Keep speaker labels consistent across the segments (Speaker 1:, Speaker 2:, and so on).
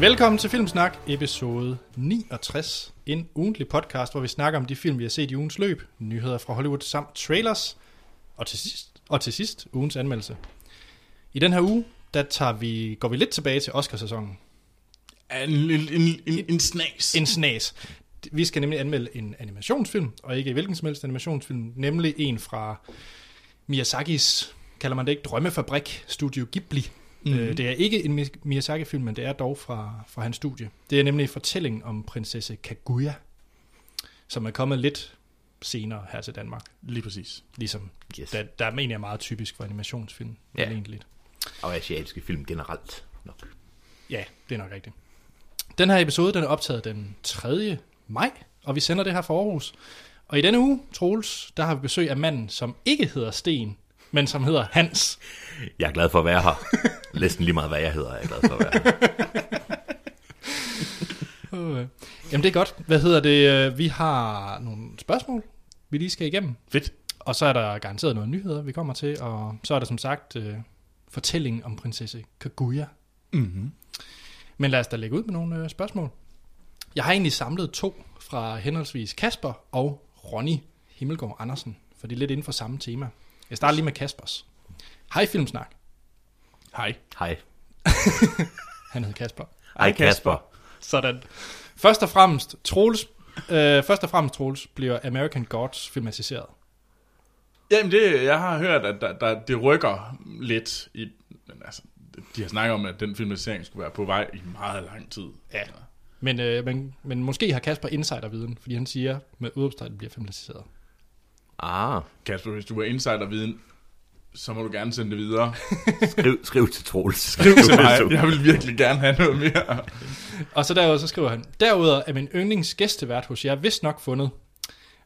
Speaker 1: Velkommen til Filmsnak, episode 69. En ugentlig podcast, hvor vi snakker om de film, vi har set i ugens løb, nyheder fra Hollywood samt trailers, og til sidst, og til sidst ugens anmeldelse. I den her uge, der tager vi, går vi lidt tilbage til Oscarsæsonen.
Speaker 2: En, en, en, en, en snas.
Speaker 1: En snas. Vi skal nemlig anmelde en animationsfilm, og ikke hvilken som helst animationsfilm, nemlig en fra Miyazakis, kalder man det ikke, drømmefabrik, Studio Ghibli.
Speaker 2: Mhm.
Speaker 1: Mm-hmm. Øh, det er ikke en Mi- Miyazaki-film, men det er dog fra, fra hans studie. Det er nemlig fortællingen om prinsesse Kaguya, som er kommet lidt senere her til Danmark.
Speaker 2: Lige præcis.
Speaker 1: Ligesom,
Speaker 3: Yes.
Speaker 1: yes. der, der mener jeg er meget typisk for animationsfilm.
Speaker 3: Ja.
Speaker 1: Ja. Egentlig lidt.
Speaker 3: Og asiatiske film generelt nok.
Speaker 1: Ja, det er nok rigtigt. Den her episode, den er optaget den 3. maj, og vi sender det her for Aarhus. Og i denne uge, Troels, der har vi besøg af manden, som ikke hedder Sten, men som hedder Hans.
Speaker 3: Jeg er glad for at være her. Næsten lige meget, hvad jeg hedder, jeg er glad for at være her.
Speaker 1: Øh, Jamen det er godt. Hvad hedder det? Øh, Vi har nogle spørgsmål, vi lige skal igennem.
Speaker 2: Fedt.
Speaker 1: Og så er der garanteret noget nyheder, vi kommer til. Og så er der som sagt øh, fortællingen om prinsesse Kaguya.
Speaker 2: Mm-hmm.
Speaker 1: Men lad os da lægge ud med nogle øh, spørgsmål. Jeg har egentlig samlet to fra henholdsvis Kasper og Ronny Himmelgaard Andersen, for det er lidt inden for samme tema. Jeg starter lige med Kaspers. Hej Filmsnak.
Speaker 2: Hej.
Speaker 3: Hej.
Speaker 1: Han hed Kasper.
Speaker 3: Hej Kasper.
Speaker 1: Sådan. Først og fremmest, Troels, øh, først og fremmest, Troels bliver American Gods filmatiseret.
Speaker 2: Jamen, det, jeg har hørt, at der, der, det rykker lidt. I, men altså, de har snakket om, at den filmatisering skulle være på vej i meget lang tid. Ja.
Speaker 1: Men, øh, men, men måske har Kasper insiderviden, fordi han siger, med udopstegn bliver filmatiseret.
Speaker 3: Ah,
Speaker 2: Kasper, hvis du er insiderviden, så må du gerne sende det videre.
Speaker 3: skriv, skriv til Troels.
Speaker 2: Skriv til mig.
Speaker 3: Ja.
Speaker 2: Jeg vil virkelig gerne have noget mere.
Speaker 1: Og så derudover, så skriver han, derudover er min yndlingsgæstevært hos jer vist nok fundet.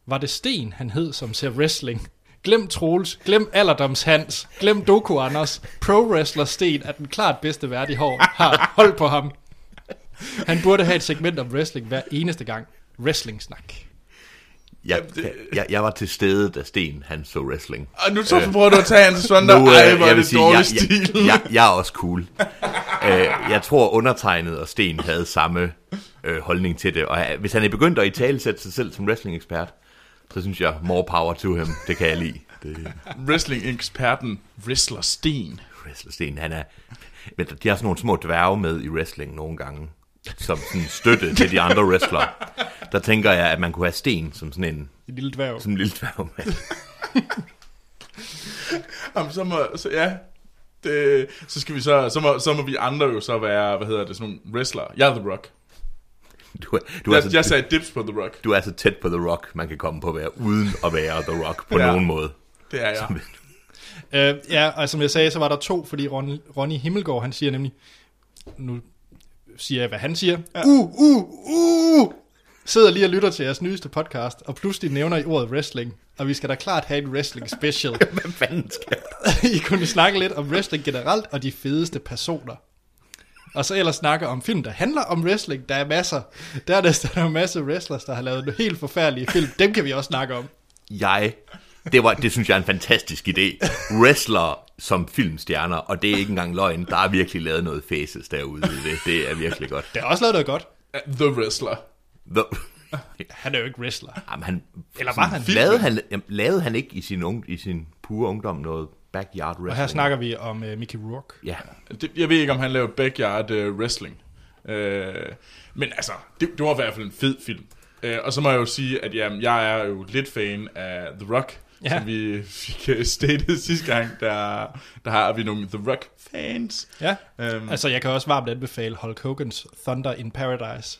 Speaker 1: Var det Sten, han hed, som ser wrestling? Glem Troels, glem Alderdoms Hans, glem Doku Anders. Pro Wrestler Sten er den klart bedste vært i hår. Har hold på ham. Han burde have et segment om wrestling hver eneste gang. Wrestling-snak.
Speaker 3: Jeg, jeg, jeg, var til stede, da Sten han så wrestling.
Speaker 2: Og nu så prøver du at tage hans søndag.
Speaker 3: øh,
Speaker 2: Ej, hvor er
Speaker 3: jeg vil
Speaker 2: det dårlig
Speaker 3: jeg,
Speaker 2: stil.
Speaker 3: Jeg, jeg, jeg er også cool. øh, jeg tror, undertegnet og Sten havde samme øh, holdning til det. Og øh, hvis han er begyndt at i tale sætte sig selv som wrestling-ekspert, så synes jeg, more power to him. Det kan jeg lide. Det,
Speaker 2: Wrestling-eksperten Wrestler Sten.
Speaker 3: Wrestlersten, han er... Men de har sådan nogle små dværge med i wrestling nogle gange, som sådan støtte til de andre wrestlere. Der tænker jeg, at man kunne have Sten som sådan en,
Speaker 1: En lille dværg.
Speaker 3: som en lille dværg med.
Speaker 2: Jamen, så må, så, ja, det, så skal vi så, så må, så må vi andre jo så være, hvad hedder det, sådan nogle wrestler. Jeg er The Rock.
Speaker 3: Du, er- du, er altså
Speaker 2: Jeg, jeg
Speaker 3: så,
Speaker 2: sagde dips på The Rock.
Speaker 3: du er så tæt på The Rock, man kan komme på at være uden at være The Rock på
Speaker 2: Ja.
Speaker 3: ja. nogen måde.
Speaker 2: Det er jeg.
Speaker 1: Øh, ja, og som jeg sagde, så var der to, fordi Ron, Ronny Himmelgaard, han siger nemlig, nu siger jeg, hvad han siger, ja. uh, uh, uh, sidder lige og lytter til jeres nyeste podcast, og pludselig nævner I ordet wrestling, og vi skal da klart have en wrestling special.
Speaker 3: Hvad fanden skal
Speaker 1: I kunne snakke lidt om wrestling generelt, og de fedeste personer. Og så ellers snakke om film, der handler om wrestling. Der er masser. Dernæst er der en masse wrestlers, der har lavet nogle helt forfærdelige film. Dem kan vi også snakke om.
Speaker 3: jeg? Det, var, det synes jeg er en fantastisk idé. Wrestler som filmstjerner, og det er ikke engang løgn. Der er virkelig lavet noget faces derude i det. Det er virkelig godt.
Speaker 1: Der er også lavet noget godt.
Speaker 2: The Wrestler.
Speaker 3: The...
Speaker 1: Han er jo ikke wrestler.
Speaker 3: Jamen, han,
Speaker 1: Eller var han?
Speaker 3: Lavede han, jamen, lavede han ikke i sin, unge, i sin pure ungdom noget backyard wrestling?
Speaker 1: Og her snakker vi om uh, Mickey Rourke.
Speaker 3: Ja,
Speaker 2: Det, jeg ved ikke, om han lavede backyard uh, wrestling. Uh, men altså, det, det var i hvert fald en fed film. Uh, og så må jeg jo sige, at jamen, jeg er jo lidt fan af The Rock.
Speaker 1: Ja.
Speaker 2: Ja. Som vi fik uh, stated sidste gang, der, der har vi nogle The Rock-fans.
Speaker 1: Ja.
Speaker 2: Um,
Speaker 1: Altså, jeg kan også varmt anbefale Hulk Hogan's Thunder in Paradise.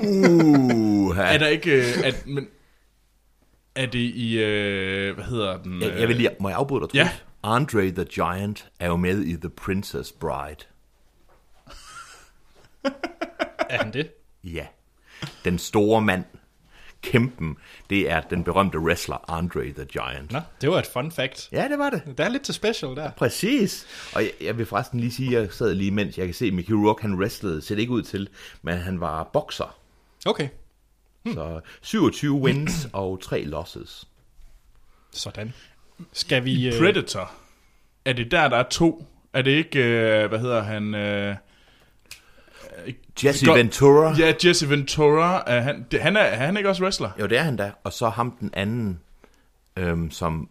Speaker 3: uh,
Speaker 2: Er
Speaker 3: jeg,
Speaker 2: der ikke... Øh, at, men, er det i... Øh, hvad hedder den?
Speaker 3: jeg vil lige, må jeg afbryde dig,
Speaker 2: Ja.
Speaker 3: Troels? Andre the Giant er jo med i The Princess Bride.
Speaker 1: Er han det?
Speaker 3: Ja, den store mand, kæmpen, det er den berømte wrestler Andre the Giant.
Speaker 1: Nå, det var et fun fact.
Speaker 3: Ja, det var det.
Speaker 1: Der er lidt til special der.
Speaker 3: Præcis. Og jeg, jeg vil forresten lige sige, at jeg sad lige, mens jeg kan se, at Mickey Rourke, han wrestlede, ser det ikke ud til, men han var bokser.
Speaker 1: Okay.
Speaker 3: Hmm. Så 27 wins og 3 losses.
Speaker 1: Sådan. Skal vi...
Speaker 2: Øh,
Speaker 1: øh,
Speaker 2: Predator. Er det der, der er to? Er det ikke... Øh, hvad hedder han? Øh,
Speaker 3: Jesse
Speaker 2: Godt.
Speaker 3: Ventura.
Speaker 2: Ja, Jesse Ventura, er han, det, han, er, er han ikke også wrestler?
Speaker 3: Jo, det er han da. Og så ham den anden, øhm, som...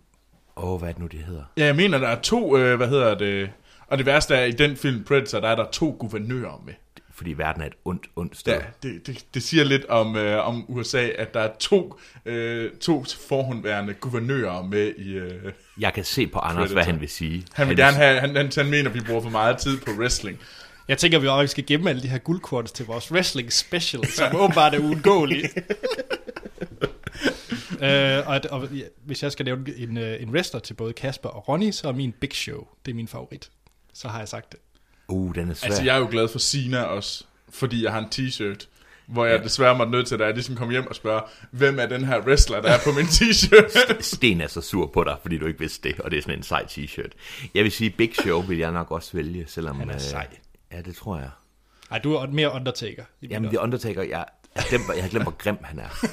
Speaker 3: Åh, oh, hvad er det nu, det hedder?
Speaker 2: Ja, jeg mener, der er to, øh, hvad hedder det... Og det værste er, at i den film Predator, der er der to guvernører med.
Speaker 3: Fordi verden er et ondt, ondt sted.
Speaker 2: Ja, det, det, det siger lidt om, øh, om USA, at der er to, øh, to forhåndværende guvernører med i... Øh,
Speaker 3: Jeg kan se på Anders,
Speaker 2: Predator.
Speaker 3: hvad han vil sige.
Speaker 2: han vil gerne have... Han, han, han mener, at vi bruger for meget tid på wrestling.
Speaker 1: Jeg tænker, at vi også skal gemme alle de her guldkorts til vores wrestling special, som åbenbart er uundgåelige. øh, og, at- og ja, hvis jeg skal nævne en, øh, en wrestler til både Kasper og Ronny, så er min Big Show, det er min favorit. Så har jeg sagt det.
Speaker 3: Uh, den er svær.
Speaker 2: Altså, jeg er jo glad for Sina også, fordi jeg har en t-shirt, hvor jeg ja. desværre måtte nødt til, at jeg ligesom kom hjem og spørge, hvem er den her wrestler, der er på min t-shirt?
Speaker 3: Sten er så sur på dig, fordi du ikke vidste det, og det er sådan en sej t-shirt. Jeg vil sige, Big Show vil jeg nok også vælge, selvom... Han
Speaker 1: er sej.
Speaker 3: Ja, det tror jeg.
Speaker 1: Ej, du er mere Undertaker. i min
Speaker 3: Jamen,
Speaker 1: ånd.
Speaker 3: The Undertaker, jeg, jeg, glemt, jeg har glemt, hvor grim han er.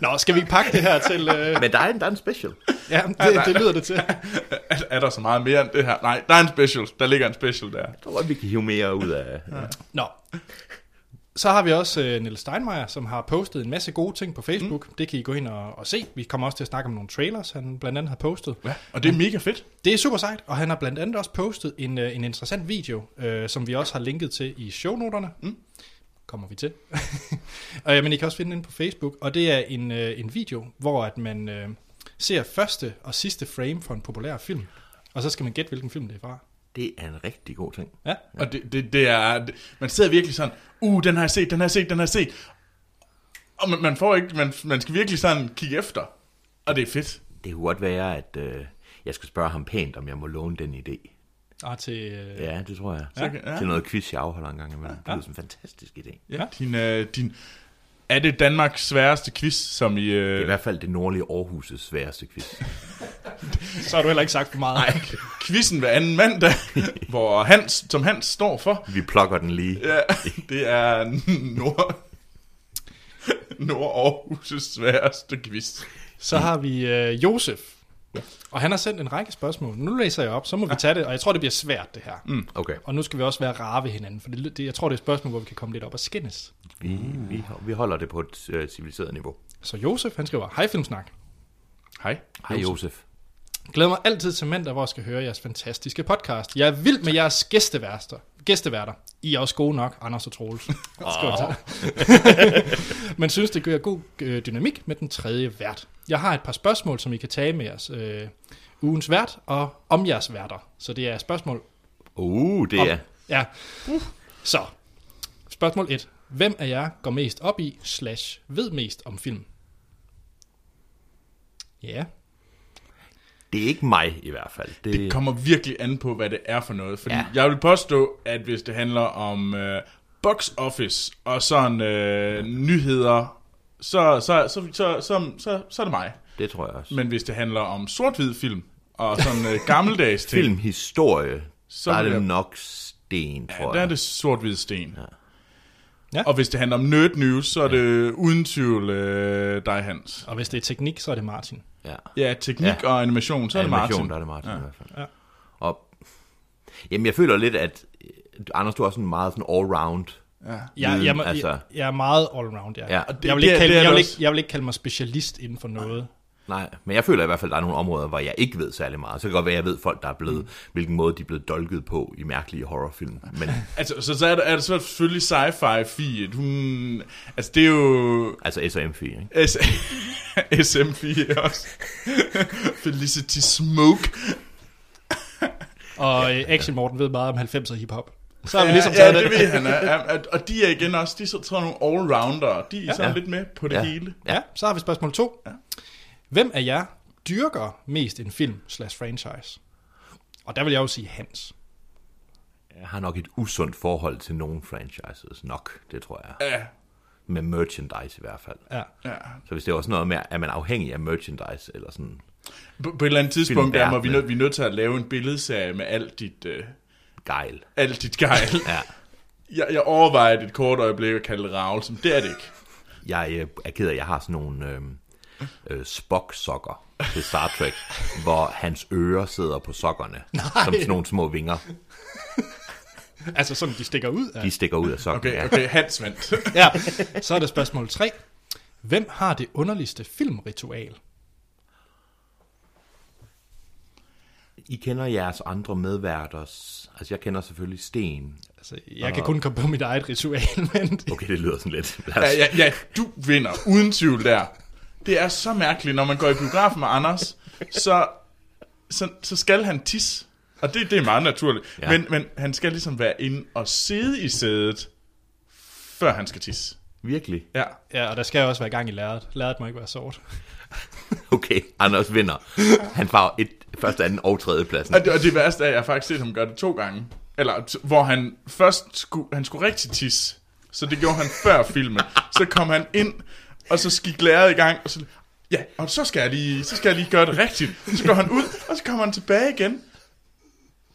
Speaker 1: Nå, skal vi ikke pakke det her til... Øh,
Speaker 3: Men der er en, der er en special.
Speaker 1: ja, det, det lyder det til.
Speaker 2: er, er der så meget mere end det her? Nej, der er en special. Der ligger en special der.
Speaker 3: Jeg tror godt, vi kan hive mere ud af... Ja.
Speaker 1: Nå. Så har vi også øh, Niels Steinmeier, som har postet en masse gode ting på Facebook. Mm. Det kan I gå ind og, og se. Vi kommer også til at snakke om nogle trailers, han blandt andet har postet.
Speaker 2: Ja, og det er mega fedt.
Speaker 1: Det er super sejt, og han har blandt andet også postet en, øh, en interessant video, øh, som vi også har linket til i shownoterne. Mm. Kommer vi til. og, øh, men I kan også finde den på Facebook, og det er en, øh, en video, hvor at man øh, ser første og sidste frame for en populær film, og så skal man gætte, hvilken film det er fra.
Speaker 3: Det er en rigtig god ting.
Speaker 1: Ja,
Speaker 2: Og det, det, det er... Det, man sidder virkelig sådan, uh, den har jeg set, den har jeg set, den har jeg set. Og man, man får ikke... Man, man skal virkelig sådan kigge efter. Og det er fedt.
Speaker 3: Det kunne godt være, at øh, jeg skal spørge ham pænt, om jeg må låne den idé.
Speaker 1: og til... Øh, ja.
Speaker 3: Ja, det tror jeg.
Speaker 2: Så kan- ja.
Speaker 3: Til noget quiz, jeg afholder en gang imellem. Det lyder som en fantastisk idé. Det
Speaker 1: Ja.
Speaker 2: Din, øh, din, er det Danmarks sværeste quiz, som i...
Speaker 3: er i
Speaker 2: Øh,
Speaker 3: hvert fald det nordlige Aarhus' sværeste quiz.
Speaker 1: Så har du heller ikke sagt for meget. Nej.
Speaker 2: quizzen hver anden mandag, hvor Hans, som Hans står for.
Speaker 3: Vi plukker den lige.
Speaker 2: Ja, det er Nord... Nord Aarhus' sværeste quiz.
Speaker 1: Så har vi øh, Josef, og han har sendt en række spørgsmål. Nu læser jeg op, så må vi tage det, og jeg tror, det bliver svært, det her. Mm.
Speaker 3: Okay,
Speaker 1: Og nu skal vi også være rare ved hinanden, for det, det, jeg tror, det er et spørgsmål, hvor vi kan komme lidt op og skændes.
Speaker 3: vi, vi, vi holder det på et øh, civiliseret niveau.
Speaker 1: Så Josef, han skriver, Hej Filmsnak.
Speaker 2: Hej.
Speaker 3: Hej Josef.
Speaker 1: Glæder mig altid til mandag, hvor jeg skal høre jeres fantastiske podcast. Jeg er vild med jeres gæsteværster. gæsteværter. I er også gode nok, Anders og Troels. Skriver han så. Men synes, det gør god øh, dynamik med den tredje vært. Jeg har et par spørgsmål, som I kan tage med jeres øh, ugens vært og om jeres værter. Så det er spørgsmål
Speaker 3: Uh, det er...
Speaker 1: Ja. Så, spørgsmål 1. Hvem af jer går mest op i, slash ved mest om film? Ja,
Speaker 3: Det er ikke mig i hvert fald. Det,
Speaker 2: Det kommer virkelig an på, hvad det er for noget. Fordi ja.
Speaker 3: Ja.
Speaker 2: jeg vil påstå, at hvis det handler om øh, box office og sådan øh, nyheder, så, så, så, så, så, så, så er det mig.
Speaker 3: det tror jeg også.
Speaker 2: Men hvis det handler om sort-hvid film og sådan øh, gammeldags ting,
Speaker 3: Filmhistorie,
Speaker 2: Så
Speaker 3: så der er
Speaker 2: vil
Speaker 3: det
Speaker 2: jeg-
Speaker 3: nok sten, tror jeg.
Speaker 2: der er det sort-hvid sten. Ja.
Speaker 1: Ja.
Speaker 2: Ja. Og hvis det handler om nerd news, så er det uden tvivl øh, dig, Hans.
Speaker 1: og hvis det er teknik, så er det Martin.
Speaker 3: Ja.
Speaker 2: Ja, teknik ja. og animation, så er det
Speaker 3: Animation,
Speaker 2: Martin.
Speaker 3: der er det Martin
Speaker 2: Ja.
Speaker 3: ja. i hvert fald.
Speaker 1: Ja.
Speaker 3: Ja. Og, jamen, jeg føler lidt, at øh, Anders, du er sådan meget sådan all-round.
Speaker 1: Jeg,
Speaker 3: Viden,
Speaker 1: jeg, jeg,
Speaker 3: altså.
Speaker 1: jeg, jeg er meget allround, ja.
Speaker 3: Ja.
Speaker 1: ja.
Speaker 3: Og
Speaker 2: det-
Speaker 1: Jeg, vil
Speaker 2: det
Speaker 1: ikke
Speaker 2: er-
Speaker 1: kalde,
Speaker 2: det er
Speaker 1: jeg,
Speaker 2: det
Speaker 1: vil
Speaker 2: også.
Speaker 1: ikke, jeg vil ikke kalde mig specialist inden for noget.
Speaker 3: Nej, men jeg føler i hvert fald, at der er nogle områder, hvor jeg ikke ved særlig meget. Så kan det godt være, at jeg ved folk, der er blevet, mm. hvilken måde de er blevet dolket på i mærkelige horrorfilm. Men
Speaker 2: Altså, så, så er det, er det selvfølgelig sci-fi fiet. Hun, altså, det er jo...
Speaker 3: altså S&M4, ikke?
Speaker 2: S- SM4 også. Felicity Smoke.
Speaker 1: Og ja, Action Morten ved meget om 90'er hiphop. Så har vi
Speaker 2: Ja,
Speaker 1: ligesom
Speaker 2: ja,
Speaker 1: taget
Speaker 2: det
Speaker 1: det.
Speaker 2: ved han. Er, er, er, og de er igen også, de er så tror jeg, nogle allrounder. De er ja. sådan
Speaker 3: Ja.
Speaker 2: lidt med på det
Speaker 3: Ja.
Speaker 2: hele.
Speaker 1: Ja, så har vi spørgsmål 2. Hvem af jer dyrker mest en film, slash franchise? Og der vil jeg jo sige Hans.
Speaker 3: Jeg har nok et usundt forhold til nogle franchises nok, det tror jeg.
Speaker 2: Ja,
Speaker 3: Med merchandise i hvert fald.
Speaker 1: Ja.
Speaker 2: ja.
Speaker 3: Så hvis det er også noget med, at man er afhængig af merchandise, eller sådan...
Speaker 2: På, på et eller andet tidspunkt,
Speaker 3: Film
Speaker 2: der
Speaker 3: er
Speaker 2: må vi,
Speaker 3: med.
Speaker 2: nød, vi er nødt til at lave en billedserie med alt dit, øh,
Speaker 3: Geil.
Speaker 2: alt dit gejl.
Speaker 3: Ja.
Speaker 2: Jeg, jeg overvejede et kort øjeblik at kalde det Ravlsen. Det er det ikke.
Speaker 3: Jeg øh, er ked af, at jeg har sådan nogle øh, øh, Spock-sokker til Star Trek, hvor hans ører sidder på sokkerne, Nej. som sådan nogle små vinger.
Speaker 1: Altså sådan, de stikker ud af.
Speaker 3: De stikker ud af sokken,
Speaker 2: Okay,
Speaker 3: okay, okay.
Speaker 2: okay, Hans vandt.
Speaker 1: Ja. Så er der spørgsmål 3. Hvem har det underligste filmritual?
Speaker 3: ja. I kender jeres andre medværters... Altså, jeg kender selvfølgelig Sten.
Speaker 1: Altså, jeg kan kun komme på mit eget ritual, men
Speaker 3: Okay, det lyder sådan lidt... Lad os-
Speaker 2: Ja, ja, ja, du vinder, uden tvivl der. Det er så mærkeligt, når man går i biografen med Anders, så, så, så skal han tisse. Og det, det er meget naturligt. Ja.
Speaker 3: Ja.
Speaker 2: Men, men han skal ligesom være inde og sidde i sædet, før han skal tisse.
Speaker 3: Virkelig.
Speaker 2: Ja.
Speaker 1: ja, og der skal jo også være gang i lærret. Lærret må ikke være sort.
Speaker 3: Okay, Anders vinder. Han får et, første, anden og tredje pladsen.
Speaker 2: Og det, og det værste er, at jeg har faktisk set ham gøre det to gange. Eller, t- hvor han først skulle, han skulle rigtig tisse. Så det gjorde han før filmen. Så kom han ind, og så gik lærer i gang, og så, ja, og så skal, jeg lige, så skal jeg lige gøre det rigtigt. Så går han ud, og så kommer han tilbage igen.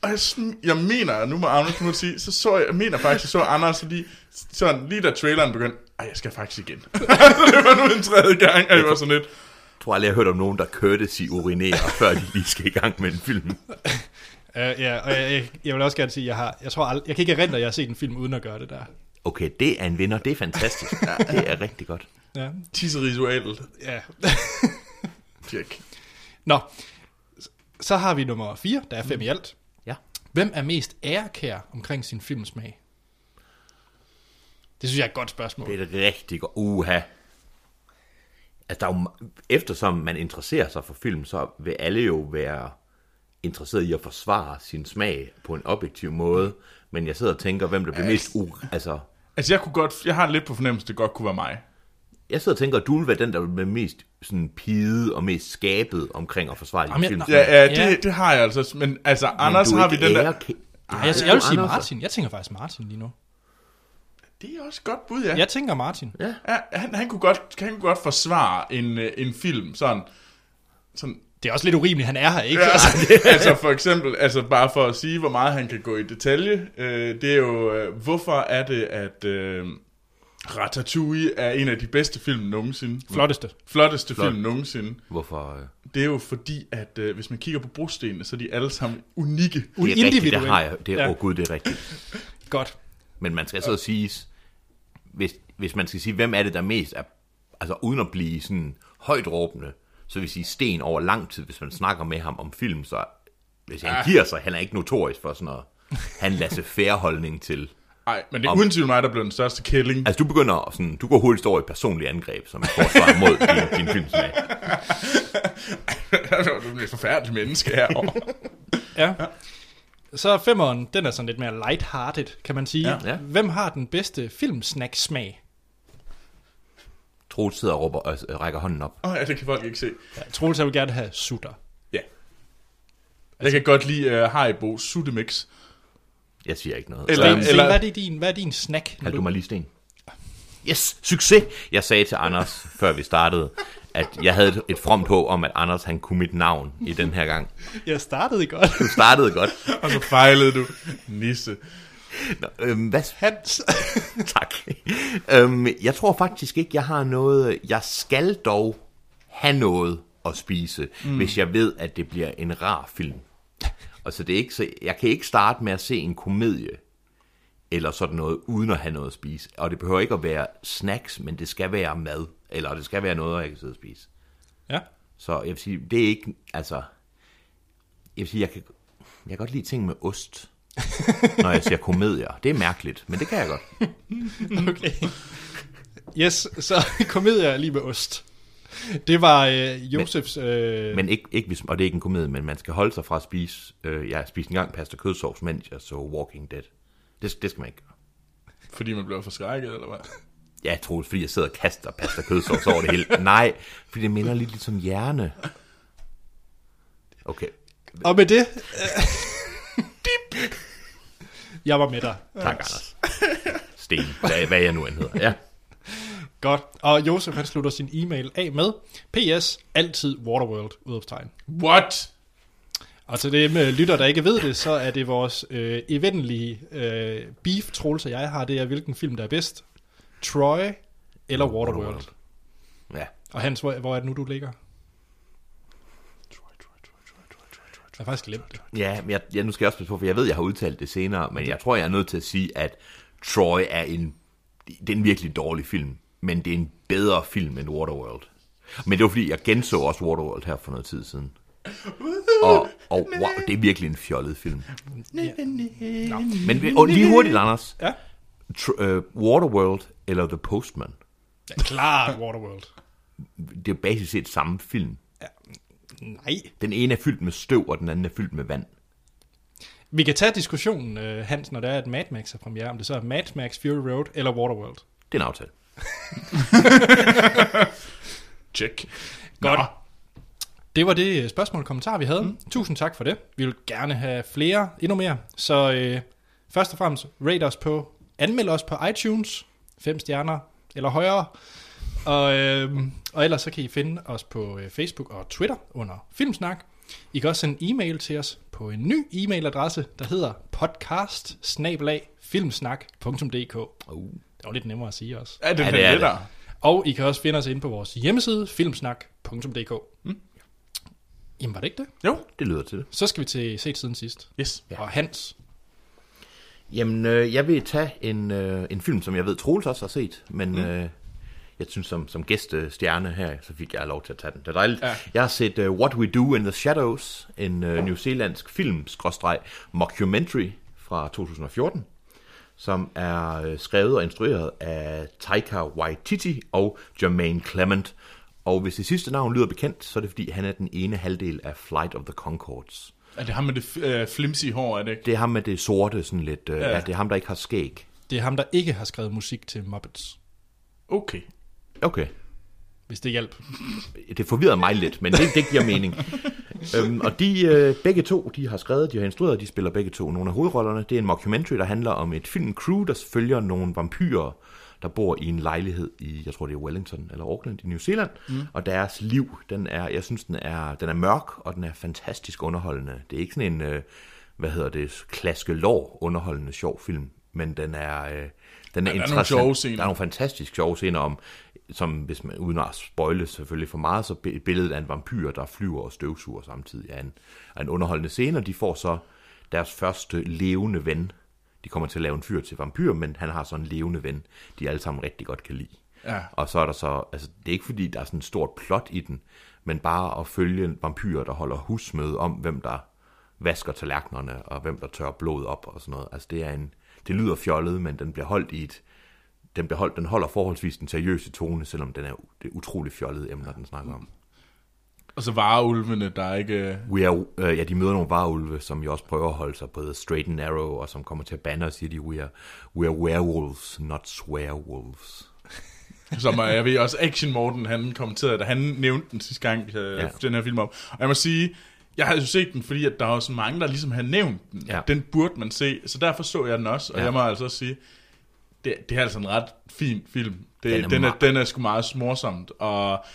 Speaker 2: Og jeg, sn- jeg mener, nu må Anders nu sige, så så jeg, jeg mener faktisk, jeg så Anders lige, sådan, lige da traileren begyndte, ej, jeg skal faktisk igen. så det var nu en tredje gang, og jeg var sådan lidt,
Speaker 3: Jeg tror aldrig, jeg har hørt om nogen, der kørte sig urinerer, før de lige skal i gang med en film.
Speaker 1: Uh, ja, og jeg, jeg, jeg, vil også gerne sige, jeg har, jeg tror ald- jeg kan ikke erindre, at jeg har set en film uden at gøre det der.
Speaker 3: Okay, det er en vinder. Det er fantastisk. Det er rigtig godt.
Speaker 1: Ja,
Speaker 2: tisseritualet,
Speaker 1: ja.
Speaker 2: Jack.
Speaker 1: Nå, så har vi nummer 4, der er fem i alt.
Speaker 3: Ja.
Speaker 1: Hvem er mest ærekær omkring sin filmsmag? Det synes jeg er et godt spørgsmål.
Speaker 3: Det er et rigtig godt. Uha. Altså, der er jo, eftersom man interesserer sig for film, så vil alle jo være interesseret i at forsvare sin smag på en objektiv måde. Men jeg sidder og tænker, hvem der bliver mest u... Altså,
Speaker 2: Altså, jeg kunne godt, jeg har lidt på fornemmelse, det godt kunne være mig.
Speaker 3: jeg sidder og tænker, at du vil være den, der vil være mest sådan pide og mest skabet omkring at forsvare
Speaker 1: Jamen,
Speaker 3: din
Speaker 1: jeg-
Speaker 3: film.
Speaker 2: Ja, ja, det,
Speaker 1: Ja.
Speaker 2: det har jeg altså. Men altså, Anders har vi den der...
Speaker 1: Ej, jeg, jeg vil sige Martin. Jeg tænker faktisk Martin lige nu.
Speaker 2: Det er også et godt bud, ja. ja.
Speaker 1: Jeg tænker Martin.
Speaker 3: Ja.
Speaker 2: han, han, kunne godt, han kunne godt forsvare en, øh, en film, sådan... sådan
Speaker 1: Det er også lidt urimeligt, han er her, ikke?
Speaker 2: ja,
Speaker 1: Altså,
Speaker 2: altså for eksempel, altså bare for at sige, hvor meget han kan gå i detalje, øh, det er jo, øh, hvorfor er det, at øh, Ratatouille er en af de bedste film nogensinde?
Speaker 1: Flotteste.
Speaker 2: Flotteste
Speaker 3: Flot.
Speaker 2: film nogensinde.
Speaker 3: Hvorfor? øh,
Speaker 2: Det er jo fordi, at øh, hvis man kigger på brostenene, så er de alle sammen unikke.
Speaker 3: Det er rigtigt, det
Speaker 1: Individuelt.
Speaker 3: har jeg. Det er,
Speaker 1: Ja.
Speaker 3: ja. oh, gud, det er rigtigt.
Speaker 1: Godt.
Speaker 3: Men man skal så sige, hvis, hvis man skal sige, hvem er det, der mest er, altså uden at blive sådan højt råbende, så vil sige Sten over lang tid, hvis man snakker med ham om film, så hvis han giver sig, han er ikke notorisk for sådan noget. Han lader færre holdning til.
Speaker 2: Nej, men det er uden tvivl mig, der blev den største kælling.
Speaker 3: Altså du begynder at sådan, du går hurtigt over i et personligt angreb, som er forsvar mod din, din filmsmag.
Speaker 2: det var et forfærdeligt menneske herovre.
Speaker 1: Ja. Så femeren, den er sådan lidt mere lighthearted, kan man sige.
Speaker 2: Ja.
Speaker 3: Ja.
Speaker 1: Hvem har den bedste filmsnack-smag?
Speaker 3: Troels sidder og, råber, og øh, rækker hånden op.
Speaker 2: Åh oh, ja, det kan folk ikke se.
Speaker 1: Ja, Troels, jeg vil gerne have sutter.
Speaker 2: Ja. Jeg kan godt lide uh, Haribo Sudemix.
Speaker 3: Jeg siger ikke noget.
Speaker 2: Eller-
Speaker 1: Sten, Sten,
Speaker 2: eller-
Speaker 1: hvad er det din, hvad er din snack? Når
Speaker 3: Kaldte
Speaker 1: du...
Speaker 3: du mig lige sten? Yes, succes! Jeg sagde til Anders, før vi startede, at jeg havde et- et fromt håb om, at Anders han kunne mit navn i den her gang.
Speaker 1: Jeg startede godt.
Speaker 3: Du startede godt.
Speaker 2: Og så fejlede du. Nisse.
Speaker 3: Nå, øhm, hvad?
Speaker 1: Hans.
Speaker 3: Tak. Øhm, jeg tror faktisk ikke, jeg har noget... Jeg skal dog have noget at spise, mm. hvis jeg ved, at det bliver en rar film. Og så det er ikke så... Jeg kan ikke starte med at se en komedie eller sådan noget, uden at have noget at spise. Og det behøver ikke at være snacks, men det skal være mad. Eller det skal være noget, jeg kan sidde og spise.
Speaker 1: ja.
Speaker 3: Så jeg vil sige, det er ikke, altså, jeg vil sige, jeg kan, jeg kan godt lide ting med ost, når jeg siger komedier. Det er mærkeligt, men det kan jeg godt.
Speaker 1: Okay. Yes, så komedier lige med ost. Det var øh, Josefs... Øh,
Speaker 3: Men ikke, ikke hvis, og det er ikke en komedie, men man skal holde sig fra at spise, øh, jeg spiste engang pasta kødsovs, mens jeg så Walking Dead. Det, det skal man ikke gøre.
Speaker 2: Fordi man blev forskrækket, eller hvad?
Speaker 3: Ja, Troels, fordi jeg sidder og kaster pasta kødsovs over det hele. Nej, fordi det minder lidt, lidt som hjerne. Okay,
Speaker 1: Og med det... Øh, jeg var med dig.
Speaker 3: tak Anders. Sten, hvad, hvad jeg nu end hedder. Ja.
Speaker 1: Godt. Og Josef, han slutter sin e-mail af med PS, altid Waterworld, udopstegn.
Speaker 2: What?
Speaker 1: Og til dem øh, lytter, der ikke ved det, så er det vores øh, eventlige øh, beef, Troels og jeg har, det er, hvilken film, der er bedst. Troy eller Waterworld. Waterworld.
Speaker 3: Waterworld. ja.
Speaker 1: Og Hans, hvor, hvor er det nu, du ligger? Jeg har faktisk glemt det.
Speaker 3: Ja, men jeg, ja, nu skal jeg også passe på, for jeg ved, jeg har udtalt det senere, men jeg tror, jeg er nødt til at sige, at Troy er en, det er en virkelig dårlig film, men det er en bedre film end Waterworld. Men det var fordi, jeg genså også Waterworld her for noget tid siden. Og, og wow, det er virkelig en fjollet film. Men og lige hurtigt, Anders.
Speaker 1: Ja.
Speaker 3: Tr- øh, Waterworld eller The Postman,
Speaker 1: ja klart Waterworld.
Speaker 3: det er jo basis set samme film.
Speaker 1: Nej.
Speaker 3: Den ene er fyldt med støv, og den anden er fyldt med vand.
Speaker 1: Vi kan tage diskussionen, øh, Hans, når der er, at Mad Max er premiere, om det så er Mad Max, Fury Road eller Waterworld.
Speaker 3: Det er en aftale.
Speaker 2: Check.
Speaker 1: Godt. Nå. Det var det øh, spørgsmål og kommentar, vi havde. Mm. Tusind tak for det. Vi vil gerne have flere, endnu mere. Så øh, først og fremmest, rate os på, anmeld os på iTunes, fem stjerner eller højere. Og, øh, og ellers så kan I finde os på øh, Facebook og Twitter under Filmsnak. I kan også sende en e-mail til os på en ny e-mailadresse, der hedder podcast filmsnak.dk.
Speaker 3: Uh.
Speaker 1: Det var lidt nemmere at sige også.
Speaker 2: Er det,
Speaker 3: Ja,
Speaker 2: ja,
Speaker 3: det
Speaker 2: det
Speaker 3: er
Speaker 2: lettere?
Speaker 1: Og I kan også finde os inde på vores hjemmeside, filmsnak.dk. Mm. Jamen var det ikke det?
Speaker 2: Jo.
Speaker 3: Det lyder til det.
Speaker 1: Så skal vi til set siden sidst.
Speaker 2: Yes.
Speaker 1: Ja. Og Hans,
Speaker 3: Jamen, øh, jeg vil tage en, øh, en film, som jeg ved, Troels også har set, men mm. øh, jeg synes, som, som gæstestjerne her, så fik jeg lov til at tage den. Det er dejligt. Ja. Jeg har set uh, What We Do in the Shadows, en øh, newzealandsk film, skråstreg, mockumentary fra 2014, som er øh, skrevet og instrueret af Taika Waititi og Jermaine Clement. Og hvis det sidste navn lyder bekendt, så er det fordi, han er den ene halvdel af Flight of the Concords.
Speaker 2: Er det ham med det f- øh, flimsy hår, er det ikke?
Speaker 3: Det er ham med det sorte, sådan lidt. Øh, ja. ja, det er ham, der ikke har skæg.
Speaker 1: det er ham, der ikke har skrevet musik til Muppets.
Speaker 2: Okay.
Speaker 3: Okay.
Speaker 1: Hvis det hjælp.
Speaker 3: det forvirrede mig lidt, men det, det giver mening. øhm, og de øh, begge to, de har skrevet, de har instrueret, de spiller begge to nogle af hovedrollerne. Det er en mockumentary, der handler om et filmcrew, der følger nogle vampyrer, der bor i en lejlighed i, jeg tror det er Wellington eller Auckland i New Zealand. Mm. Og deres liv, den er, jeg synes, den er, den er mørk, og den er fantastisk underholdende. Det er ikke sådan en, øh, hvad hedder det, klaskelår underholdende sjov film, men den er... Øh, den er,
Speaker 2: nogle
Speaker 3: interessant.
Speaker 2: sjove scener.
Speaker 3: Der er nogle fantastisk sjove scener om, som hvis man, uden at spoile selvfølgelig for meget, så bi- billedet af en vampyr, der flyver og støvsuger samtidig er en, er en underholdende scene, og de får så deres første levende ven. De kommer til at lave en fyr til vampyr, men han har så en levende ven, de alle sammen rigtig godt kan lide.
Speaker 2: Ja.
Speaker 3: Og så er der så, altså det er ikke fordi, der er sådan et stort plot i den, men bare at følge vampyrer, der holder husmøde om, hvem der vasker tallerkenerne, og hvem der tørrer blod op og sådan noget. Altså det er en, det lyder fjollet, men den bliver holdt i et, den, bliver holdt, den holder forholdsvis den seriøse tone, selvom den er u- det er utrolig fjollede emner, den snakker om.
Speaker 2: Og så vareulvene, der er ikke... øh,
Speaker 3: We are, øh, ja, de møder nogle varulve, som jo også prøver at holde sig på the straight and narrow, og som kommer til at bande og siger, de, we are, we are werewolves, not swearwolves.
Speaker 2: Som øh, jeg ved også, Action Morten, han kommenterede, da han nævnte den sidste gang, vi havde
Speaker 3: Ja.
Speaker 2: ja. den her film op. Og jeg må sige, jeg havde jo set den, fordi at der var så mange, der ligesom havde nævnt den.
Speaker 3: Ja.
Speaker 2: Den burde man se, så derfor så jeg den også. Og
Speaker 3: Ja.
Speaker 2: ja. jeg må altså også sige, det, det er altså en ret fin film. Det, den,
Speaker 3: Den er
Speaker 2: er den, er,
Speaker 3: meget-
Speaker 2: den er sgu meget morsomt, og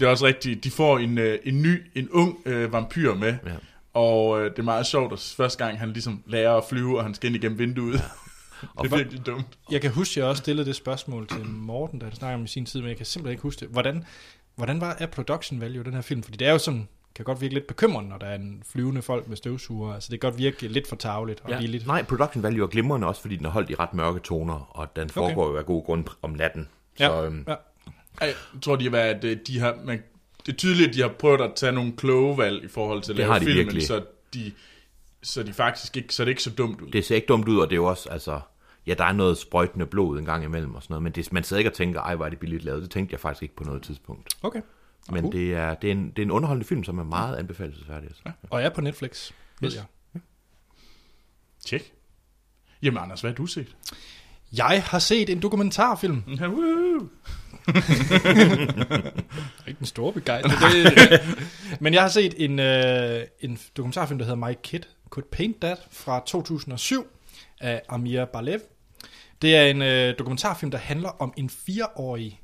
Speaker 2: det er også rigtigt, de får en, øh, en ny, en ung øh, vampyr med.
Speaker 3: Ja.
Speaker 2: Ja. Og øh, det er meget sjovt, at første gang han ligesom lærer at flyve, og han skal ind igennem vinduet.
Speaker 3: Og
Speaker 2: det
Speaker 3: for-
Speaker 2: er virkelig dumt.
Speaker 1: Jeg kan huske, at jeg også stillede det spørgsmål til Morten, da han snakkede om i sin tid, men jeg kan simpelthen ikke huske det. Hvordan, hvordan var er production value i den her film? Fordi det er jo sådan, kan godt virke lidt bekymrende, når der er en flyvende folk med støvsuger. Altså det kan godt virke lidt for tavligt og ja. billigt.
Speaker 3: Nej, production value er glimrende også, fordi den er holdt i ret mørke toner, og den foregår okay. jo af god grund om natten.
Speaker 1: Ja,
Speaker 3: Så, øhm,
Speaker 1: ja.
Speaker 2: Ej, Jeg tror, de har været, øh, de har, man, det er tydeligt, at de har prøvet at tage nogle kloge valg i forhold til at
Speaker 3: Det
Speaker 2: lave
Speaker 3: har de
Speaker 2: filmen,
Speaker 3: virkelig.
Speaker 2: så de, så de faktisk ikke, så det er ikke så dumt ud. Det.
Speaker 3: det ser ikke dumt ud, og det er jo også, altså, ja, der er noget sprøjtende blod en gang imellem og sådan noget, men det, man sidder ikke og tænker, ej, hvor er det billigt lavet. Det tænkte jeg faktisk ikke på noget tidspunkt.
Speaker 1: Okay.
Speaker 3: Men det er, det, er en, det er en underholdende film, som er meget anbefalesværdig. Altså.
Speaker 1: Og er på Netflix, ved
Speaker 2: Yes.
Speaker 1: jeg.
Speaker 2: Tjek. Jamen Anders, hvad har du set?
Speaker 1: Jeg har set en dokumentarfilm.
Speaker 2: Ja, woo!
Speaker 1: Ikke den store begejstring. Det- øh, Men jeg har set en, øh, en dokumentarfilm, der hedder My Kid Could Paint That fra 2007 af Amir Balev. Det er en øh, dokumentarfilm, der handler om en fireårig,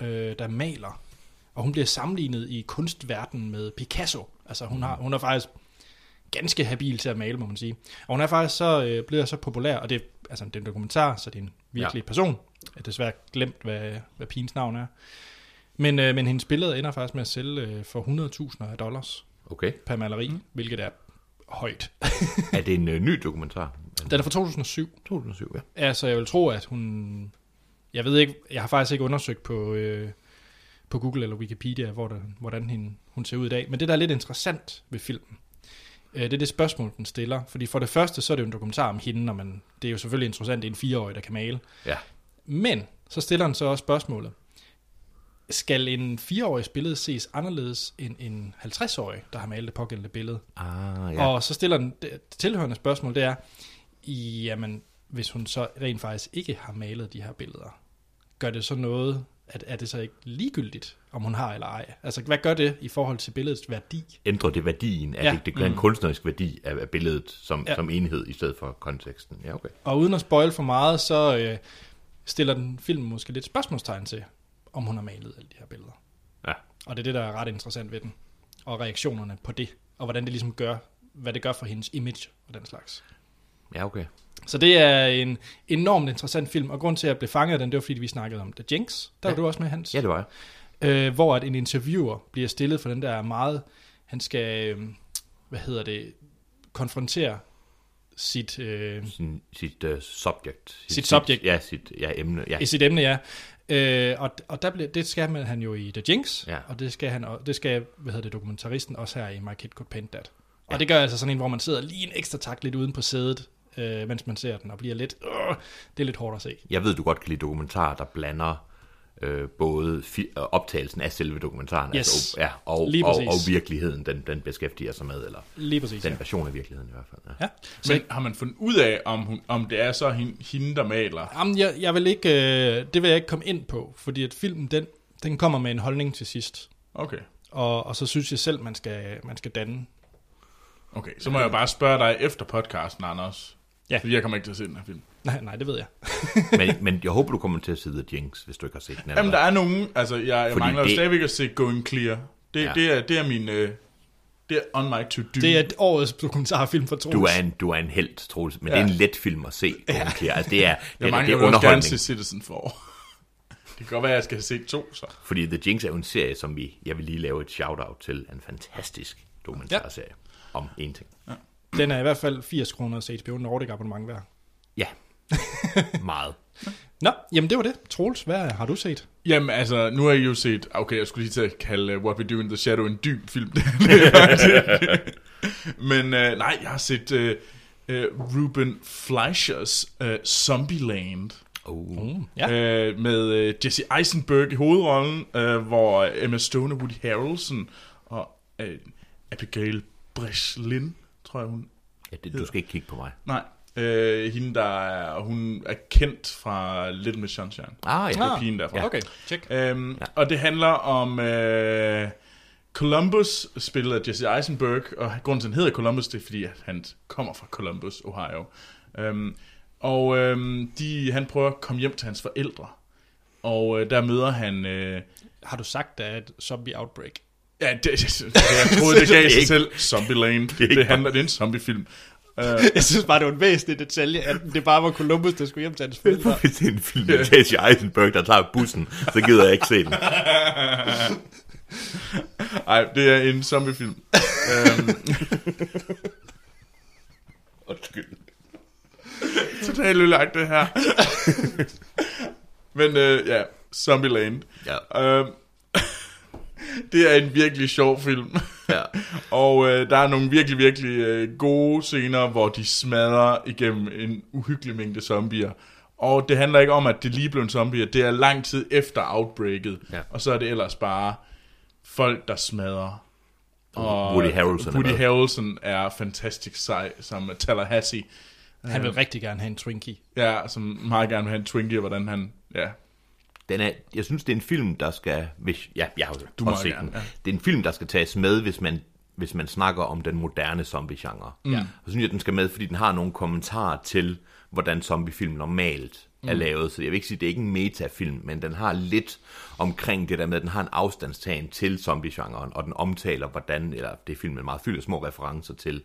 Speaker 1: øh, der maler. Og hun bliver sammenlignet i kunstverdenen med Picasso. Altså hun, har, hun er faktisk ganske habil til at male, må man sige. Og hun er faktisk så, øh, bliver så populær, og det, er- altså, det er en dokumentar, så det er en virkelig ja. person. Jeg har desværre glemt, hvad, hvad pigens navn er. Men, øh, men hendes billede ender faktisk med at sælge øh, for 100.000 af dollars
Speaker 3: Okay.
Speaker 1: per maleri, mm. hvilket er højt.
Speaker 3: Er det en øh, ny dokumentar?
Speaker 1: Den er fra 2007.
Speaker 3: 2007, ja.
Speaker 1: Altså, jeg vil tro, at hun... Jeg ved ikke, jeg har faktisk ikke undersøgt på, øh, på Google eller Wikipedia, hvor der, hvordan hende, hun ser ud i dag. Men det, der er lidt interessant ved filmen, øh, det er det spørgsmål, den stiller. Fordi for det første, så er det jo en dokumentar om hende, og man, det er jo selvfølgelig interessant, det er en fireårig, der kan male.
Speaker 3: Ja.
Speaker 1: Men så stiller han så også spørgsmålet. Skal en fireårig billede ses anderledes end en 50-årig, der har malet det pågældende billede?
Speaker 3: Ah,
Speaker 1: Ja.
Speaker 3: ja.
Speaker 1: Og så stiller den det tilhørende spørgsmål, det er, jamen, hvis hun så rent faktisk ikke har malet de her billeder, gør det så noget, at er det så ikke ligegyldigt, om hun har eller ej? Altså, hvad gør det i forhold til billedets værdi?
Speaker 3: Ændrer det værdien? Er
Speaker 1: Ja. Mm.
Speaker 3: det ikke det gør en kunstnerisk værdi af, af billedet som,
Speaker 1: Ja.
Speaker 3: ja. som enhed i stedet for konteksten? Ja, okay.
Speaker 1: Og uden at spoil for meget, så øh, stiller den film måske lidt spørgsmålstegn til, om hun har malet alle de her billeder.
Speaker 3: Ja.
Speaker 1: Og det er det, der er ret interessant ved den. Og reaktionerne på det, og hvordan det ligesom gør, hvad det gør for hendes image og den slags.
Speaker 3: Ja, okay.
Speaker 1: Så det er en enormt interessant film, og grund til, at jeg blev fanget af den, det var, fordi vi snakkede om The Jinx. Der var
Speaker 3: Ja.
Speaker 1: du også med, Hans.
Speaker 3: Ja, det var jeg.
Speaker 1: Øh, hvor at en interviewer bliver stillet for den der meget... Han skal, øh, hvad hedder det, konfrontere sit, øh,
Speaker 3: Sin, sit uh, subject. Sit,
Speaker 1: subject.
Speaker 3: Ja, sit ja, emne. Ja.
Speaker 1: i sit emne, ja. Øh, og og der bliver, det skal man, han jo i The Jinx,
Speaker 3: Ja.
Speaker 1: og det skal, han, og- det skal hvad hedder det, dokumentaristen også her i My Kid Could Paint That. Og det gør altså sådan en, hvor man sidder lige en ekstra tak lidt uden på sædet, øh, mens man ser den, og bliver lidt... Øh, det er lidt hårdt at se.
Speaker 3: Jeg ved, du godt kan lide dokumentarer, der blander øh, både fi- øh, optagelsen af selve dokumentaren
Speaker 1: Yes.
Speaker 3: altså, ja, og,
Speaker 1: Lige
Speaker 3: og,
Speaker 1: præcis.
Speaker 3: og virkeligheden, den, den beskæftiger sig med, eller
Speaker 1: Lige præcis,
Speaker 3: den
Speaker 1: ja.
Speaker 3: version af virkeligheden i hvert fald. Ja.
Speaker 1: ja. Så
Speaker 2: Men har man fundet ud af, om, hun, om det er så hende, hende der maler?
Speaker 1: Jamen, jeg, jeg vil ikke, øh, det vil jeg ikke komme ind på, fordi at filmen, den, den kommer med en holdning til sidst.
Speaker 2: Okay.
Speaker 1: Og, og så synes jeg selv, man skal, man skal danne.
Speaker 2: Okay, så må jeg bare spørge dig efter podcasten, Anders.
Speaker 1: Ja.
Speaker 2: Fordi jeg kommer ikke til at se den her film.
Speaker 1: Nej, nej, det ved jeg.
Speaker 3: Men, men jeg håber, du kommer til at se The Jinx, hvis du ikke har set den.
Speaker 2: Jamen, der
Speaker 3: allerede.
Speaker 2: er nogen... Altså, jeg, jeg
Speaker 3: Fordi
Speaker 2: mangler det...
Speaker 3: det-
Speaker 2: stadigvæk at se Going Clear. Det, ja.
Speaker 3: Ja.
Speaker 2: det, er, det er min... Øh, det er on my to do.
Speaker 1: Det er et årets dokumentarfilm for Troels.
Speaker 3: Du er en, du er en held, Troels, men ja. det er en let film at se. Ja. Altså, det er,
Speaker 2: jeg
Speaker 3: det, er, det
Speaker 2: mangler
Speaker 3: er
Speaker 2: jo også gerne
Speaker 3: underholdning.
Speaker 2: se Citizen for. det kan godt være, at jeg skal have set to, så.
Speaker 3: Fordi The Jinx er jo en serie, som vi, jeg vil lige lave et shout-out til. En fantastisk dokumentarserie ja. om én ting.
Speaker 1: Den er i hvert fald 80 kroner til HBO Nordic abonnement værd.
Speaker 3: Ja, meget.
Speaker 1: Nå, jamen det var det. Troels, hvad har du set?
Speaker 2: Jamen altså, nu har I jo set, okay, jeg skulle lige til at kalde uh, What We Do in the Shadow en dyb film. Det er faktisk ikke. Men uh, nej, jeg har set uh, uh, Ruben Fleischers uh, Zombieland.
Speaker 3: Oh.
Speaker 1: Mm, Ja.
Speaker 2: Ja. Uh, med uh, Jesse Eisenberg i hovedrollen, uh, hvor Emma Stone og Woody Harrelson og uh, Abigail Breslin, tror jeg hun
Speaker 3: Ja, det, du skal ikke kigge på mig.
Speaker 2: Nej, uh, hende der er, hun er kendt fra Little Miss Sunshine.
Speaker 3: Ah, ja.
Speaker 2: Det er
Speaker 1: Ah.
Speaker 2: pigen derfra.
Speaker 1: Ja. Okay, tjek.
Speaker 2: Øhm, ja.
Speaker 3: Ja.
Speaker 2: Og det handler om øh, Columbus, spillet af Jesse Eisenberg, og grunden til, at han hedder Columbus, det er fordi, at han kommer fra Columbus, Ohio. Øhm, og øhm, de, han prøver at komme hjem til hans forældre, og øh, der møder han... Øh,
Speaker 1: Har du sagt, at der er et zombie outbreak?
Speaker 2: ja, det, det, jeg troede, det
Speaker 3: Det er
Speaker 2: gav sig
Speaker 3: ikke-
Speaker 2: selv. Zombie Lane. Det,
Speaker 3: ikke
Speaker 2: det handler, det er en zombiefilm. Uh,
Speaker 1: Jeg synes bare, det var en væsentlig detalje, at det bare var Columbus, der skulle hjem til hans forældre.
Speaker 3: Hvis det er en film med Jesse Eisenberg, der tager bussen, så gider jeg ikke se den.
Speaker 2: ej, det er en zombiefilm. øhm,
Speaker 3: Undskyld.
Speaker 2: totalt ødelagt det her. Men øh, ja, Zombieland.
Speaker 3: Ja.
Speaker 2: Øh, det er en virkelig sjov film.
Speaker 3: Ja.
Speaker 2: Og øh, der er nogle virkelig, virkelig øh, gode scener, hvor de smadrer igennem en uhyggelig mængde zombier. Og det handler ikke om, at det lige blev en zombie, det er lang tid efter outbreaket.
Speaker 3: Ja.
Speaker 2: Og så er det ellers bare folk, der smadrer.
Speaker 3: Woody Harrelson er
Speaker 2: Woody
Speaker 3: med.
Speaker 2: Harrelson er fantastisk sej, sammen med Tallahassee.
Speaker 1: Han vil rigtig gerne have en Twinkie.
Speaker 2: Ja, som meget gerne vil have en Twinkie, og hvordan han... Ja,
Speaker 3: Den er, jeg synes, det er en film, der skal... Hvis, ja, jeg har du
Speaker 2: må
Speaker 3: også set
Speaker 2: gerne,
Speaker 3: den.
Speaker 2: ja.
Speaker 3: Det er en film, der skal tages med, hvis man, hvis man snakker om den moderne zombie-genre. Ja. Og synes jeg, den skal med, fordi den har nogle kommentarer til, hvordan zombiefilm normalt er lavet. Så jeg vil ikke sige, at det er ikke en metafilm, men den har lidt omkring det der med, at den har en afstandstagen til zombie-genren, og den omtaler, hvordan, eller det er filmen meget fyldt af små referencer til,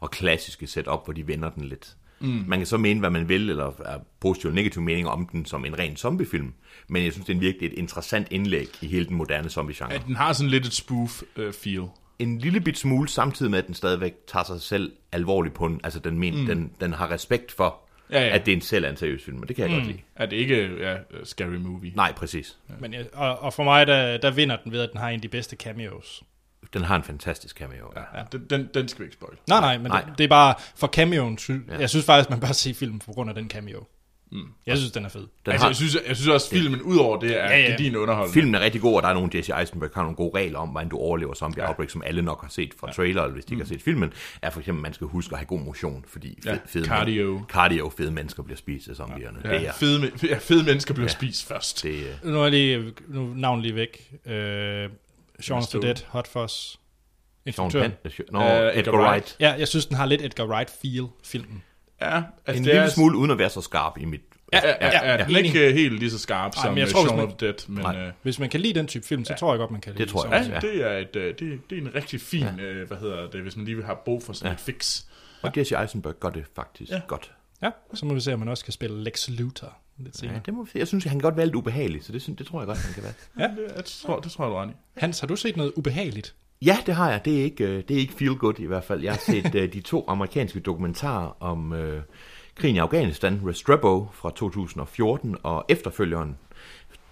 Speaker 3: og klassiske setup, hvor de vender den lidt. Mm. Man kan så mene, hvad man vil, eller er positiv eller negativ mening om den som en ren zombiefilm, men jeg synes, det er en virkelig et interessant indlæg i hele den moderne zombie-genre.
Speaker 2: øh, at den har sådan lidt et spoof-feel.
Speaker 3: en lille bit smule, samtidig med, at den stadigvæk tager sig selv alvorligt på den. Altså, den, men, mm. den, den har respekt for,
Speaker 2: Ja,
Speaker 3: ja,
Speaker 2: ja.
Speaker 3: ja. at det er en selv er en seriøs film, og det kan jeg mm. godt lide.
Speaker 2: Er det ikke ja, Scary Movie?
Speaker 3: Nej, præcis.
Speaker 1: Men, jeg- og, og for mig, der, der vinder den ved, at den har en af de bedste cameos.
Speaker 3: Den har en fantastisk cameo. Ja.
Speaker 2: Ja. Den, den, den skal vi ikke spoil.
Speaker 1: Nej, nej, men
Speaker 3: Nej.
Speaker 1: nej. Det, det er bare for cameoen. Sy-
Speaker 3: Ja.
Speaker 1: ja. Jeg synes faktisk, man bare se filmen på grund af den cameo. Mm. Jeg synes, den er fed.
Speaker 3: Den
Speaker 2: altså,
Speaker 3: har,
Speaker 2: jeg, synes, jeg synes også, filmen udover det er ja,
Speaker 1: Ja,
Speaker 2: ja.
Speaker 1: ja.
Speaker 2: gedigen underholdning.
Speaker 3: filmen er rigtig god, og der er nogle Jesse Eisenberg har nogle gode regler om, hvordan du overlever zombie ja. Mm. outbreak, som alle nok har set fra trailer, eller hvis de ikke har set filmen, er for eksempel, at man skal huske at have god motion, fordi fed,
Speaker 2: Ja,
Speaker 3: fede,
Speaker 2: cardio.
Speaker 3: Men, cardio, fede mennesker bliver spist af zombierne. Ja. Det
Speaker 2: Ja,
Speaker 3: er,
Speaker 2: fede, me- ja, fede mennesker bliver ja. spist først. Det.
Speaker 3: det, øh,
Speaker 1: Nu er jeg lige, nu er navnet lige væk. Øh, Shaun of the
Speaker 2: Stone.
Speaker 1: Dead, Hot Fuzz,
Speaker 3: Sean
Speaker 1: instruktøren.
Speaker 3: Penn, no,
Speaker 2: Øh,
Speaker 3: Edgar,
Speaker 2: Edgar
Speaker 3: Wright.
Speaker 2: Wright.
Speaker 1: Ja, jeg synes, den har lidt Edgar Wright-feel, filmen.
Speaker 2: Ja, altså,
Speaker 3: En
Speaker 2: det
Speaker 3: lille
Speaker 2: er,
Speaker 3: smule uden at være så skarp i mit...
Speaker 2: Ja, ja, ja, ja,
Speaker 1: ja.
Speaker 2: Den er ikke øh, helt lige så skarp
Speaker 1: Ej,
Speaker 2: som
Speaker 1: men jeg
Speaker 2: øh,
Speaker 1: tror, hvis
Speaker 2: Shaun
Speaker 1: man-
Speaker 2: of the Dead, men
Speaker 3: Nej.
Speaker 2: øh,
Speaker 1: Hvis man kan lide den type film, så tror jeg godt, man kan lide
Speaker 3: Det tror
Speaker 1: den.
Speaker 3: jeg
Speaker 2: ja,
Speaker 3: Ja.
Speaker 2: det er et, øh, det, det er en rigtig fin, øh, hvad hedder det, hvis man lige har brug for sådan
Speaker 3: Ja.
Speaker 2: et fix.
Speaker 3: Og Jesse Eisenberg gør det faktisk
Speaker 2: Ja.
Speaker 3: ja. godt.
Speaker 1: Ja, så må vi se, om man også kan spille Lex Luthor lidt senere.
Speaker 3: Ja, det må vi se. Jeg synes, han kan godt være lidt ubehagelig, så det, synes, det tror jeg godt, han kan være.
Speaker 2: Ja. Det, øh, jeg tror, det tror jeg, du er ret i.
Speaker 1: Hans, har du set noget ubehageligt?
Speaker 3: Ja, det har jeg. Det er ikke, øh, det er ikke feel good i hvert fald. Jeg har set øh, de to amerikanske dokumentarer om øh, krigen i Afghanistan, Restrepo fra 2014 og efterfølgeren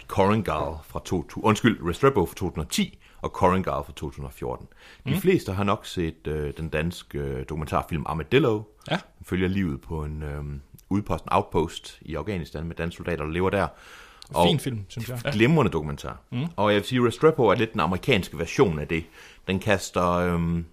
Speaker 3: Korangal fra 2000, undskyld, Restrepo fra 2010 og Korangal fra 2014. De mm. fleste har nok set øh, den danske øh, dokumentarfilm Armadillo.
Speaker 1: Ja.
Speaker 3: Den følger livet på en øh, udpost, en outpost i Afghanistan med danske soldater, der lever der. Og-
Speaker 1: Fin film, synes jeg.
Speaker 3: glimrende dokumentar. Mm. Og jeg vil sige, Restrepo er lidt den amerikanske version af det. Den kaster øhm,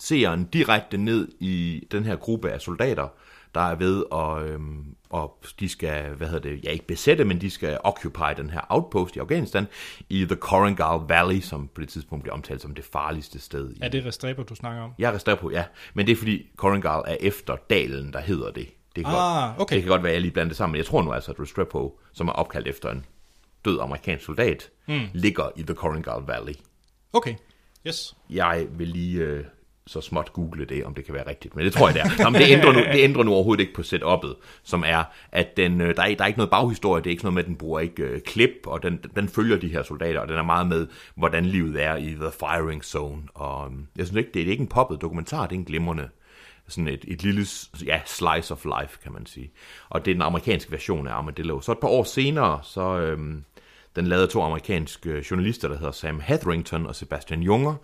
Speaker 3: seeren direkte ned i den her gruppe af soldater, der er ved at, øhm, og de skal, hvad hedder det, ja ikke besætte, men de skal occupy den her outpost i Afghanistan i The Korangal Valley, som på det tidspunkt bliver omtalt som det farligste sted. I.
Speaker 1: Er det Restrepo, du snakker om?
Speaker 3: Jeg resterer på, ja. Men det er fordi Korangal er efter dalen, der hedder det. Det kan,
Speaker 1: Ah,
Speaker 3: godt,
Speaker 1: okay.
Speaker 3: det kan godt være, at jeg lige blander det sammen. Men jeg tror nu altså, at Restrepo, som er opkaldt efter en død amerikansk soldat,
Speaker 1: Hmm.
Speaker 3: mm. ligger i The Korangal Valley.
Speaker 1: Okay, yes.
Speaker 3: Jeg vil lige øh, så småt google det, om det kan være rigtigt. Men det tror jeg, det er. Nå, men det, ændrer nu, det ændrer nu overhovedet ikke på setup'et, som er, at den, øh, der, er, der er ikke noget baghistorie. Det er ikke sådan noget med, at den bruger ikke øh, klip, og den, den følger de her soldater, og den er meget med, hvordan livet er i The Firing Zone. Og øhm, jeg synes ikke, det er, det er ikke en poppet dokumentar, det er en glimrende sådan et, et lille ja, slice of life, kan man sige. Og det er den amerikanske version af Armadillo. Så et par år senere, så øhm, den lavede to amerikanske journalister, der hedder Sam Hetherington og Sebastian Junger.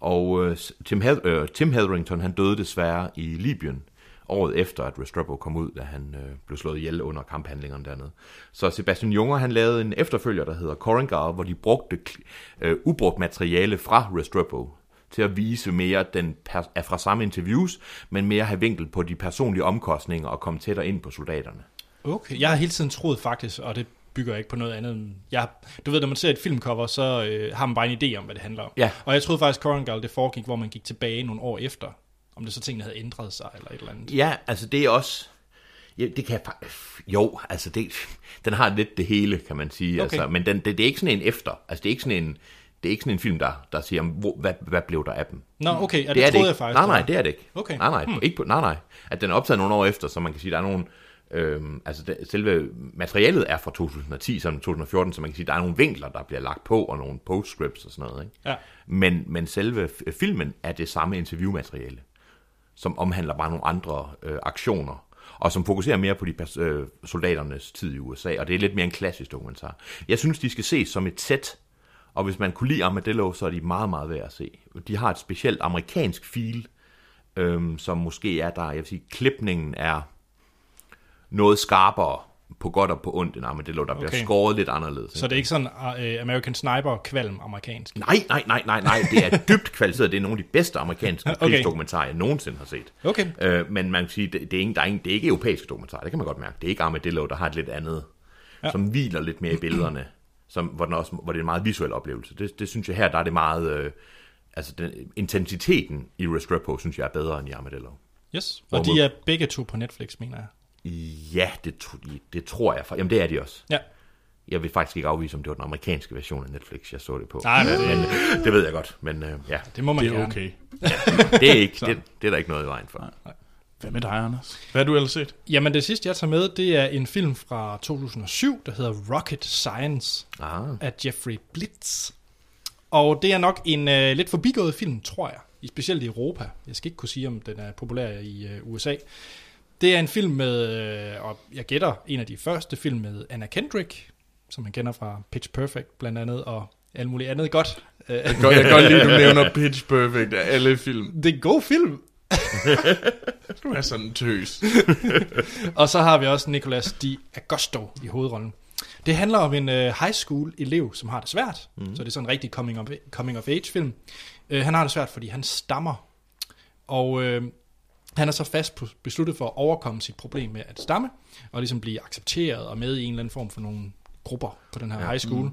Speaker 3: Og øh, Tim, Heth- øh, Tim Hetherington, han døde desværre i Libyen året efter, at Restrepo kom ud, da han øh, blev slået ihjel under kamphandlingerne dernede. Så Sebastian Junger, han lavede en efterfølger, der hedder Korengar, hvor de brugte kl- øh, ubrugt materiale fra Restrepo til at vise mere den per- er fra samme interviews, men mere have vinkel på de personlige omkostninger og komme tættere ind på soldaterne.
Speaker 1: Okay, jeg har hele tiden troet faktisk, og det bygger ikke på noget andet end... Jeg, du ved, når man ser et filmcover, så øh, har man bare en idé om, hvad det handler om.
Speaker 3: Ja.
Speaker 1: Og jeg troede faktisk, Korangal det foregik, hvor man gik tilbage nogle år efter. Om det så tingene havde ændret sig eller et eller andet.
Speaker 3: Ja, altså det er også... Ja, det kan jeg fa- Jo, altså det, den har lidt det hele, kan man
Speaker 1: Okay.
Speaker 3: sige. Altså, men den, det, det, er ikke sådan en efter. Altså det er ikke sådan en, det er ikke sådan en film, der, der siger, hvor, hvad, hvad blev der af dem?
Speaker 1: Nå, okay, ja, det,
Speaker 3: det er
Speaker 1: troede
Speaker 3: det
Speaker 1: jeg
Speaker 3: ikke.
Speaker 1: faktisk.
Speaker 3: Nej, nej,
Speaker 1: det
Speaker 3: det er det ikke.
Speaker 1: Okay.
Speaker 3: Nej, nej, ikke på, nej, nej. At den er optaget nogle år efter, så man kan sige, der er nogle... Øhm, altså det, selve materialet er fra 2010, sådan 2014, så man kan sige, der er nogle vinkler, der bliver lagt på, og nogle postscripts og sådan noget. Ikke?
Speaker 1: Ja.
Speaker 3: Men, men selve f- filmen er det samme interviewmateriale, som omhandler bare nogle andre øh, aktioner, og som fokuserer mere på de pers- øh, soldaternes tid i USA, og det er lidt mere en klassisk dokumentar. Jeg synes, de skal ses som et sæt, og hvis man kunne lide Armadillo, så er de meget, meget værd at se. De har et specielt amerikansk feel, øhm, som måske er der, jeg vil sige, klipningen er noget skarpere på godt og på ondt end Armadillo, der okay.
Speaker 1: Okay.
Speaker 3: bliver skåret lidt anderledes.
Speaker 1: Så det er ikke sådan uh, American Sniper-kvalm amerikansk?
Speaker 3: Nej, nej, nej, nej, nej. Det er dybt kvalificeret. Det er nogle af de bedste amerikanske
Speaker 1: Okay.
Speaker 3: okay. krigsdokumentarer, jeg nogensinde har set.
Speaker 1: Okay.
Speaker 3: Øh, men man kan sige, det, det, er ingen, der er ingen, det er ikke europæiske dokumentarer. Det kan man godt mærke. Det er ikke Armadillo, der har et lidt andet, ja. som hviler lidt mere i billederne, som, hvor, den også, hvor det er en meget visuel oplevelse. Det, det synes jeg her, der er det meget... Øh, altså, den, intensiteten i Restrepo, synes jeg, er bedre end i Armadillo.
Speaker 1: Yes.
Speaker 3: Hvor
Speaker 1: Og de
Speaker 3: mod-
Speaker 1: er begge to på Netflix, mener jeg.
Speaker 3: Ja, det, tr- det tror jeg. For, jamen, det er de også.
Speaker 1: Ja.
Speaker 3: Jeg vil faktisk ikke afvise, om det var den amerikanske version af Netflix, jeg så det på.
Speaker 1: Nej, men
Speaker 3: men, øh, det ved jeg godt. Men øh, ja,
Speaker 1: Det må man
Speaker 2: Det er
Speaker 1: gerne.
Speaker 2: okay.
Speaker 3: det er, ikke, det, det er der ikke noget i vejen for.
Speaker 2: Hvad med dig, Anders? Hvad har du ellers set?
Speaker 1: Jamen det sidste, jeg tager med, det er en film fra 2007, der hedder Rocket Science
Speaker 3: Ah,
Speaker 1: af Jeffrey Blitz. Og det er nok en øh, lidt forbigået film, tror jeg. I, specielt i Europa. Jeg skal ikke kunne sige, om den er populær i øh, USA. Det er en film med, øh, og jeg gætter, en af de første film med Anna Kendrick, som man kender fra Pitch Perfect blandt andet, og alt muligt andet godt. Øh,
Speaker 2: Jeg kan godt- jeg kan godt lide, at du nævner Pitch Perfect af alle film.
Speaker 1: det er en god film.
Speaker 2: Du er sådan en tøs.
Speaker 1: Og så har vi også Nicolas Di Agosto i hovedrollen. Det handler om en øh, high school elev, som har det svært. Mm. Så det er sådan en rigtig coming of, coming of age film. Øh, han har det svært, fordi han stammer. Og øh, han er så fast på- besluttet for at overkomme sit problem med at stamme, og ligesom blive accepteret og med i en eller anden form for nogle grupper på den her ja. high school. Mm.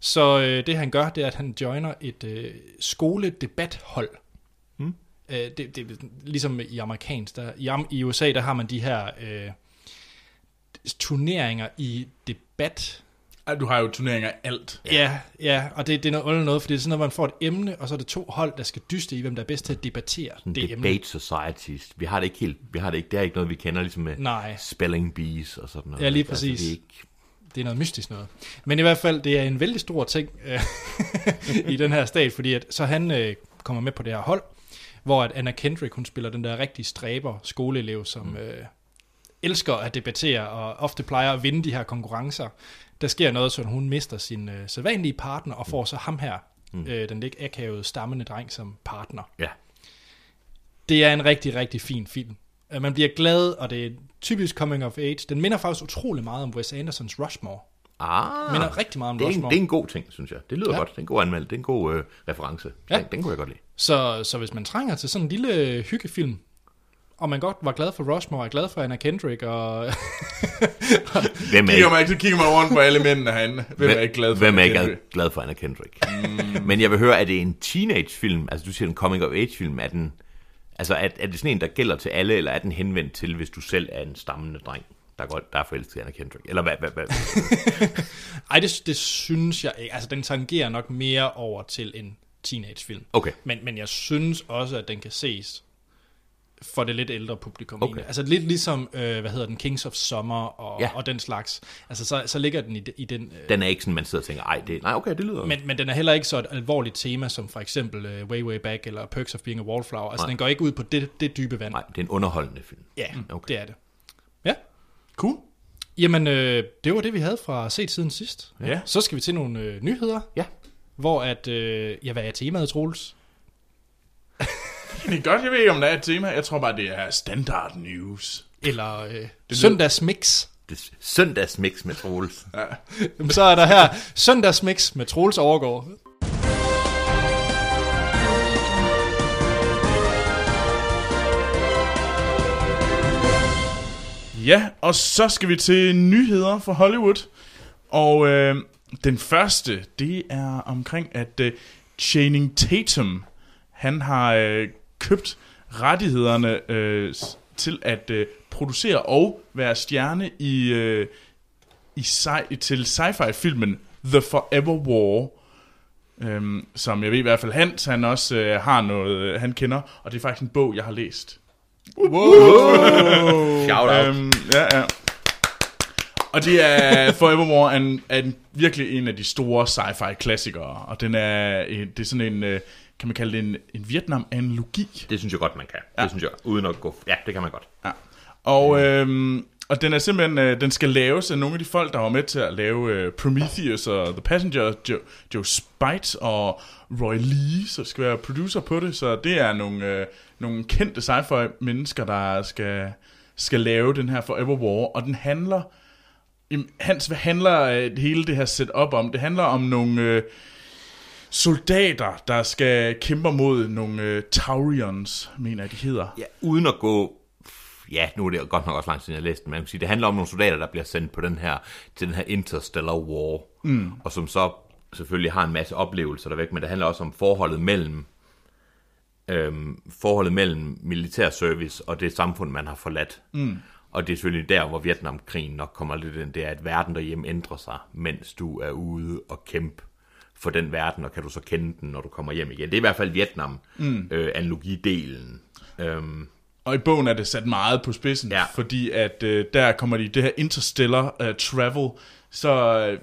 Speaker 1: Så øh, det han gør, det er, at han joiner et øh, skoledebathold. Øh, det, det, ligesom i amerikansk, der, i, am- i USA, der har man de her øh, turneringer i debat.
Speaker 2: Ej, Du har jo turneringer af alt.
Speaker 1: Ja, ja, ja og det, det er noget underligt noget, fordi det er sådan noget, man får et emne, og så er det to hold, der skal dyste i, hvem der er bedst til at debattere
Speaker 3: En
Speaker 1: det emne.
Speaker 3: debate societies. Vi har det ikke helt, vi har det ikke, det er ikke noget, vi kender ligesom med
Speaker 1: Nej.
Speaker 3: spelling bees og sådan noget.
Speaker 1: Ja, lige
Speaker 3: Altså,
Speaker 1: præcis.
Speaker 3: det er ikke,
Speaker 1: det er noget mystisk noget. Men i hvert fald, det er en vældig stor ting øh, i den her stat, fordi at, så han øh, kommer med på det her hold, hvor at Anna Kendrick, hun spiller den der rigtig stræber skoleelev, som øh, elsker at debattere og ofte plejer at vinde de her konkurrencer. Der sker noget, så hun mister sin øh, sædvanlige partner og får så ham her, øh, den lidt akavede, stammende dreng, som partner
Speaker 3: ja.
Speaker 1: det er en rigtig, rigtig fin film. Øh, Man bliver glad, og det er typisk coming of age. Den minder faktisk utrolig meget om Wes Andersons Rushmore.
Speaker 3: Ah,
Speaker 1: Minder rigtig meget om
Speaker 3: det er, en,
Speaker 1: Rushmore.
Speaker 3: det er en god ting, synes jeg. Det lyder
Speaker 1: Ja.
Speaker 3: ja. godt. Det er en god anmeldelse. Det er en god øh, reference.
Speaker 1: Ja.
Speaker 3: Ja. Den, den kunne jeg godt lide.
Speaker 1: Så, så hvis man trænger til sådan en lille hyggefilm, og man godt var glad for Rushmore, og er glad for Anna Kendrick, og
Speaker 3: Hvem er,
Speaker 2: Kigger
Speaker 3: ikke,
Speaker 2: mig, så kigger man rundt på alle mændene herinde. Hvem er ikke glad for
Speaker 3: hvem er ikke
Speaker 2: Kendrick?
Speaker 3: glad- glad for Anna Kendrick? Mm. Men jeg vil høre, er det en teenagefilm? Altså du siger en coming of age film. Er, den, altså, er, er det sådan en, der gælder til alle, eller er den henvendt til, hvis du selv er en stammende dreng? Der er, godt, der er forelsket i Anna Kendrick. Eller hvad, hvad, hvad?
Speaker 1: ej, det, det synes jeg ikke. Altså, den tangerer nok mere over til en teenagefilm.
Speaker 3: Okay.
Speaker 1: Men, men jeg synes også, at den kan ses for det lidt ældre publikum.
Speaker 3: Okay.
Speaker 1: egentlig. Altså lidt ligesom, øh, hvad hedder den, Kings of Summer og, ja.
Speaker 3: Ja.
Speaker 1: og den slags. Altså, så, så ligger den i, de- i den øh,
Speaker 3: Den er ikke sådan, man sidder og tænker, ej, det, nej, okay, det lyder...
Speaker 1: Men, men den er heller ikke så et alvorligt tema som for eksempel uh, Way Way Back eller Perks of Being a Wallflower. Altså, Nej.
Speaker 3: Nej.
Speaker 1: den går ikke ud på det, det dybe vand.
Speaker 3: Nej, det er en underholdende film.
Speaker 1: Ja, okay.
Speaker 3: Okay.
Speaker 1: Mm, det er det. Ja,
Speaker 2: Cool.
Speaker 1: jamen øh, det var det, vi havde fra set siden sidst.
Speaker 2: Ja.
Speaker 1: Så skal vi til nogle øh, nyheder,
Speaker 3: Ja.
Speaker 1: hvor at, øh, ja, hvad er temaet, Troels?
Speaker 2: Det er godt, jeg ved ikke, om der er et tema. Jeg tror bare, det er standard news.
Speaker 1: Eller øh, søndagsmix.
Speaker 3: Det er søndagsmix med Troels.
Speaker 1: Jamen, så er der her søndagsmix med Troels Overgaard.
Speaker 2: Ja, og så skal vi til nyheder fra Hollywood. Og øh, den første, det er omkring, at øh, Channing Tatum, han har øh, købt rettighederne øh, s- til at øh, producere og være stjerne i, øh, i sci- til sci-fi-filmen The Forever War. Øhm, som jeg ved i hvert fald Hans, han også øh, har noget, øh, han kender, og det er faktisk en bog, jeg har læst.
Speaker 3: Shout out.
Speaker 2: Øhm, ja, ja. Og det er Forevermore er en, er en, virkelig en af de store sci-fi klassikere, og den er, en- det er sådan en, øh, kan man kalde det en, en Vietnam-analogi.
Speaker 3: Det synes jeg godt, man kan. Ja. Det synes jeg, uden at gå... Ja, det kan man godt.
Speaker 2: Ja. Og, øhm, og den er simpelthen, øh, den skal laves af nogle af de folk, der var med til at lave øh, Prometheus og The Passenger, Joe, Joe Spite og Roy Lee, så skal være producer på det, så det er nogle, øh, nogle kendte sci-fi mennesker, der skal, skal lave den her Forever War, og den handler, jamen, Hans, hvad handler øh, hele det her setup om? Det handler om nogle... Øh, soldater, der skal kæmpe mod nogle øh, Taurians, mener jeg, de hedder.
Speaker 3: Ja, uden at gå... Ja, nu er det godt nok også langt siden, jeg læste den, men man kan sige, det handler om nogle soldater, der bliver sendt på den her, til den her interstellar war, mm. og som så selvfølgelig har en masse oplevelser dervæk, men det handler også om forholdet mellem øhm, forholdet mellem militærservice og det samfund, man har forladt. Mm. Og det er selvfølgelig der, hvor Vietnamkrigen nok kommer lidt ind, det er, at verden derhjemme ændrer sig, mens du er ude og kæmpe for den verden, og kan du så kende den, når du kommer hjem igen. Det er i hvert fald Mm. Vietnam-analogidelen. Mm. Øh, øhm,
Speaker 2: Og i bogen er det sat meget på spidsen, ja.
Speaker 3: Ja.
Speaker 2: fordi at øh, der kommer de det her interstellar uh, travel, så øh,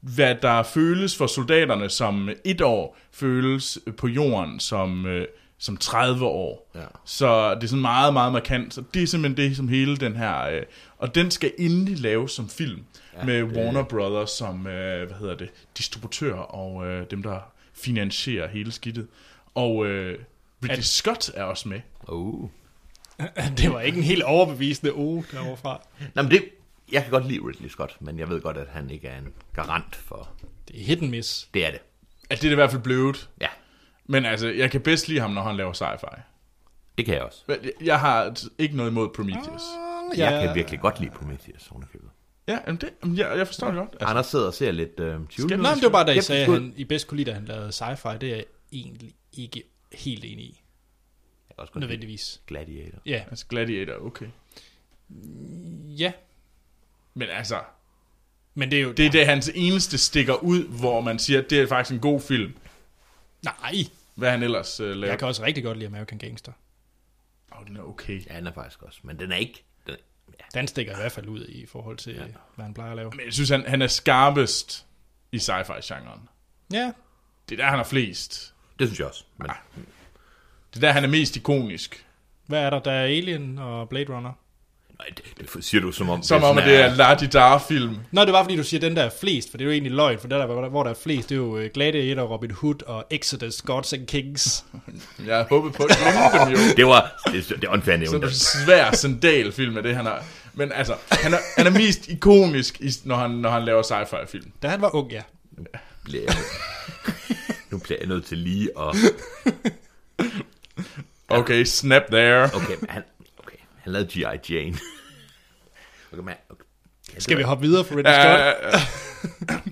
Speaker 2: hvad der føles for soldaterne som et år, føles øh, på jorden som, øh, som 30 år.
Speaker 3: Ja.
Speaker 2: Så det er sådan meget, meget markant. Så det er simpelthen det, som hele den her... Øh, og den skal endelig laves som film ja, med Warner Brothers som, øh, hvad hedder det, distributør og øh, dem, der finansierer hele skidtet. Og øh, Ridley Scott er også med.
Speaker 3: Uh.
Speaker 1: Det var ikke en helt overbevisende uge derovre fra.
Speaker 3: Nå, men det, jeg kan godt lide Ridley Scott, men jeg ved godt, at han ikke er en garant for...
Speaker 1: Det er hit and miss.
Speaker 3: Det er det.
Speaker 2: At det er i hvert fald blevet.
Speaker 3: Ja,
Speaker 2: Men altså, jeg kan bedst lide ham, når han laver sci-fi.
Speaker 3: det kan jeg også.
Speaker 2: Men jeg- Jeg har t- ikke noget imod Prometheus.
Speaker 3: Jeg kan virkelig godt lide Prometheus, ovenikøbet.
Speaker 1: Altså-
Speaker 2: Ja, jamen det, jamen jeg, jeg forstår det godt. Altså,
Speaker 3: Anders sidder og ser lidt øh,
Speaker 1: Nå,
Speaker 3: Tune.
Speaker 1: men det var bare, da I
Speaker 3: Skeptisk
Speaker 1: sagde, at
Speaker 3: ud.
Speaker 1: han I bedst kunne lide, at han lavede sci-fi. Det er jeg egentlig ikke helt enig i,
Speaker 3: Jeg kan også godt lide
Speaker 1: nødvendigvis.
Speaker 3: Gladiator.
Speaker 1: Ja,
Speaker 2: altså Gladiator, okay.
Speaker 1: ja.
Speaker 2: Men altså,
Speaker 1: men det er jo...
Speaker 2: det er det, hans eneste stikker ud, hvor man siger, at det er faktisk en god film.
Speaker 1: Nej,
Speaker 2: Hvad han ellers uh, laver.
Speaker 1: jeg kan også rigtig godt lide American Gangster.
Speaker 2: Åh, oh, den er okay.
Speaker 3: Ja, den er faktisk også. Men den er ikke... Den er,
Speaker 1: Den stikker i hvert fald ud i forhold til, ja. hvad han plejer at lave.
Speaker 2: Men jeg synes, han, han er skarpest i sci-fi-genren.
Speaker 1: Ja,
Speaker 2: Det er der, han er flest.
Speaker 3: det synes jeg også. Men,
Speaker 1: Ah.
Speaker 2: Det er der, han er mest ikonisk.
Speaker 1: hvad er der? Der er Alien og Blade Runner.
Speaker 3: nej, det, det, siger du som om...
Speaker 2: Som om, at
Speaker 3: sådan
Speaker 2: det er en Ladidar-film.
Speaker 1: Nå, det var fordi, du siger den, der er flest, for det er jo egentlig løgn, for den der, hvor der er flest, det er jo øh, Gladiator, Robin Hood og Exodus, Gods and Kings.
Speaker 2: Jeg havde håbet på at glemme dem jo.
Speaker 3: Det var... Det, det er åndfærdigt
Speaker 2: Sådan en
Speaker 3: nævnt.
Speaker 2: svær sandalfilm er det, han har. Men altså, han er, han er mest ikonisk, i, når, han, når han laver sci-fi-film.
Speaker 1: Da han var ung, ja.
Speaker 3: Bliver jeg, nu bliver jeg nødt til lige at...
Speaker 2: Okay, snap there.
Speaker 3: Okay, men han... Okay, han lavede G.I. Jane. Okay, men... Okay. Ja,
Speaker 1: Skal vi hoppe videre for Ridley Scott?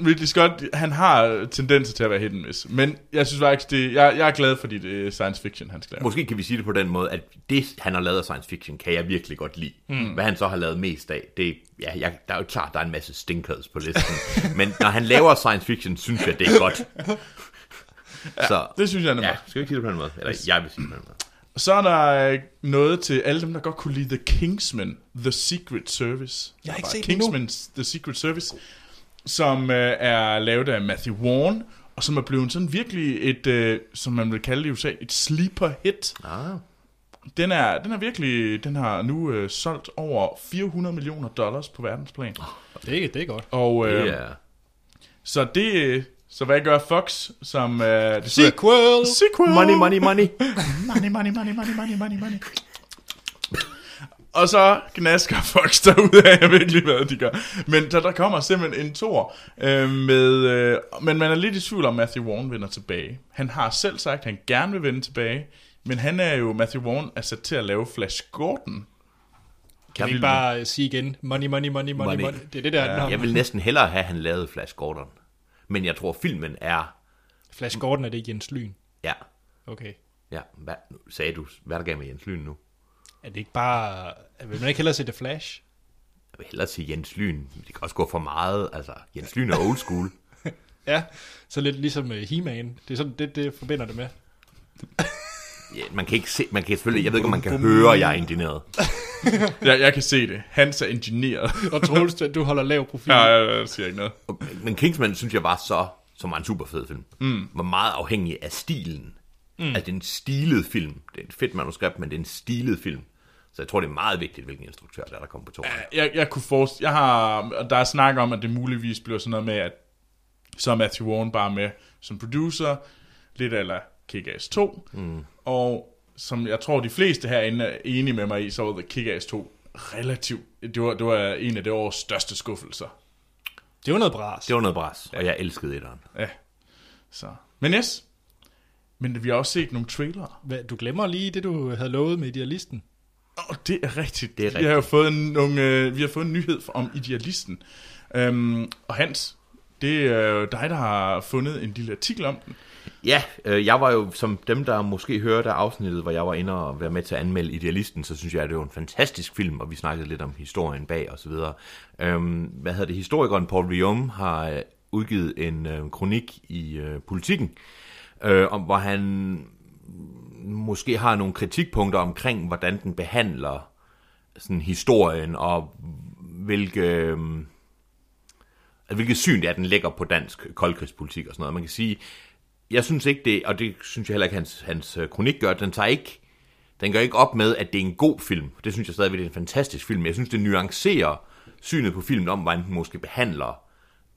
Speaker 2: Uh, Ridley Scott, han har tendenser til at være hit and miss, men jeg synes faktisk, det, jeg, jeg er glad for det er science fiction, han skal lave.
Speaker 3: Måske kan vi sige det på den måde, at det, han har lavet af science fiction, kan jeg virkelig godt lide. Mm. Hvad han så har lavet mest af, det, ja, jeg, der er jo klart, der er en masse stinkers på listen. men når han laver science fiction, synes jeg, det er godt. så,
Speaker 2: Det synes jeg, han er
Speaker 3: ja,
Speaker 2: ja.
Speaker 3: skal vi ikke sige det på den måde? Eller jeg vil sige det på den måde.
Speaker 2: Så er der øh, noget til alle dem, der godt kunne lide The Kingsman, The Secret Service.
Speaker 1: Jeg har ikke
Speaker 2: Bare
Speaker 1: set den endnu.
Speaker 2: Kingsman, The Secret Service, som øh, er lavet af Matthew Vaughn, og som er blevet sådan virkelig et, øh, som man vil kalde det i USA, et sleeper hit.
Speaker 3: Ah,
Speaker 2: Den er, den er virkelig, den har nu øh, solgt over 400 millioner dollars på verdensplan.
Speaker 1: Det, er- det er godt.
Speaker 2: Og, øh,
Speaker 3: det er...
Speaker 2: Så det... øh, Så hvad gør Fox som... Uh, det
Speaker 1: Sequel!
Speaker 2: Sequel!
Speaker 3: Money, money, money.
Speaker 2: money, money, money, money, money, money, money. Og så gnasker Fox derude af, jeg ved ikke lige, hvad de gør. Men så der kommer simpelthen en tor øh, med... Øh, men man er lidt i tvivl om, Matthew Vaughn vender tilbage. Han har selv sagt, at han gerne vil vende tilbage. Men han er jo... Matthew Vaughn er sat til at lave Flash Gordon.
Speaker 1: Kan vi ikke bare øh, sige igen, money, money, money, money,
Speaker 3: Money.
Speaker 1: money. Det er det der, ja,
Speaker 3: Jeg vil næsten hellere have, at han lavede Flash Gordon. Men jeg tror, filmen er...
Speaker 1: Flash Gordon er det Jens Lyn.
Speaker 3: Ja,
Speaker 1: Okay.
Speaker 3: ja. Hvad, nu sagde du, hvad er der gav med Jens Lyn nu?
Speaker 1: Er det ikke bare... Vil man ikke hellere se The Flash?
Speaker 3: Jeg vil hellere sige Jens Lyn. Det kan også gå for meget. Altså, Jens Lyn er old school.
Speaker 1: Ja, så lidt ligesom øh, He-Man. Det er sådan, det, det forbinder det med.
Speaker 3: Ja, man kan ikke se, man kan selvfølgelig, jeg ved ikke, om man kan høre, jeg er indineret.
Speaker 2: Jeg, jeg kan se det. Hans er ingeniør.
Speaker 1: Og Troels, du holder lav profil.
Speaker 2: Nej, jeg, jeg siger ikke noget.
Speaker 3: Men Kingsman synes jeg var så, som var en super fed film, mm. var meget afhængig af stilen. Mm. Altså, det er en stilet film. Det er et fedt manuskript, men det er en stilet film. Så jeg tror, det er meget vigtigt, hvilken instruktør der, er, der kommer på toren.
Speaker 2: jeg, jeg kunne forestille, jeg har, og der er snak om, at det muligvis bliver sådan noget med, at så er Matthew Vaughn bare med som producer, lidt eller Kick-Ass 2, mm. og som jeg tror, de fleste herinde er enige med mig i, så var The Kick-Ass 2 relativt, det var, det var en af det års største skuffelser.
Speaker 1: Det var noget bras.
Speaker 3: Det var noget bras, og jeg elskede etteren.
Speaker 2: Ja. Så. Men yes, men vi har også set nogle trailere.
Speaker 1: Hvad, Du glemmer lige det, du havde lovet med idealisten.
Speaker 2: Oh, det er rigtigt.
Speaker 3: Det er
Speaker 2: Vi har
Speaker 3: rigtigt.
Speaker 2: jo fået en, nogle, øh, vi har fået en nyhed fra- om idealisten. Øhm, og Hans, det er jo dig, der har fundet en lille artikel om den.
Speaker 3: Ja, øh, jeg var jo, som dem, der måske hørte af afsnittet, hvor jeg var inde og være med til at anmelde Idealisten, så synes jeg, at det var en fantastisk film, og vi snakkede lidt om historien bag og så videre. Øhm, hvad hedder det? Historikeren Paul Rium har øh, udgivet en øh, kronik i øh, Politiken, øh, om hvor han måske har nogle kritikpunkter omkring, hvordan den behandler øhm, sådan historien, og hvilke... Øh, hvilket syn det er, den lægger på dansk koldkrigspolitik og sådan noget. Man kan sige, jeg synes ikke det, og det synes jeg heller ikke, hans, hans øh, kronik gør, den tager ikke, den gør ikke op med, at det er en god film. Det synes jeg stadigvæk, det er en fantastisk film. Jeg synes, det nuancerer synet på filmen om, hvordan den måske behandler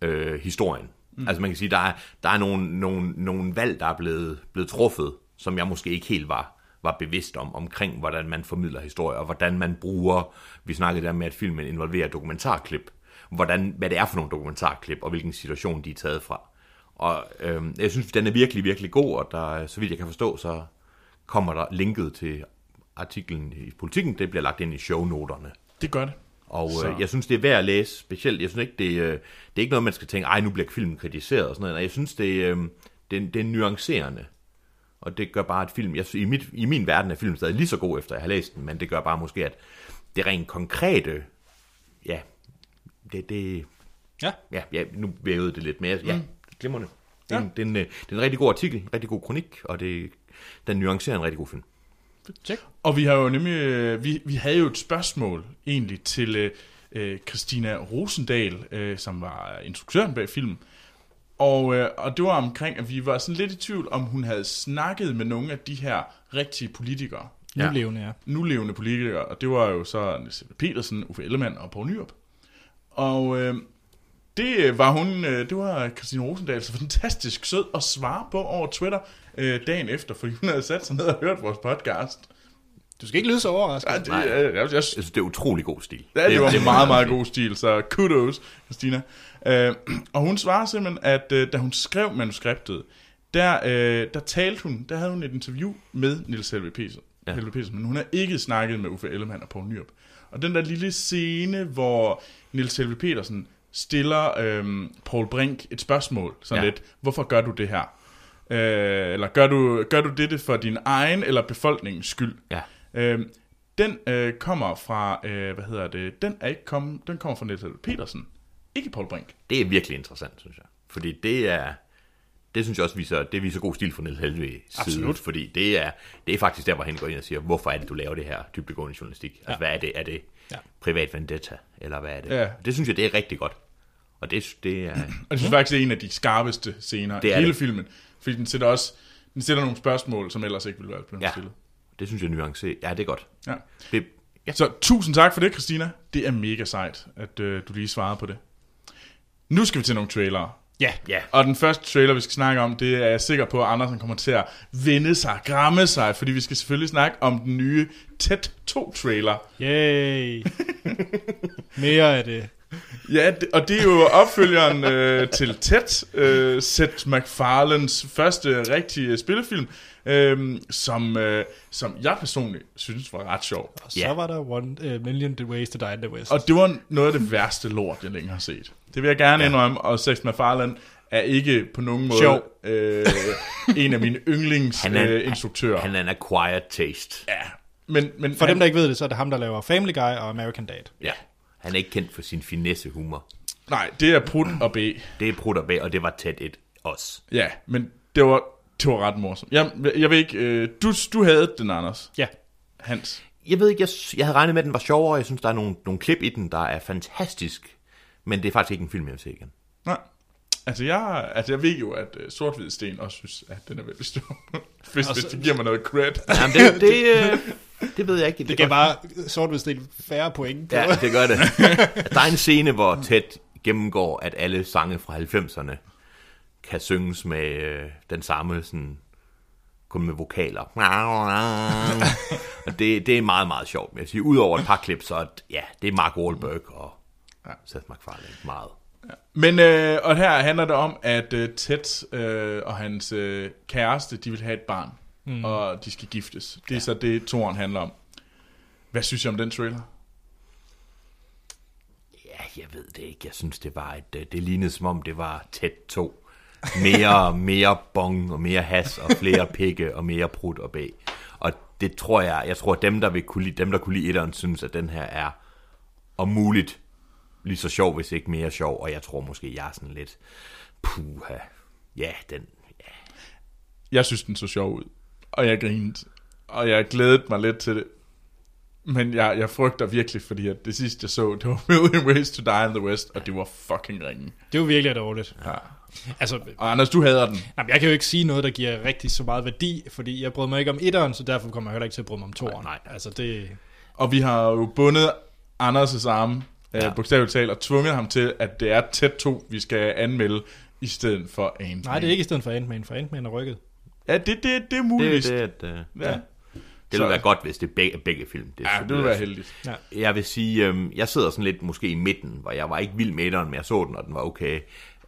Speaker 3: øh, historien. Mm. Altså man kan sige, der er, der er nogle, nogle, nogle valg, der er blevet, blevet truffet, som jeg måske ikke helt var, var bevidst om, omkring hvordan man formidler historie, og hvordan man bruger, vi snakkede der med, at filmen involverer dokumentarklip, hvordan, hvad det er for nogle dokumentarklip, og hvilken situation de er taget fra. Og øhm, jeg synes, den er virkelig, virkelig god, og der, så vidt jeg kan forstå, så kommer der linket til artiklen i politikken, det bliver lagt ind i shownoterne.
Speaker 2: Det gør det.
Speaker 3: Og
Speaker 2: Så-
Speaker 3: øh, jeg synes, det er værd at læse specielt. Jeg synes ikke, det, øh, det er ikke noget, man skal tænke, ej, nu bliver filmen kritiseret og sådan noget. Nej, Jeg synes, det, øh, det, det er nuancerende. Og det gør bare, at film... Jeg, synes- i, mit, I min verden er filmen stadig lige så god, efter jeg har læst den, men det gør bare måske, at det rent konkrete... Ja, det... det
Speaker 1: Ja.
Speaker 3: ja, ja nu vævede det lidt mere. Ja, mm. glimrende. Det er,
Speaker 2: Ja.
Speaker 3: en, det, er en, øh, det er en rigtig god artikel, en rigtig god kronik, og det, den nuancerer en rigtig god film.
Speaker 1: Check.
Speaker 2: Og vi har jo nemlig, øh, vi, vi havde jo et spørgsmål egentlig til øh, øh, Christina Rosendal, øh, som var instruktøren bag filmen. Og, øh, og det var omkring, at vi var sådan lidt i tvivl, om hun havde snakket med nogle af de her rigtige politikere,
Speaker 3: Ja.
Speaker 1: Nulevende, ja.
Speaker 2: nulevende politikere, og det var jo så Niels Helveg Petersen, Uffe Ellemann og Poul Nyrup. Og øh, det var hun, øh, det var Christine Rosendal så fantastisk sød at svare på over Twitter øh, dagen efter, fordi hun havde sat sig ned og hørt vores podcast.
Speaker 1: Du skal ikke lyde så overrasket.
Speaker 2: Ja, det,
Speaker 3: Nej.
Speaker 2: jeg, jeg, jeg,
Speaker 3: Jeg synes, det er utrolig god stil.
Speaker 2: Ja, det var
Speaker 3: det
Speaker 2: det,
Speaker 3: må
Speaker 2: meget,
Speaker 3: man
Speaker 2: meget
Speaker 3: sige.
Speaker 2: god stil, så kudos, Christina. Øh, og hun svarer simpelthen, at øh, da hun skrev manuskriptet, der, øh, der talte hun, der havde hun et interview med Nils Helve Petersen,
Speaker 3: Ja.
Speaker 2: ja. Petersen, men hun har ikke snakket med Uffe Ellemann og Poul Nyrup. Og den der lille scene, hvor Nils Helve Petersen stiller øh, Paul Brink et spørgsmål, sådan
Speaker 3: Ja.
Speaker 2: ja. lidt, hvorfor gør du det her? Øh, eller gør du, gør du dette for din egen eller befolkningens skyld?
Speaker 3: Ja.
Speaker 2: Øhm, den øh, kommer fra, øh, hvad hedder det, den er ikke kommet, den kommer fra Niels Helveg Petersen, ikke Paul Brink.
Speaker 3: Det er virkelig interessant, synes jeg. Fordi det er... Det synes jeg også viser, det viser god stil fra Niels Helvig side.
Speaker 2: Absolut.
Speaker 3: Fordi det er, det er faktisk der, hvor han går ind og siger, hvorfor er det, du laver det her dybdegående journalistik? Altså, hvad er det? Er det
Speaker 1: Ja.
Speaker 3: privat vendetta? Eller hvad er det?
Speaker 2: Ja.
Speaker 3: Det synes jeg, det er rigtig godt. Og det, det er...
Speaker 2: Og det synes jeg faktisk det er en af de skarpeste scener
Speaker 3: Det
Speaker 2: i
Speaker 3: er
Speaker 2: hele
Speaker 3: det.
Speaker 2: filmen, fordi den sætter også, den sætter nogle spørgsmål, som ellers ikke ville være blevet
Speaker 3: Ja,
Speaker 2: stillet.
Speaker 3: det synes jeg nuanceret. Ja, det er godt.
Speaker 2: Ja.
Speaker 3: Det, ja.
Speaker 2: Så tusind tak for det, Christina. Det er mega sejt, at øh, du lige svarede på det. Nu skal vi til nogle trailere.
Speaker 1: Ja.
Speaker 3: ja.
Speaker 2: Og den første trailer, vi skal snakke om, det er jeg sikker på, at Andersen kommer til at vende sig, gramme sig, fordi vi skal selvfølgelig snakke om den nye Tæt 2-trailer,
Speaker 1: Yay. Mere af det.
Speaker 2: Ja, det- og det er jo opfølgeren øh, til Ted, øh, Seth MacFarlanes første rigtige spillefilm, øh, som, øh, som jeg personligt synes var ret sjov.
Speaker 1: Og så
Speaker 3: Ja.
Speaker 1: var der One uh, Million Ways to Die in the West.
Speaker 2: Og det var noget af det værste lort, jeg længe har set. Det vil jeg gerne
Speaker 3: Ja.
Speaker 2: indrømme, og Seth MacFarlane er ikke på nogen måde
Speaker 1: Sjov.
Speaker 2: øh, en af mine
Speaker 3: Han er en-
Speaker 2: yndlingsinstruktører.
Speaker 3: Han er en acquired taste.
Speaker 2: øh, Ja, men, men
Speaker 1: For
Speaker 2: han,
Speaker 1: dem, der ikke ved det, så er det ham, der laver Family Guy og American Dad.
Speaker 3: Ja. Han er ikke kendt for sin finesse humor.
Speaker 2: Nej, det er Prut og B.
Speaker 3: Det er brudt og bag, og det var tæt et os.
Speaker 2: Ja, men det var, det var ret morsomt. Jeg, jeg ved ikke, øh, du, du havde den, Anders.
Speaker 1: Ja.
Speaker 2: Hans.
Speaker 3: jeg ved ikke, jeg, jeg havde regnet med, at den var sjovere. Jeg synes, der er nogle, nogle klip i den, der er fantastisk. Men det er faktisk ikke en film, jeg vil se igen.
Speaker 2: Nej. Altså jeg, altså jeg ved jo, at uh, sort hvid sten også synes, at den er veldig stor. hvis, hvis det giver mig noget cred.
Speaker 3: Jamen, det, det, øh, det ved jeg ikke.
Speaker 1: Det gav bare sort ved stil færre point på.
Speaker 3: Ja, det gør det. Der er en scene, hvor tæt gennemgår, at alle sange fra 90'erne kan synges med øh, den samme, sådan, kun med vokaler. Og det, det er meget, meget sjovt. Men Jeg siger, udover et par klip, så er, ja, det er Mark Wahlberg og Seth MacFarlane meget.
Speaker 2: Men, øh, og her handler det om, at øh, Ted øh, og hans øh, kæreste, de vil have et barn. Mm. Og de skal giftes. Det er ja. så det, Toren handler om. Hvad synes jeg om den trailer?
Speaker 3: Ja, jeg ved det ikke. Jeg synes, det var et, øh, det lignede som om, det var tæt to. Mere, mere bong og mere has og flere pikke og mere prut og bag. Og det tror jeg, jeg tror, dem, der, vil kunne lide, dem, der kunne lide etteren, synes, at den her er om muligt lige så sjov, hvis ikke mere sjov. Og jeg tror måske, jeg er sådan lidt, puha, ja, den, ja.
Speaker 2: Jeg synes, den så sjov ud. Og jeg grinede. Og jeg glædede mig lidt til det. Men jeg, jeg frygter virkelig, fordi at det sidste jeg så, det var A Million Ways to Die in the West, og det var fucking ringen.
Speaker 1: Det er jo virkelig dårligt.
Speaker 2: Ja.
Speaker 1: Altså,
Speaker 2: Og Anders, du hader den.
Speaker 1: jamen, jeg kan jo ikke sige noget, der giver rigtig så meget værdi, fordi jeg brød mig ikke om etteren, så derfor kommer jeg heller ikke til at bryde mig om toeren.
Speaker 3: Nej, nej.
Speaker 1: Altså, det...
Speaker 2: Og vi har jo bundet Anders' arme, ja. øh, bogstaveligt talt, og tvunget ham til, at det er tæt to, vi skal anmelde, i stedet for Ant-Man.
Speaker 1: Nej, det er ikke i stedet for Ant-Man, for Ant-Man er rykket.
Speaker 2: Ja, det, det, det er
Speaker 3: Det,
Speaker 2: muligt.
Speaker 3: det, at, øh,
Speaker 2: Ja. ja.
Speaker 3: det ville være godt, hvis det er begge, begge film. Det,
Speaker 2: Ja, det ville være heldigt.
Speaker 3: Jeg vil sige, øhm, jeg sidder sådan lidt måske i midten, hvor jeg var ikke vild med den, men jeg så den, og den var okay.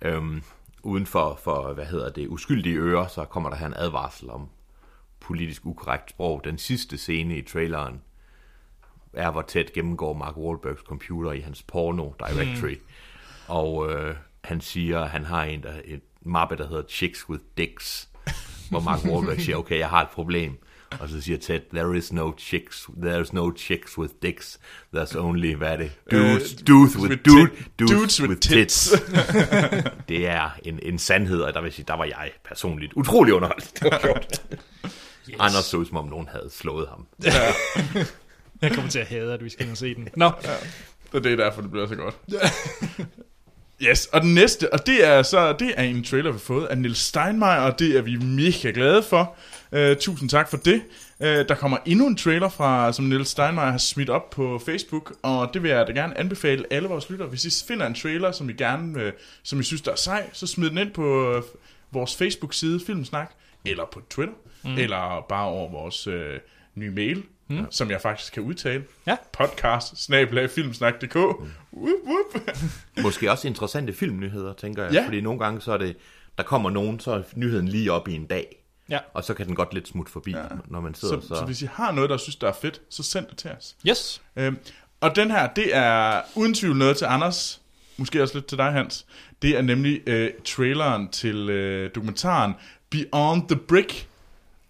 Speaker 3: Øhm, uden for, for, hvad hedder det, uskyldige ører, så kommer der her en advarsel om politisk ukorrekt sprog. Den sidste scene i traileren er, hvor tæt gennemgår Mark Wahlbergs computer i hans porno directory. Mm. Og øh, han siger, at han har en, der, et mappe, der hedder Chicks with Dicks, hvor Mark Wahlberg siger, okay, jeg har et problem. Og så siger Ted, there is no chicks, there's no chicks with dicks, there's only, hvad er det? Dudes,
Speaker 2: Øh,
Speaker 3: dudes with,
Speaker 2: with
Speaker 3: dude,
Speaker 2: tit-
Speaker 3: dudes,
Speaker 2: dudes with
Speaker 3: with tits. det er en, en sandhed, og der vil sige, der var jeg personligt utrolig underholdt. Det var sjovt. Yes. Anders så ud, som om nogen havde slået ham.
Speaker 1: Jeg kommer til at hade, at vi skal ind og se den. Nå,
Speaker 2: Så det er derfor, det bliver så godt. Yes, og den næste, og det er så det er en trailer, vi har fået af Nils Steinmeier, og det er vi mega glade for. Uh, tusind tak for det. Uh, der kommer endnu en trailer fra, som Nils Steinmeier har smidt op på Facebook, og det vil jeg da gerne anbefale alle vores lyttere. Hvis I finder en trailer, som I gerne, uh, som I synes, der er sej, så smid den ind på uh, vores Facebook-side, Filmsnak, eller på Twitter, mm. eller bare over vores uh, nye mail, mm. som jeg faktisk kan udtale.
Speaker 1: Ja.
Speaker 2: Podcast, snablag, filmsnak.dk. Mm. Whoop, whoop.
Speaker 3: Måske også interessante filmnyheder, tænker jeg.
Speaker 2: Ja.
Speaker 3: Ja. Fordi nogle gange, så er det, der kommer nogen, så er nyheden lige op i en dag.
Speaker 1: Ja.
Speaker 3: Og så kan den godt lidt smutte forbi, ja. når man sidder
Speaker 2: Så,
Speaker 3: så.
Speaker 2: så hvis I har noget, der synes, der er fedt, så send det til os.
Speaker 1: yes.
Speaker 2: Øhm, og den her, det er uden tvivl noget til Anders, måske også lidt til dig, Hans. Det er nemlig øh, traileren til øh, dokumentaren Beyond the Brick,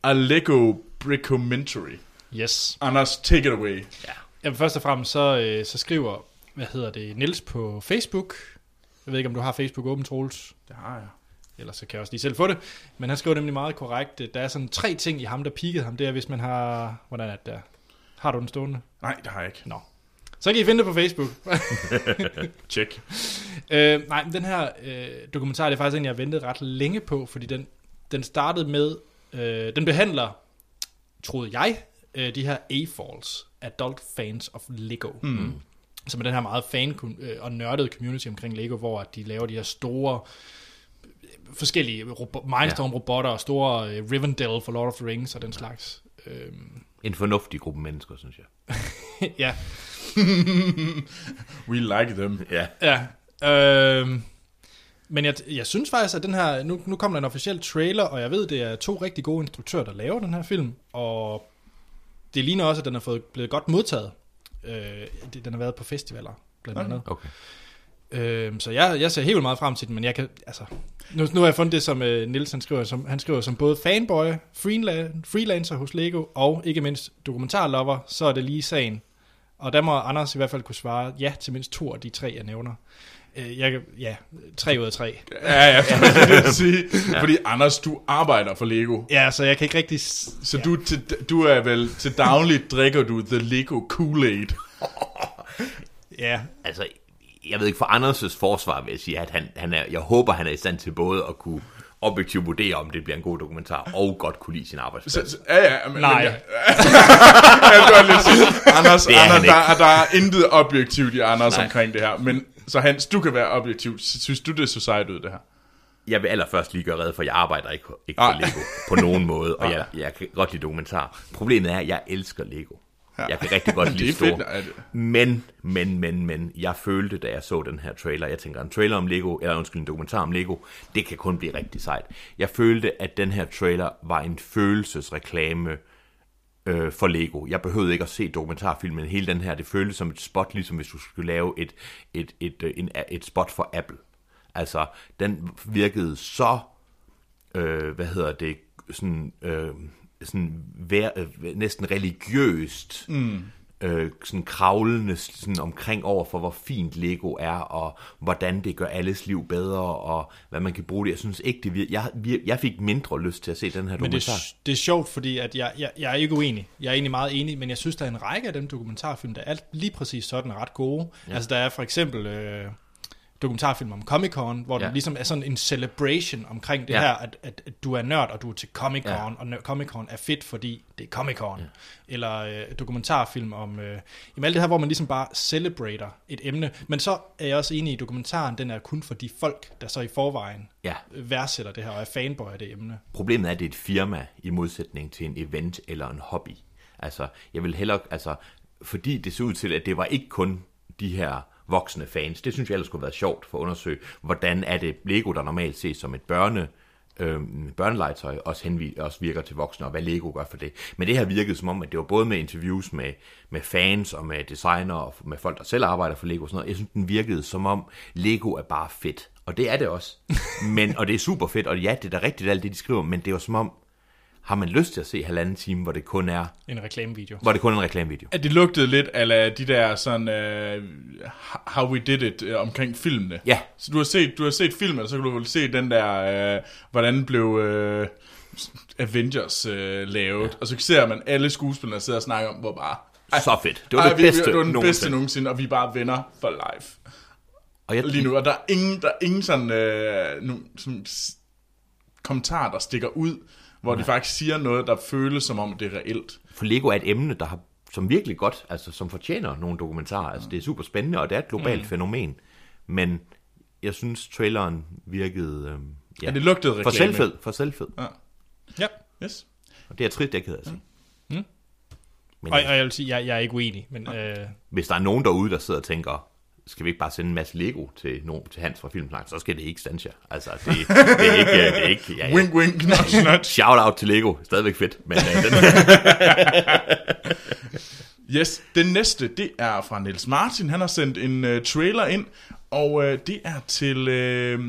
Speaker 2: a Lego Brickomentary.
Speaker 1: Yes.
Speaker 2: Anders, take it away.
Speaker 1: Jamen, først og fremmest, så, øh, så skriver, hvad hedder det, Nils på Facebook. Jeg ved ikke, om du har Facebook åben, Troels.
Speaker 2: Det har jeg.
Speaker 1: Ellers så kan jeg også lige selv få det. Men han skriver nemlig meget korrekt. øh, Der er sådan tre ting i ham, der pikkede ham. Det er, hvis man har... Hvordan er det der? Har du den stående?
Speaker 2: Nej, det har jeg ikke.
Speaker 1: Nå. Så kan I finde det på Facebook.
Speaker 2: Check.
Speaker 1: Øh, nej, men den her øh, dokumentar, det er faktisk en, jeg har ventet ret længe på, fordi den, den startede med, øh, den behandler, troede jeg, øh, de her A-Falls, Adult Fans of Lego. Mm. Som er den her meget fan- øh, og nørdede community omkring Lego, hvor at de laver de her store øh, forskellige robo- Mindstorm-robotter og store øh, Rivendell for Lord of the Rings og den slags. Øhm,
Speaker 3: En fornuftig gruppe mennesker, synes jeg.
Speaker 1: ja,
Speaker 2: We like them.
Speaker 3: Ja.
Speaker 1: Ja. Øh, men jeg, jeg synes faktisk, at den her... Nu, nu kommer der en officiel trailer, og jeg ved, det er to rigtig gode instruktører, der laver den her film. Og det ligner også, at den er fået, blevet godt modtaget. Øh, det, den har været på festivaler, blandt
Speaker 2: Okay.
Speaker 1: andet.
Speaker 3: Okay.
Speaker 1: Øhm, så jeg, jeg ser helt vildt meget frem til den, men jeg kan, altså, nu, nu har jeg fundet det, som øh, Niels han skriver, som, han skriver som både fanboy, freelan- freelancer hos Lego, og ikke mindst dokumentarlover, så er det lige sagen. Og der må Anders i hvert fald kunne svare ja til mindst to af de tre, jeg nævner. Øh, jeg, kan- ja, tre ud af tre.
Speaker 2: Ja, ja, for det vil sige. Fordi Anders, du arbejder for Lego.
Speaker 1: Ja, så jeg kan ikke rigtig... s-
Speaker 2: Så
Speaker 1: ja.
Speaker 2: ja. du, er til, du er vel til dagligt drikker du The Lego Kool-Aid.
Speaker 1: Ja,
Speaker 3: Altså, jeg ved ikke, for Anders' forsvar vil jeg sige, at han, han er, jeg håber, han er i stand til både at kunne objektivt vurdere, om det bliver en god dokumentar, og godt kunne lide sin arbejdsplads.
Speaker 2: Så, så, ja, ja, men,
Speaker 1: Nej.
Speaker 2: Men, ja, det var lidt sådan, Anders,
Speaker 3: Det er han
Speaker 2: Anders
Speaker 3: ikke.
Speaker 2: der, er- der er intet objektivt i Anders Nej.
Speaker 3: Nej.
Speaker 2: omkring det her. Men så Hans, du kan være objektiv. Synes du, det er society ud, det her?
Speaker 3: Jeg vil allerførst lige gøre redde for, at jeg arbejder ikke, ikke for
Speaker 2: Ah.
Speaker 3: Lego på nogen måde, og jeg, jeg kan godt lide dokumentar. Problemet er, at jeg elsker Lego. Jeg kan rigtig godt
Speaker 2: Det
Speaker 3: lide
Speaker 2: er fedt,
Speaker 3: store.
Speaker 2: at-
Speaker 3: Men, men, men, men, jeg følte, da jeg så den her trailer, jeg tænker, en trailer om Lego, eller undskyld, en dokumentar om Lego, det kan kun blive rigtig sejt. Jeg følte, at den her trailer var en følelsesreklame øh, for Lego. Jeg behøvede ikke at se dokumentarfilmen hele den her. Det føltes som et spot, ligesom hvis du skulle lave et, et, et, øh, en, et spot for Apple. Altså, den virkede så øh, hvad hedder det, sådan, øh, sådan vær, øh, næsten religiøst mm. øh, sådan kravlende sådan omkring over for, hvor fint Lego er, og hvordan det gør alles liv bedre, og hvad man kan bruge det. Jeg synes ikke, det vir- jeg, vir- jeg fik mindre lyst til at se den her
Speaker 1: Men det,
Speaker 3: dokumentar.
Speaker 1: er- det er sjovt, fordi at jeg, jeg, jeg er ikke uenig. Jeg er egentlig meget enig, men jeg synes, der er en række af dem dokumentarfilm, der er alt lige præcis sådan ret gode. Ja. Altså der er for eksempel øh, dokumentarfilm om Comic-Con, hvor ja.
Speaker 3: Ja.
Speaker 1: den ligesom er sådan en celebration omkring det ja.
Speaker 3: Ja.
Speaker 1: her, at, at, at du er nørd, og du er til Comic-Con,
Speaker 3: Ja.
Speaker 1: ja. og nø- Comic-Con er fedt, fordi det er Comic-Con. Ja. Eller øh, dokumentarfilm om øh, jamen alt det her, hvor man ligesom bare celebrater et emne. Men så er jeg også enig i, at dokumentaren den er kun for de folk, der så i forvejen øh,
Speaker 3: Ja.
Speaker 1: værdsætter det her, og er fanboy af det emne.
Speaker 3: Problemet er, at det er et firma i modsætning til en event eller en hobby. Altså, jeg vil hellere, altså, fordi det så ud til, at det var ikke kun de her voksne fans. Det synes jeg ellers skulle have været sjovt for at undersøge, hvordan er det Lego, der normalt ses som et børne, øh, børnelegetøj, også, henvi, også virker til voksne, og hvad Lego gør for det. Men det her virkede som om, at det var både med interviews med, med fans og med designer og med folk, der selv arbejder for Lego og sådan noget. Jeg synes, den virkede som om, Lego er bare fedt. Og det er det også. Men, og det er super fedt, og ja, det er da rigtigt alt det, de skriver, men det er jo som om, har man lyst til at se halvanden time, hvor det kun er,
Speaker 1: En reklamevideo.
Speaker 3: hvor det kun er en reklamevideo?
Speaker 2: At det lugtede lidt af de der sådan uh, how we did it uh, omkring filmene.
Speaker 3: Ja.
Speaker 2: Så du har set du har set filmen, og så kan du vel se den der uh, hvordan blev uh, Avengers uh, lavet, ja. og så ser man alle skuespillere sidder og snakker om hvor bare
Speaker 3: Så fedt. Det var det
Speaker 2: vi-
Speaker 3: bedste
Speaker 2: det var den bedste
Speaker 3: nogensinde.
Speaker 2: nogensinde, og vi er bare venner for life.
Speaker 3: Og jeg,
Speaker 2: lige nu, og der er ingen, der er ingen sådan, øh, nu, sådan s- kommentar, der stikker ud, hvor de faktisk siger noget, der føles som om, det er reelt.
Speaker 3: for Lego er et emne, der har, som virkelig godt, altså som fortjener nogle dokumentarer. Altså det er super spændende, og det er et globalt mm. fænomen. Men jeg synes, traileren virkede... Øhm, ja,
Speaker 2: Ja, det lugtede reklame.
Speaker 3: for selvfed, for selvfed.
Speaker 1: Ja,
Speaker 2: Yes.
Speaker 3: Og det er jeg trist, jeg er ked af at sige.
Speaker 1: Mm.
Speaker 3: Men
Speaker 1: og,
Speaker 3: altså,
Speaker 1: og jeg vil sige, jeg, jeg er ikke uenig, men øh,
Speaker 3: hvis der er nogen derude, der sidder og tænker, skal vi ikke bare sende en masse Lego til, nogen, til Hans fra Filmsnak, så skal det ikke stanse jer. Altså, det, det er ikke... øh, Det er ikke ja,
Speaker 2: Ja, ja.
Speaker 3: ja.
Speaker 2: Wink, wink, nudge, nudge.
Speaker 3: Shout out til Lego. Stadigvæk fedt. Men øh, den,
Speaker 2: Yes, den næste, det er fra Niels Martin. Han har sendt en uh, trailer ind, og uh, det er til uh,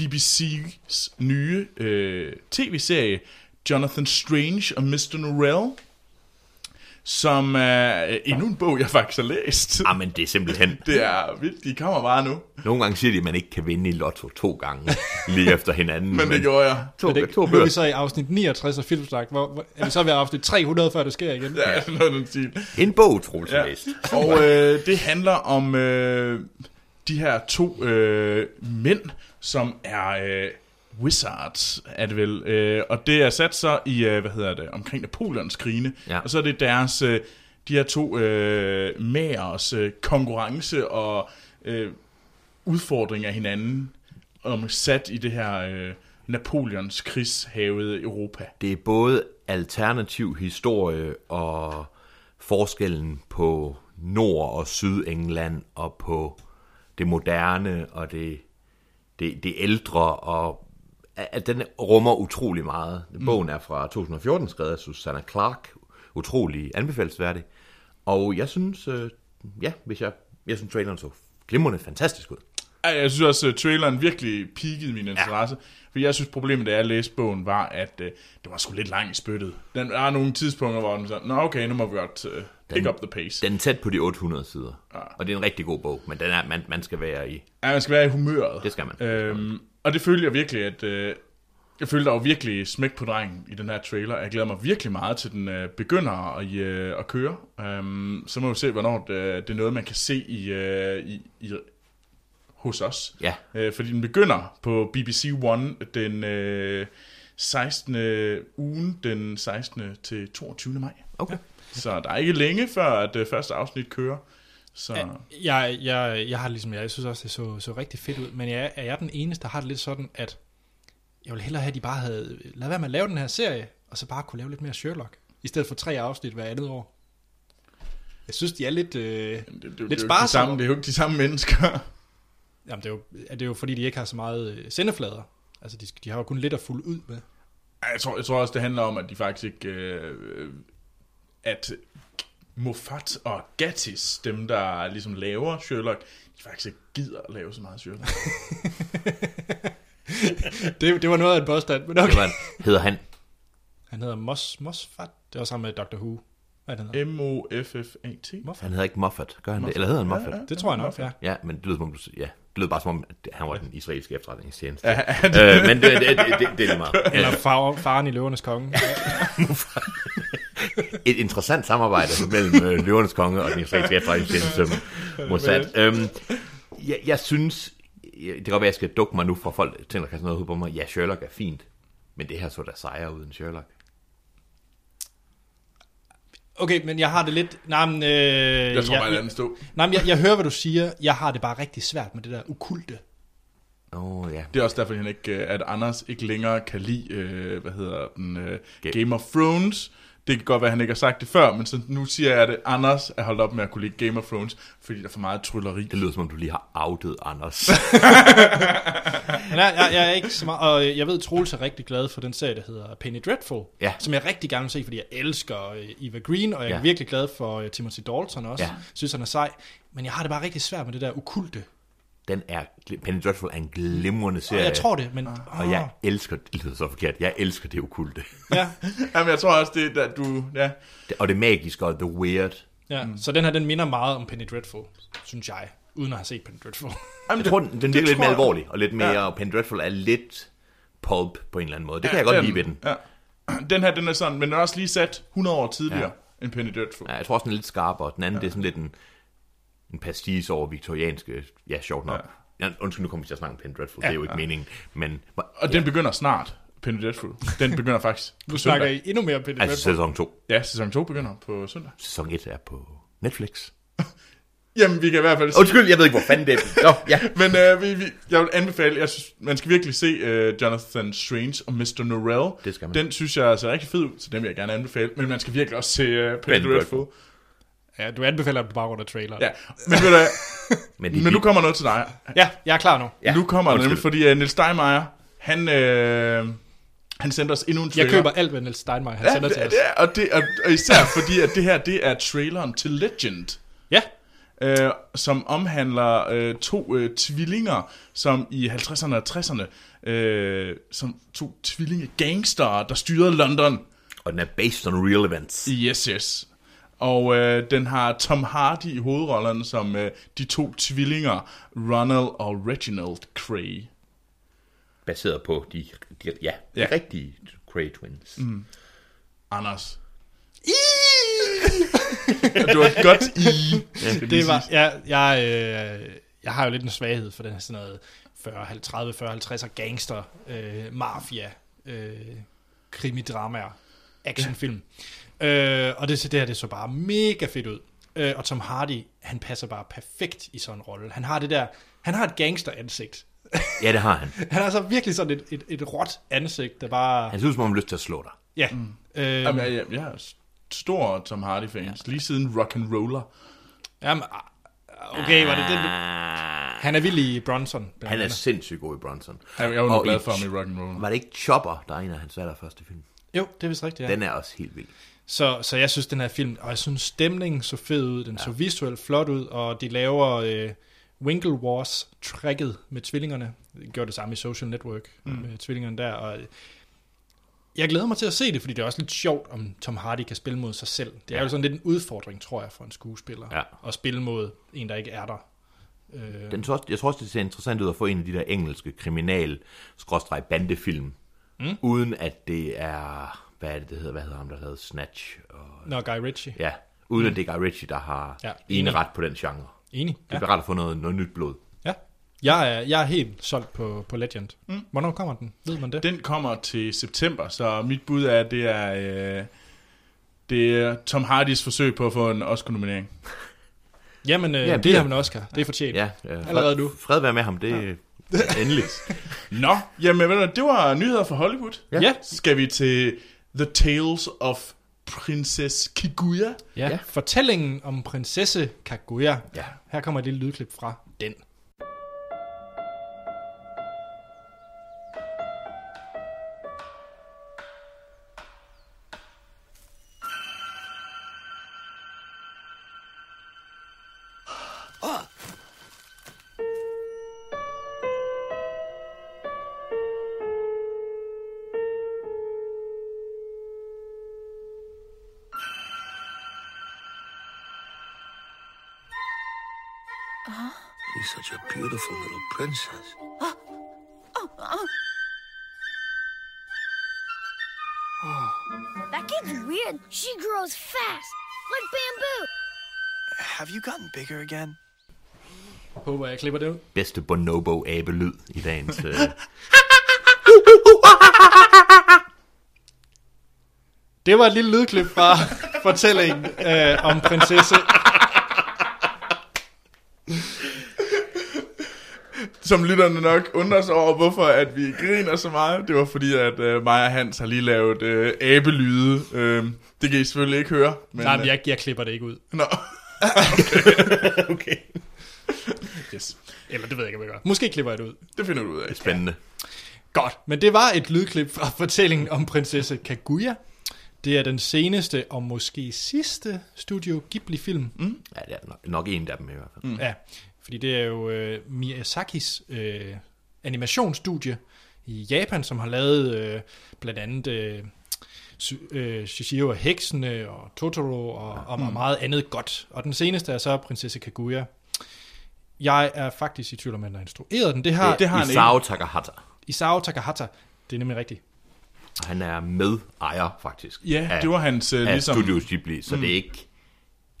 Speaker 2: BBC's nye uh, tv-serie, Jonathan Strange og Mr. Norrell, som er uh, endnu en bog, jeg faktisk har læst.
Speaker 3: ah, men det er simpelthen...
Speaker 2: Det er vildt, de kommer bare nu.
Speaker 3: Nogle gange siger de, at man ikke kan vinde i lotto to gange lige efter hinanden.
Speaker 2: Men det gjorde jeg.
Speaker 3: To,
Speaker 1: det,
Speaker 3: to
Speaker 1: nu er vi
Speaker 3: børs.
Speaker 1: så i afsnit 69 af Filmsnak, hvor, hvor er vi så ved afsnit 300, før det sker igen? Ja.
Speaker 2: Ja, noget af den stil.
Speaker 3: En bog, Troels ja.
Speaker 2: Ja. Og øh, det handler om øh, de her to øh, mænd, som er øh, wizards, er det vel. Øh, og det er sat så i, øh, hvad hedder det, omkring Napoleons krigene.
Speaker 3: Ja.
Speaker 2: Og så er det deres, øh, de her to øh, magers øh, konkurrence og øh, udfordring af hinanden, om sat i det her øh, Napoleons krigshavede Europa.
Speaker 3: Det er både alternativ historie og forskellen på Nord- og Sydengland og på det moderne og det, det, det ældre. Og, at den rummer utrolig meget. Bogen er fra 2014, skrevet af Susanna Clark. Utrolig anbefalesværdig. Og jeg synes, øh, ja, hvis jeg, jeg synes traileren så glimrende fantastisk ud.
Speaker 2: Ej, jeg synes også, at traileren virkelig peakede min interesse. Ja. For jeg synes, problemet, da jeg læste bogen, var, at øh, det var sgu lidt langt i spyttet. Den er nogle tidspunkter, hvor den sådan, nå okay, nu må vi godt øh, pick up the pace.
Speaker 3: Den er tæt på de 800 sider. Og det er en rigtig god bog, men den er, man, man skal være i.
Speaker 2: Ja, man skal være i humøret.
Speaker 3: Det skal man.
Speaker 2: Øhm, og det følte jeg virkelig, at... Øh, jeg følte, der var virkelig smæk på drengen i den her trailer. Jeg glæder mig virkelig meget til, den øh, begynder at, øh, at køre. Øhm, så må vi se, hvornår øh, det, det er noget, man kan se i, øh, i, i, hos os.
Speaker 3: Ja.
Speaker 2: Øh, fordi den begynder på BBC One den øh, 16. ugen, den 16. til 22. maj.
Speaker 3: Okay.
Speaker 2: Så der er ikke længe, før at øh, første afsnit kører. Så...
Speaker 1: Jeg, jeg, jeg har det ligesom, jeg, jeg synes også, det så, så rigtig fedt ud, men jeg, er jeg den eneste, der har det lidt sådan, at jeg ville hellere have, at de bare havde, lad være med at lave den her serie, og så bare kunne lave lidt mere Sherlock, i stedet for tre afsnit hver andet år. Jeg synes, de er lidt... Øh,
Speaker 2: Det, det, det, er jo
Speaker 1: Lidt
Speaker 2: ikke de
Speaker 1: sparsomt.
Speaker 2: samme- det er jo ikke de samme mennesker.
Speaker 1: jamen, det er, jo, det er jo fordi, de ikke har så meget øh, sendeflader. Altså, de, de har jo kun lidt at fulde ud med.
Speaker 2: Ej, Jeg tror, jeg tror også, det handler om, at de faktisk ikke... Øh, at Moffat og Gattis, dem der ligesom laver Sherlock, de faktisk ikke gider at lave så meget Sherlock.
Speaker 1: Det, det var noget af en påstand, men okay.
Speaker 3: Det var, hedder han
Speaker 1: Han hedder Mos, Mosfat. Det var sammen med Dr. Who. hvad den hedder.
Speaker 2: M-O-F-F-A-T.
Speaker 3: Han hedder ikke Moffat, gør han det? Eller hedder han Moffat?
Speaker 1: Det tror jeg nok, ja.
Speaker 3: Ja, men det lyder, som om du, s- ja, det lyder bare som om, at han var den israelske efterretningstjeneste.
Speaker 2: Ja,
Speaker 3: Ja.
Speaker 2: ja, det-
Speaker 3: Øh, men det, det, det, det, det er lige meget.
Speaker 1: Eller
Speaker 3: Ja,
Speaker 1: far, faren i Løvernes Konge.
Speaker 3: et interessant samarbejde mellem øh, Løvernes Konge og den israelske efterretningstjeneste som Mossad. Øhm, jeg, jeg synes, jeg- det kan godt være, at jeg skal dukke mig nu fra folk, der tænker sådan noget ud på mig. Ja, Sherlock er fint, men det her så da sejere uden Sherlock.
Speaker 1: Okay, men jeg har det lidt... Nej, men, øh,
Speaker 2: Jeg tror
Speaker 1: jeg,
Speaker 2: bare, at den stod.
Speaker 1: nej, men jeg, jeg hører, hvad du siger. Jeg har det bare rigtig svært med det der okulte.
Speaker 3: Åh, oh, ja.
Speaker 2: Det er også derfor, han ikke, øh, at Anders ikke længere kan lide, øh, hvad hedder den, øh,
Speaker 3: Ga-
Speaker 2: Game of Thrones. Det kan godt være, at han ikke har sagt det før, men så nu siger jeg, at Anders er holdt op med at kunne lide Game of Thrones, fordi der er for meget trylleri.
Speaker 3: Det lyder, som om du lige har outet Anders.
Speaker 1: Men jeg, jeg, jeg er ikke så meget... Og øh, jeg ved, Troels er rigtig glad for den serie, der hedder Penny Dreadful.
Speaker 3: Ja.
Speaker 1: Som jeg rigtig gerne vil se, fordi jeg elsker øh, Eva Green, og jeg er
Speaker 3: Ja.
Speaker 1: virkelig glad for øh, Timothy Dalton også.
Speaker 3: Ja.
Speaker 1: Ja. Synes, han er sej. Men jeg har det bare rigtig svært med det der okulte.
Speaker 3: Den er, gl- Penny Dreadful er en glimrende
Speaker 1: Og
Speaker 3: serie.
Speaker 1: jeg tror det, men... Ah,
Speaker 3: Og jeg elsker, det lyder så forkert, jeg elsker det okulte.
Speaker 1: Ja,
Speaker 2: Jamen, jeg tror også, det er, at du... Ja.
Speaker 3: Det- Og det magiske og the weird.
Speaker 1: ja. Mm. Så den her, den minder meget om Penny Dreadful, synes jeg. Uden at have set Penny Dreadful.
Speaker 2: Jamen,
Speaker 3: Jeg tror, den, den virker lidt
Speaker 2: tror
Speaker 3: mere
Speaker 2: jeg.
Speaker 3: alvorlig, og lidt mere, ja. og Penny Dreadful er lidt pulp på en eller anden måde. Det kan ja, jeg godt
Speaker 2: den,
Speaker 3: lide ved den.
Speaker 2: Ja. Den her, den er sådan, men den er også lige sat 100 år tidligere ja. end Penny Dreadful.
Speaker 3: Ja, jeg tror også, den er lidt skarpere. Den anden, ja. det er sådan lidt en, en pastis over viktorianske, ja, sjovt nok. Ja. Ja, undskyld, nu kommer vi til at snakke om Penny Dreadful, ja, det er jo ikke ja. meningen, men
Speaker 2: Og den begynder snart, Penny Dreadful. Den begynder faktisk på
Speaker 1: Nu
Speaker 2: søndag.
Speaker 1: snakker I endnu mere om Penny
Speaker 3: altså
Speaker 1: Dreadful.
Speaker 3: sæson 2.
Speaker 2: Ja, sæson 2 begynder på søndag.
Speaker 3: Sæson 1 er på Netflix.
Speaker 2: Jamen, vi kan i hvert fald sige...
Speaker 3: Undskyld, jeg ved ikke, hvor fanden det er. Nå, ja.
Speaker 2: Men øh, vi, vi, jeg vil anbefale, jeg synes, man skal virkelig se øh, Jonathan Strange og Mr. Norrell.
Speaker 3: Det skal man.
Speaker 2: Den synes jeg ser rigtig fed ud, så den vil jeg gerne anbefale. Men man skal virkelig også se øh, Penny
Speaker 3: Penny
Speaker 2: Dreadful.
Speaker 1: Ja, du anbefaler dem på baggrund af traileren.
Speaker 2: Ja, men ved du hvad,
Speaker 3: Men,
Speaker 2: men nu kommer noget til dig.
Speaker 1: ja, jeg er klar nu.
Speaker 2: Ja, nu kommer det
Speaker 3: undskyld.
Speaker 2: nemlig, fordi uh, Niels Steinmeier, han, øh, han sendte os endnu en trailer.
Speaker 1: Jeg køber alt, hvad Niels Steinmeier han
Speaker 2: ja,
Speaker 1: sender
Speaker 2: det,
Speaker 1: til os.
Speaker 2: det, er- og, det, og, og især fordi, at det her, det er traileren til Legend.
Speaker 1: Ja,
Speaker 2: øh, som omhandler øh, to øh, tvillinger, som i 50'erne og 60'erne, øh, som to tvillinge gangster, der styrede London.
Speaker 3: Og den er based on real events.
Speaker 2: Yes, yes. Og øh, den har Tom Hardy i hovedrollen som øh, de to tvillinger, Ronald og Reginald Cray.
Speaker 3: Baseret på de, de ja, de
Speaker 2: Ja.
Speaker 3: rigtige Grey Twins. Mm.
Speaker 2: Anders. du har et godt i.
Speaker 1: det var... Ja, jeg, øh, jeg har jo lidt en svaghed for den her sådan noget 40, 50, 30, 40, 50 og gangster, øh, mafia, øh, krimidramaer, actionfilm. Øh, og det, det her, det så bare mega fedt ud. Øh, og Tom Hardy, han passer bare perfekt i sådan en rolle. Han har det der... Han har et gangsteransigt.
Speaker 3: Ja, det har han.
Speaker 1: Han har så virkelig sådan et, et, et råt ansigt, der bare...
Speaker 3: Han synes, man har lyst til at slå dig.
Speaker 1: Ja. Mm. Øh,
Speaker 2: Jamen, jeg, jeg, jeg er stor Tom Hardy-fans, lige siden Rock and Roller.
Speaker 1: Jamen, ah, okay, var det den? du-
Speaker 3: Ah.
Speaker 1: Han er vild i Bronson. blandt
Speaker 3: Han er
Speaker 1: andet.
Speaker 3: sindssygt god i Bronson.
Speaker 2: Jeg, jeg var nu
Speaker 3: Og
Speaker 2: glad
Speaker 3: i-
Speaker 2: for ham i Rock and Roller.
Speaker 3: Var det ikke Chopper, der er en af hans allerførste film?
Speaker 1: Jo, det er vist rigtigt,
Speaker 3: Ja.
Speaker 1: ja.
Speaker 3: Den er også helt vild.
Speaker 1: Så, så jeg synes, den her film, og jeg synes, stemningen så fed ud, den ja. så visuelt flot ud, og de laver øh, Winklevoss-tracket med tvillingerne. De gjorde det samme i Social Network mm. med tvillingerne der, og jeg glæder mig til at se det, fordi det er også lidt sjovt, om Tom Hardy kan spille mod sig selv. Det er
Speaker 3: Ja.
Speaker 1: ja. jo sådan lidt en udfordring, tror jeg, for en skuespiller,
Speaker 3: Ja.
Speaker 1: at spille mod en, der ikke er der. Øh,
Speaker 3: Den tror, også- jeg tror også, det ser interessant ud at få en af de der engelske kriminal bandefilm mm. uden at det er... Hvad er det, det hedder? Hvad hedder ham, der lavede Snatch? Og,
Speaker 1: Når Guy Ritchie. Ja.
Speaker 3: ja, uden at det er Guy Ritchie, der har
Speaker 1: Ja,
Speaker 3: ja. ene ret på den genre.
Speaker 1: Enig.
Speaker 3: Det bliver rart at få noget, noget nyt blod.
Speaker 1: Ja. Jeg er, jeg er helt solgt på, på Legend. Mm. Hvornår kommer den? Ved man det?
Speaker 2: Den kommer til september, så mit bud er, at det er, øh, det er Tom Hardys forsøg på at få en Oscar-nominering.
Speaker 1: Jamen, øh,
Speaker 3: Jamen,
Speaker 1: det
Speaker 3: ja.
Speaker 1: har man Oscar. Det er fortjent.
Speaker 3: Ja, øh,
Speaker 1: Allerede
Speaker 3: fred-
Speaker 1: nu.
Speaker 3: Fred være med ham, det er ja. endeligt.
Speaker 2: Nå, jamen ved du, hvad, det var nyheder fra Hollywood.
Speaker 3: Ja.
Speaker 1: Ja.
Speaker 2: Skal vi til The Tales of Princess Kiguya?
Speaker 1: ja.
Speaker 3: Ja.
Speaker 1: ja. Fortællingen om prinsesse Kaguya.
Speaker 3: Ja.
Speaker 1: Her kommer et lille lydklip fra den.
Speaker 4: You're such a beautiful little princess.
Speaker 5: That kid's weird. She grows fast, like bamboo.
Speaker 6: Have you gotten bigger again?
Speaker 1: Håber, jeg klipper det ud.
Speaker 3: Bedste bonobo-abelyd i dagens... Øh.
Speaker 1: Det var et lille lydklip fra fortællingen øh, om prinsesse.
Speaker 2: Som lytterne nok undrer sig over, hvorfor at vi griner så meget. Det var fordi, at øh, mig og Hans har lige lavet øh, abelyde. Øh, det kan I selvfølgelig ikke høre. Men,
Speaker 1: Nej, men jeg, jeg klipper det ikke ud.
Speaker 2: Øh, nå.
Speaker 3: okay.
Speaker 1: Yes. Eller det ved jeg ikke, om jeg gør. Måske klipper jeg det ud.
Speaker 2: Det finder du ud af.
Speaker 3: Spændende.
Speaker 1: Godt, men det var et lydklip fra fortællingen om prinsesse Kaguya. Det er den seneste og måske sidste Studio Ghibli-film. Mm.
Speaker 3: Ja, det er nok, nok en af dem i hvert fald. Mm.
Speaker 1: Ja, fordi det er jo øh, Miyazakis øh, animationsstudie i Japan, som har lavet øh, blandt andet øh, Sy- øh, Shishio og Heksene og Totoro og, ja. og meget andet godt. Og den seneste er så Prinsesse Kaguya. Jeg er faktisk i tvivl om, at han har instrueret den. Det har det,
Speaker 2: det har han ikke.
Speaker 3: Isao Takahata.
Speaker 1: Isao Takahata. Det er nemlig rigtigt.
Speaker 3: Og han er med ejer, faktisk.
Speaker 2: Ja, det var hans øh,
Speaker 3: af ligesom...
Speaker 2: ligesom...
Speaker 3: Studio Ghibli, så mm. det er ikke...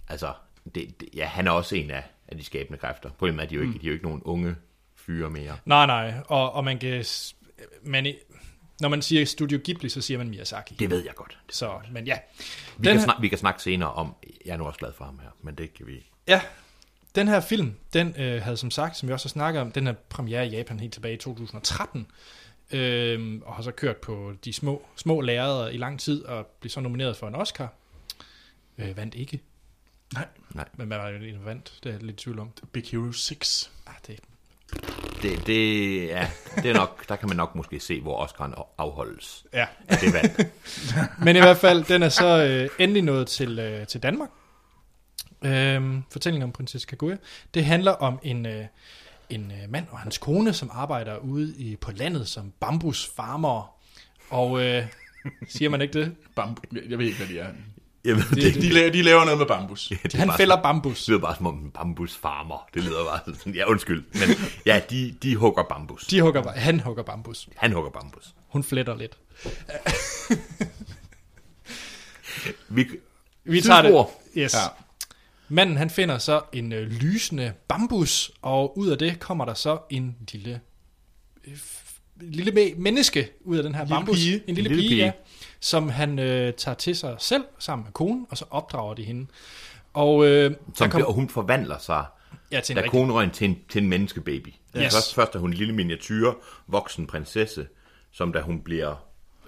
Speaker 3: Altså, det, det, ja, han er også en af, af de skabende kræfter. Problemet er, at de er jo ikke, mm. de er jo ikke nogen unge fyre mere.
Speaker 1: Nej, nej, og, og man kan... s- Man, i- når man siger Studio Ghibli, så siger man Miyazaki.
Speaker 3: Det ved jeg godt.
Speaker 1: Så, men ja.
Speaker 3: Vi, kan, snak, vi kan snakke senere om... Jeg er nu også glad for ham her, men det kan vi...
Speaker 1: Ja, den her film, den øh, havde som sagt, som vi også har snakket om, den her premiere i Japan helt tilbage i 2013, øh, og har så kørt på de små, små lærere i lang tid, og blev så nomineret for en Oscar. Øh, vandt ikke. Nej.
Speaker 3: Nej.
Speaker 1: Men hvad var det, der vandt? Det er jeg lidt i tvivl om.
Speaker 2: Big Hero 6.
Speaker 1: Ah, det,
Speaker 3: Det, det, ja, det er nok... Der kan man nok måske se, hvor Oscar'en afholdes.
Speaker 1: ja.
Speaker 3: Ja, det er vand.
Speaker 1: Men i hvert fald, den er så øh, endelig nået til, øh, til Danmark. Øhm, fortællingen om prinsesse Kaguya. Det handler om en, øh, en øh, mand og hans kone, som arbejder ude i, på landet som bambusfarmer. Og øh, siger man ikke det?
Speaker 2: Bambu. Jeg jeg ved ikke, hvad de er.
Speaker 3: Jamen, det, det,
Speaker 2: De laver, de laver noget med bambus.
Speaker 3: det, er
Speaker 1: Han
Speaker 3: bare
Speaker 1: fælder bambus.
Speaker 3: Det lyder bare som om en bambusfarmer. Det lyder bare sådan, ja undskyld, men ja, de, de hugger bambus.
Speaker 1: De hugger, han hugger bambus.
Speaker 3: Han hugger bambus.
Speaker 1: Hun fletter lidt.
Speaker 3: Vi,
Speaker 1: Vi tager det.
Speaker 3: Sidespor.
Speaker 1: Yes. Ja.
Speaker 2: Ja.
Speaker 1: Manden han finder så en øh, lysende bambus, og ud af det kommer der så en lille, øh, f- lille me- menneske ud af den her bambus.
Speaker 2: pige.
Speaker 1: En lille, pige, Ja, som han øh, tager til sig selv sammen med konen, og så opdrager de hende. Og, øh,
Speaker 3: som
Speaker 1: der kom,
Speaker 3: og hun forvandler sig,
Speaker 1: ja, til en
Speaker 3: da
Speaker 1: rigtig,
Speaker 3: konen røg til en, til en menneskebaby.
Speaker 1: Yes.
Speaker 3: Yes. Først, først er hun en lille miniatyr, voksen prinsesse, som da hun bliver,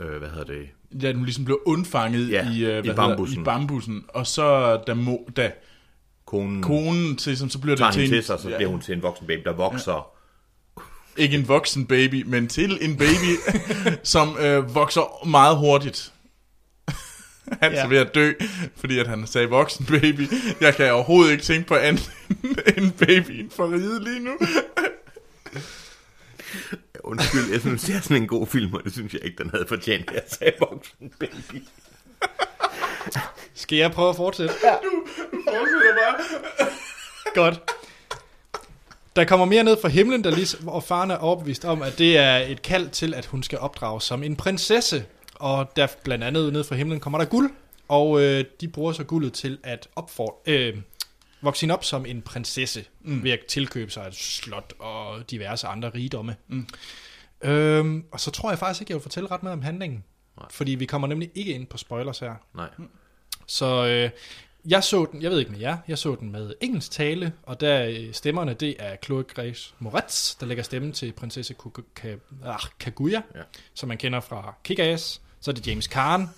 Speaker 3: øh, hvad hedder det,
Speaker 2: Ja, den ligesom blev undfanget
Speaker 3: Ja,
Speaker 2: i, øh,
Speaker 3: i
Speaker 2: hvad
Speaker 3: bambussen.
Speaker 2: Hedder, i bambussen. Og så da, mo, da
Speaker 3: konen Kone
Speaker 2: konen til, som, så bliver
Speaker 3: tager
Speaker 2: det
Speaker 3: hende
Speaker 2: til,
Speaker 3: til sig, så bliver hun til en voksen baby, der vokser. Ja.
Speaker 2: ikke en voksen baby, men til en baby, som øh, vokser meget hurtigt. Han
Speaker 1: Ja.
Speaker 2: er ved at dø, fordi at han sagde voksen baby. Jeg kan overhovedet ikke tænke på andet end babyen for ride lige nu.
Speaker 3: Undskyld, jeg synes, det er sådan en god film, og det synes jeg ikke, den havde fortjent, at jeg sagde voksen baby.
Speaker 1: Skal jeg prøve at fortsætte?
Speaker 2: Fortsætter bare.
Speaker 1: Godt. Der kommer mere ned fra himlen, der lige, og faren er overbevist om, at det er et kald til, at hun skal opdrages som en prinsesse. Og der blandt andet ned fra himlen kommer der guld, og øh, de bruger så guldet til at opfor, øh, vokse hende op som en prinsesse, mm. ved at tilkøbe sig et slot og diverse andre rigdomme. Mm. Øhm, og så tror jeg faktisk ikke, jeg vil fortælle ret meget om handlingen, Nej. fordi vi kommer nemlig ikke ind på spoilers her.
Speaker 3: Nej.
Speaker 1: Så øh, jeg så den, jeg ved ikke med jer, jeg så den med engelsk tale, og der øh, stemmerne, det er Chloe Grace Moretz, der lægger stemme til prinsesse Kuku- Ka- ah, Kaguya, ja.
Speaker 3: Ja.
Speaker 1: som man kender fra Kick-Ass. Så er det James Caan,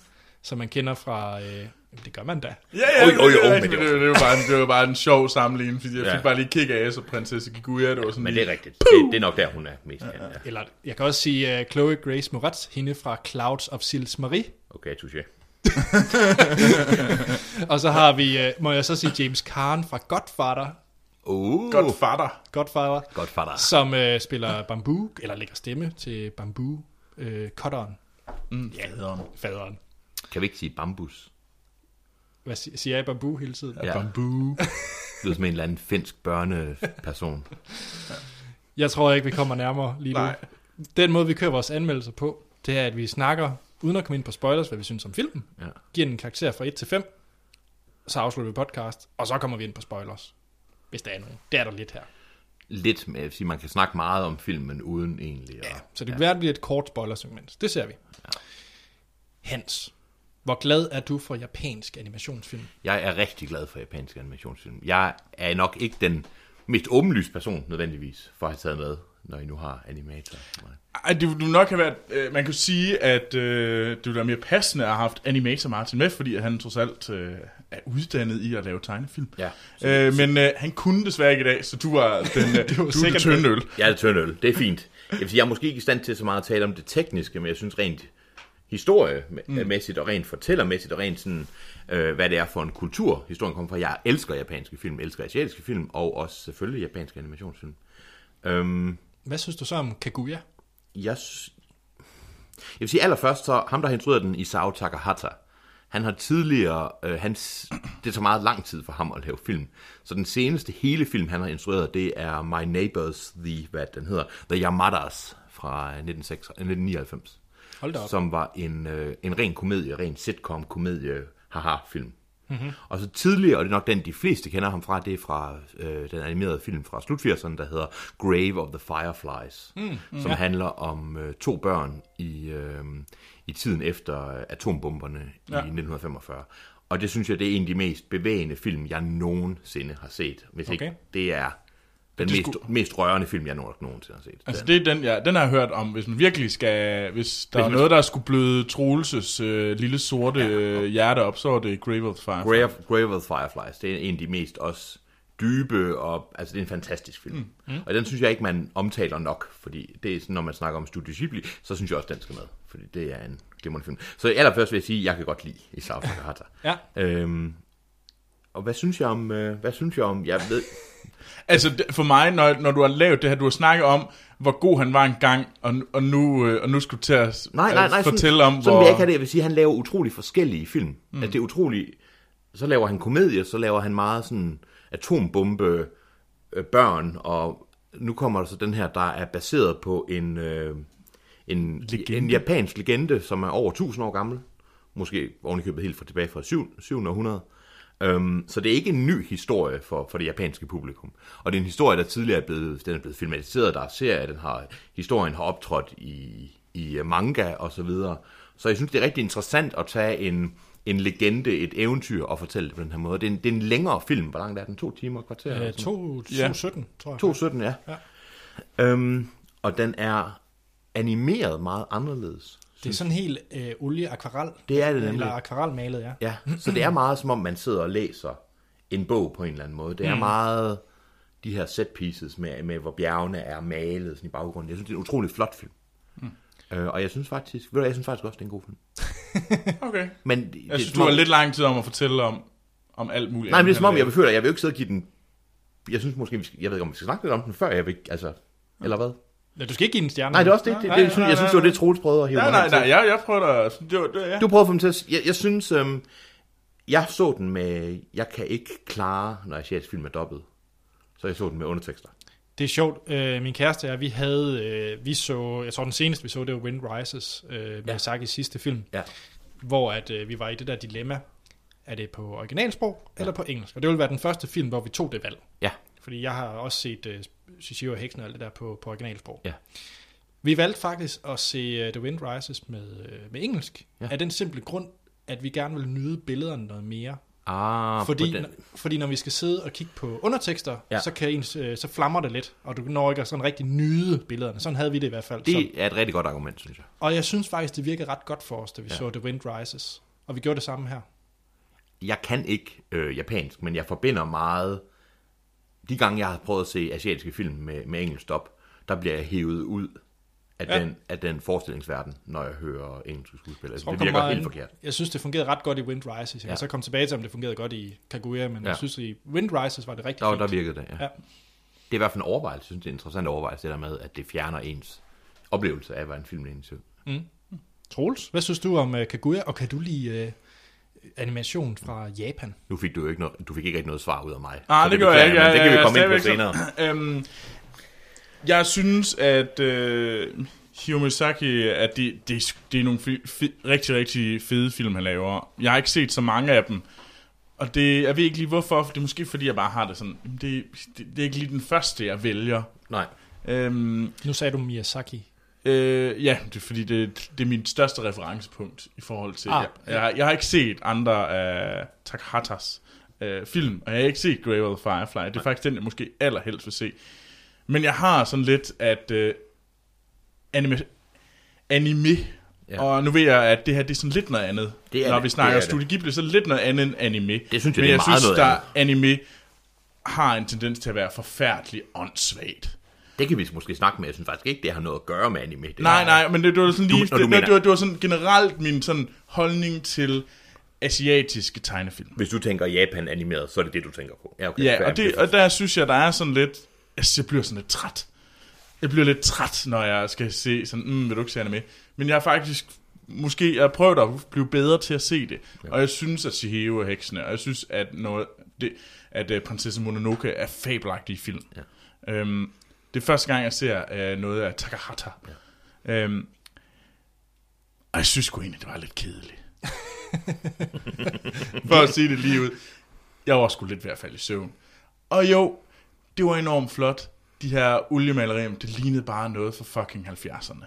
Speaker 1: som man kender fra... Øh, jamen, det gør man da.
Speaker 2: Ja, ja,
Speaker 3: Oj,
Speaker 2: det,
Speaker 3: oj,
Speaker 2: er
Speaker 3: oj,
Speaker 2: rigtigt,
Speaker 3: men det
Speaker 2: men det, det, var bare, det var bare en sjov sammenligning, fordi jeg
Speaker 3: Ja.
Speaker 2: fik bare lige kick af, så prinsesse Kiguya, det var sådan
Speaker 3: Men det
Speaker 2: lige-
Speaker 3: er rigtigt. Det, det er nok der, hun er mest kendt. Ja.
Speaker 1: Eller jeg kan også sige øh, Chloe Grace Moretz, hende fra Clouds of Sils Marie.
Speaker 3: Okay, touché.
Speaker 1: Og så har vi, øh, må jeg så sige, James Caan fra Godfather,
Speaker 3: Uh,
Speaker 2: Godt fatter.
Speaker 1: Godfather
Speaker 3: godt for dig.
Speaker 1: som øh, spiller bambu, eller lægger stemme til bambu, øh, cutteren.
Speaker 3: Mm.
Speaker 2: Ja, hedder hun.
Speaker 1: faderen.
Speaker 3: Kan vi ikke sige bambus?
Speaker 1: Hvad si- siger jeg bambu hele tiden?
Speaker 3: Ja.
Speaker 2: Bamboo.
Speaker 3: lyder som en eller anden finsk børneperson.
Speaker 1: Jeg tror ikke, vi kommer nærmere lige nu.
Speaker 2: Nej.
Speaker 1: Den måde, vi kører vores anmeldelser på, det er, at vi snakker, uden at komme ind på spoilers, hvad vi synes om filmen,
Speaker 3: Ja.
Speaker 1: giver den en karakter fra 1 til 5, så afslutter vi podcast, og så kommer vi ind på spoilers, hvis der er nogen. Det er der lidt her.
Speaker 3: Lidt med, jeg vil sige, man kan snakke meget om filmen uden egentlig. Og,
Speaker 1: Så det kan være, at det bliver et kort spoilersegment. Det ser vi. Hans, hvor glad er du for japansk animationsfilm?
Speaker 3: Jeg er rigtig glad for japanske animationsfilm. Jeg er nok ikke den mest åbenlyse person, nødvendigvis, for at have taget med, når I nu har animator.
Speaker 2: Ej, det ville nok have været... Øh, man kunne sige, at øh, det ville være mere passende at have haft animator Martin med, fordi at han trods alt øh, er uddannet i at lave tegnefilm.
Speaker 3: Ja.
Speaker 2: Øh, men øh, han kunne desværre ikke i dag, så du var den, øh, du er den
Speaker 1: sikkert-
Speaker 2: tynde øl.
Speaker 3: Jeg er det tynde øl. Det er fint. Jeg vil sige, jeg er måske ikke i stand til så meget at tale om det tekniske, men jeg synes rent historiemæssigt og rent fortællermæssigt og rent sådan, øh, hvad det er for en kultur, historien kommer fra. Jeg elsker japanske film, elsker asiatiske film, og også selvfølgelig japanske animationsfilm. Øhm,
Speaker 1: Hvad synes du så om Kaguya?
Speaker 3: jeg, s- jeg vil sige allerførst, så ham, der har instrueret den, Isao Takahata, han har tidligere, øh, hans, det tager meget lang tid for ham at lave film, så den seneste hele film, han har instrueret, det er My Neighbors, The, hvad den hedder, The Yamadas fra 1996, 1999,
Speaker 1: Hold da op.
Speaker 3: som var en, øh, en ren komedie, ren sitcom-komedie, haha-film. Mm-hmm. Og så tidligere, og det er nok den, de fleste kender ham fra, det er fra øh, den animerede film fra slut 80'erne, der hedder Grave of the Fireflies, mm, som ja. handler om øh, to børn i, øh, i tiden efter øh, atombomberne ja. i 1945. Og det synes jeg, det er en af de mest bevægende film, jeg nogensinde har set. Hvis okay.
Speaker 1: Okay.
Speaker 3: ikke det er den mest, mest rørende film, jeg nok nogensinde har set.
Speaker 2: Altså, det er den, jeg, den har jeg hørt om, hvis man virkelig skal... Hvis der
Speaker 3: Hvis
Speaker 2: er
Speaker 3: man-
Speaker 2: noget, der skulle bløde Troelses øh, lille sorte øh, hjerte op, så er det Grave of the Fire.
Speaker 3: Grave, Grave of the Fireflies, det er en af de mest også dybe, og altså det er en fantastisk film. Mm. Mm. Og den synes jeg ikke, man omtaler nok, fordi det er sådan, når man snakker om Studio Ghibli, så synes jeg også, den skal med, fordi det er en glimrende film. Så allerførst vil jeg sige, at jeg kan godt lide Isao Takahata.
Speaker 1: Ja.
Speaker 3: Øhm, og hvad synes jeg om, øh, hvad synes jeg om, jeg ved,
Speaker 2: Altså, det- for mig, når, når du har lavet det her, du har snakket om, hvor god han var engang, og, og, nu, øh, og nu skulle du til at
Speaker 3: nej, nej, nej,
Speaker 2: at fortælle om,
Speaker 3: sådan
Speaker 2: hvor...
Speaker 3: vil jeg ikke have det. Jeg vil sige, at han laver utrolig forskellige film. Mm. Altså, det er utrolig... Så laver han komedier, så laver han meget sådan atombombe, øh, børn, og nu kommer der så den her, der er baseret på en, øh, en, en japansk legende, som er over 1000 år gammel. Måske ovenikøbet helt fra tilbage fra 7, 700 århundrede. Øhm, så det er ikke en ny historie for, for det japanske publikum. Og det er en historie, der tidligere er blevet, den er blevet filmatiseret, der er serier, den har, historien har optrådt i, i øh, manga og så videre. Så jeg synes, det er rigtig interessant at tage en, en legende, et eventyr og fortælle det på den her måde. Det er en, det er en længere film. Hvor lang er den? To timer og kvarter? eller
Speaker 1: Øh,
Speaker 3: sådan?
Speaker 1: 2017, tror jeg.
Speaker 3: 2017, ja. ja. Øhm, og den er animeret meget anderledes.
Speaker 1: Det er sådan helt øh, olie-akvarel.
Speaker 3: Det er det
Speaker 1: Eller
Speaker 3: nemlig.
Speaker 1: akvarelmalet, ja.
Speaker 3: Ja, så det er meget som om, man sidder og læser en bog på en eller anden måde.
Speaker 2: Mm.
Speaker 3: Det er meget de her set pieces med, med hvor bjergene er malet sådan i baggrunden. Jeg synes, det er en utrolig flot film. Mm. Øh, og jeg synes faktisk, ved du, hvad, jeg synes faktisk også, det er en god film.
Speaker 2: Okay.
Speaker 3: Men det,
Speaker 2: Jeg
Speaker 3: det,
Speaker 2: synes,
Speaker 3: er
Speaker 2: du
Speaker 3: som
Speaker 2: har
Speaker 3: om-
Speaker 2: lidt lang tid om at fortælle om, om alt muligt.
Speaker 3: Nej, men det er som om,
Speaker 2: andet,
Speaker 3: jeg vil føle, at jeg vil jo ikke sidde og give den... Jeg synes måske, vi skal, jeg ved ikke, om vi skal snakke lidt om den før, jeg vil ikke, altså... Eller hvad?
Speaker 1: Ja, Du skal ikke give den stjerne.
Speaker 3: Nej, det er også det. det, det,
Speaker 2: nej,
Speaker 3: det synes,
Speaker 2: nej,
Speaker 3: jeg synes, det var
Speaker 2: nej.
Speaker 3: det, Troels prøvede at hive
Speaker 2: Nej,
Speaker 3: mig
Speaker 2: nej,
Speaker 3: hen
Speaker 2: nej,
Speaker 3: til.
Speaker 2: jeg, jeg prøver da... Det var, det var, ja. Ah,
Speaker 3: Du prøver at få dem til at... s- Jeg, jeg synes... Øhm, jeg så den med... Jeg kan ikke klare, når asiatisk film er dobbelt. Så jeg så den med undertekster.
Speaker 1: Det er sjovt. Øh, min kæreste og jeg, vi havde, øh, vi så, jeg tror den seneste vi så, det var Wind Rises, øh, Miyazakis sidste film,
Speaker 3: Ja.
Speaker 1: hvor at, øh, vi var i det der dilemma. Er det på originalsprog ja. eller på engelsk? Og det ville være den første film, hvor vi tog det valg.
Speaker 3: Ja.
Speaker 1: Fordi jeg har også set øh, Shishio og Heksen og alt det der på, på originalsprog.
Speaker 3: Ja.
Speaker 1: Vi valgte faktisk at se øh, The Wind Rises med, øh, med engelsk,
Speaker 3: Ja.
Speaker 1: ja. af den simple grund, at vi gerne vil nyde billederne noget mere.
Speaker 3: Ah,
Speaker 1: Fordi,
Speaker 3: på den.
Speaker 1: n- fordi når vi skal sidde og kigge på undertekster,
Speaker 3: Ja.
Speaker 1: ja. så, kan ens, øh, så flammer det lidt, og du når ikke at sådan rigtig nyde billederne. Sådan havde vi det i hvert fald. Så.
Speaker 3: Det er et rigtig godt argument, synes jeg.
Speaker 1: Og jeg synes faktisk, det virkede ret godt for os, da vi
Speaker 3: Ja.
Speaker 1: ja. så The Wind Rises. Og vi gjorde det samme her.
Speaker 3: Jeg kan ikke øh, japansk, men jeg forbinder meget... De gange, jeg har prøvet at se asiatiske film med, med engelsk dub, der bliver jeg hævet ud af, ja.
Speaker 1: Ja.
Speaker 3: den, af den forestillingsverden, når jeg hører engelske skuespillere. Altså,
Speaker 1: Jeg tror, kom
Speaker 3: det virker
Speaker 1: meget
Speaker 3: helt
Speaker 1: an-
Speaker 3: forkert.
Speaker 1: Jeg synes, det fungerede ret godt i Wind Rises. Jeg ja.
Speaker 3: Ja.
Speaker 1: kan så komme tilbage til, om det fungerede godt i Kaguya, men
Speaker 3: Ja.
Speaker 1: ja. jeg synes, i Wind Rises var det rigtig
Speaker 3: Der,
Speaker 1: fint.
Speaker 3: der virkede det, ja.
Speaker 1: Ja.
Speaker 3: Det er i hvert fald en overvejelse, jeg synes, det er en interessant overvejelse, det der med, at det fjerner ens oplevelse af, hvad en film egentlig ser. ud.
Speaker 1: øh, Troels, hvad synes du om uh, Kaguya, og kan du lide uh, animation fra Japan.
Speaker 3: Nu fik du jo ikke, noget, du fik ikke rigtig noget svar ud af mig.
Speaker 2: Nej,
Speaker 3: Så
Speaker 2: det, det gør jeg
Speaker 3: beklager
Speaker 2: ikke.
Speaker 3: men
Speaker 2: Jeg,
Speaker 3: det kan
Speaker 2: jeg-
Speaker 3: vi komme
Speaker 2: jeg
Speaker 3: ind på senere.
Speaker 2: stadigvæk så- øhm, jeg synes, at øh, Hayao Miyazaki, at det, det, er sgu- det er nogle fi, fi, rigtig, rigtig fede film, han laver. Jeg har ikke set så mange af dem. Og det, jeg ved ikke lige hvorfor, for det er måske fordi, jeg bare har det sådan, det, det, det er ikke lige den første, jeg vælger.
Speaker 3: Nej.
Speaker 2: Øhm,
Speaker 1: Nu sagde du Miyazaki.
Speaker 2: Øh, ja, det er fordi, det, det er min største referencepunkt i forhold til...
Speaker 1: Ah.
Speaker 2: Ah, jeg, jeg, jeg har ikke set andre af uh, Takahatas uh, film, og jeg har ikke set Grey World Firefly. Det er faktisk den, jeg måske allerhelst vil se. Men jeg har sådan lidt, at uh, anime... anime
Speaker 3: Ja.
Speaker 2: ja. Og nu ved jeg, at det her det er sådan lidt noget andet.
Speaker 3: Det er
Speaker 2: Når
Speaker 3: det.
Speaker 2: vi
Speaker 3: Det
Speaker 2: snakker
Speaker 3: er det.
Speaker 2: Studio Ghibli, så er det lidt noget andet end anime.
Speaker 3: Det synes jeg,
Speaker 2: Men
Speaker 3: det er
Speaker 2: jeg
Speaker 3: meget
Speaker 2: synes,
Speaker 3: noget
Speaker 2: der anime har en tendens til at være forfærdelig åndssvagt.
Speaker 3: Det kan vi måske snakke med. Jeg synes faktisk ikke, det har noget at gøre med anime. Det
Speaker 2: Nej,
Speaker 3: har-
Speaker 2: nej, men det, det var sådan lige...
Speaker 3: når
Speaker 2: Du,
Speaker 3: du
Speaker 2: det, det,
Speaker 3: mener-
Speaker 2: det, var, det var sådan generelt min sådan holdning til asiatiske tegnefilm.
Speaker 3: Hvis du tænker Japan animeret, så er det det, du tænker på. Ja, okay,
Speaker 2: Ja,
Speaker 3: fair.
Speaker 2: og, det, og der synes jeg, der er sådan lidt... Altså, jeg bliver sådan lidt træt. Jeg bliver lidt træt, når jeg skal se sådan... Mm, vil du ikke se med? Men jeg har faktisk... Måske jeg prøver at blive bedre til at se det. Og jeg synes, at Shihiro er heksene, og jeg synes, at, noget, det, at uh, prinsesse Mononoke er fabelagtig i film. Ja. Øhm, det er første gang, jeg ser uh, noget af Takahata. Ja. Øhm, og jeg synes sgu egentlig, det var lidt kedeligt. For at sige det lige ud. Jeg var sgu lidt ved at falde i søvn. Og jo, det var enormt flot. De her oliemalerier, men det lignede bare noget fra fucking 70'erne.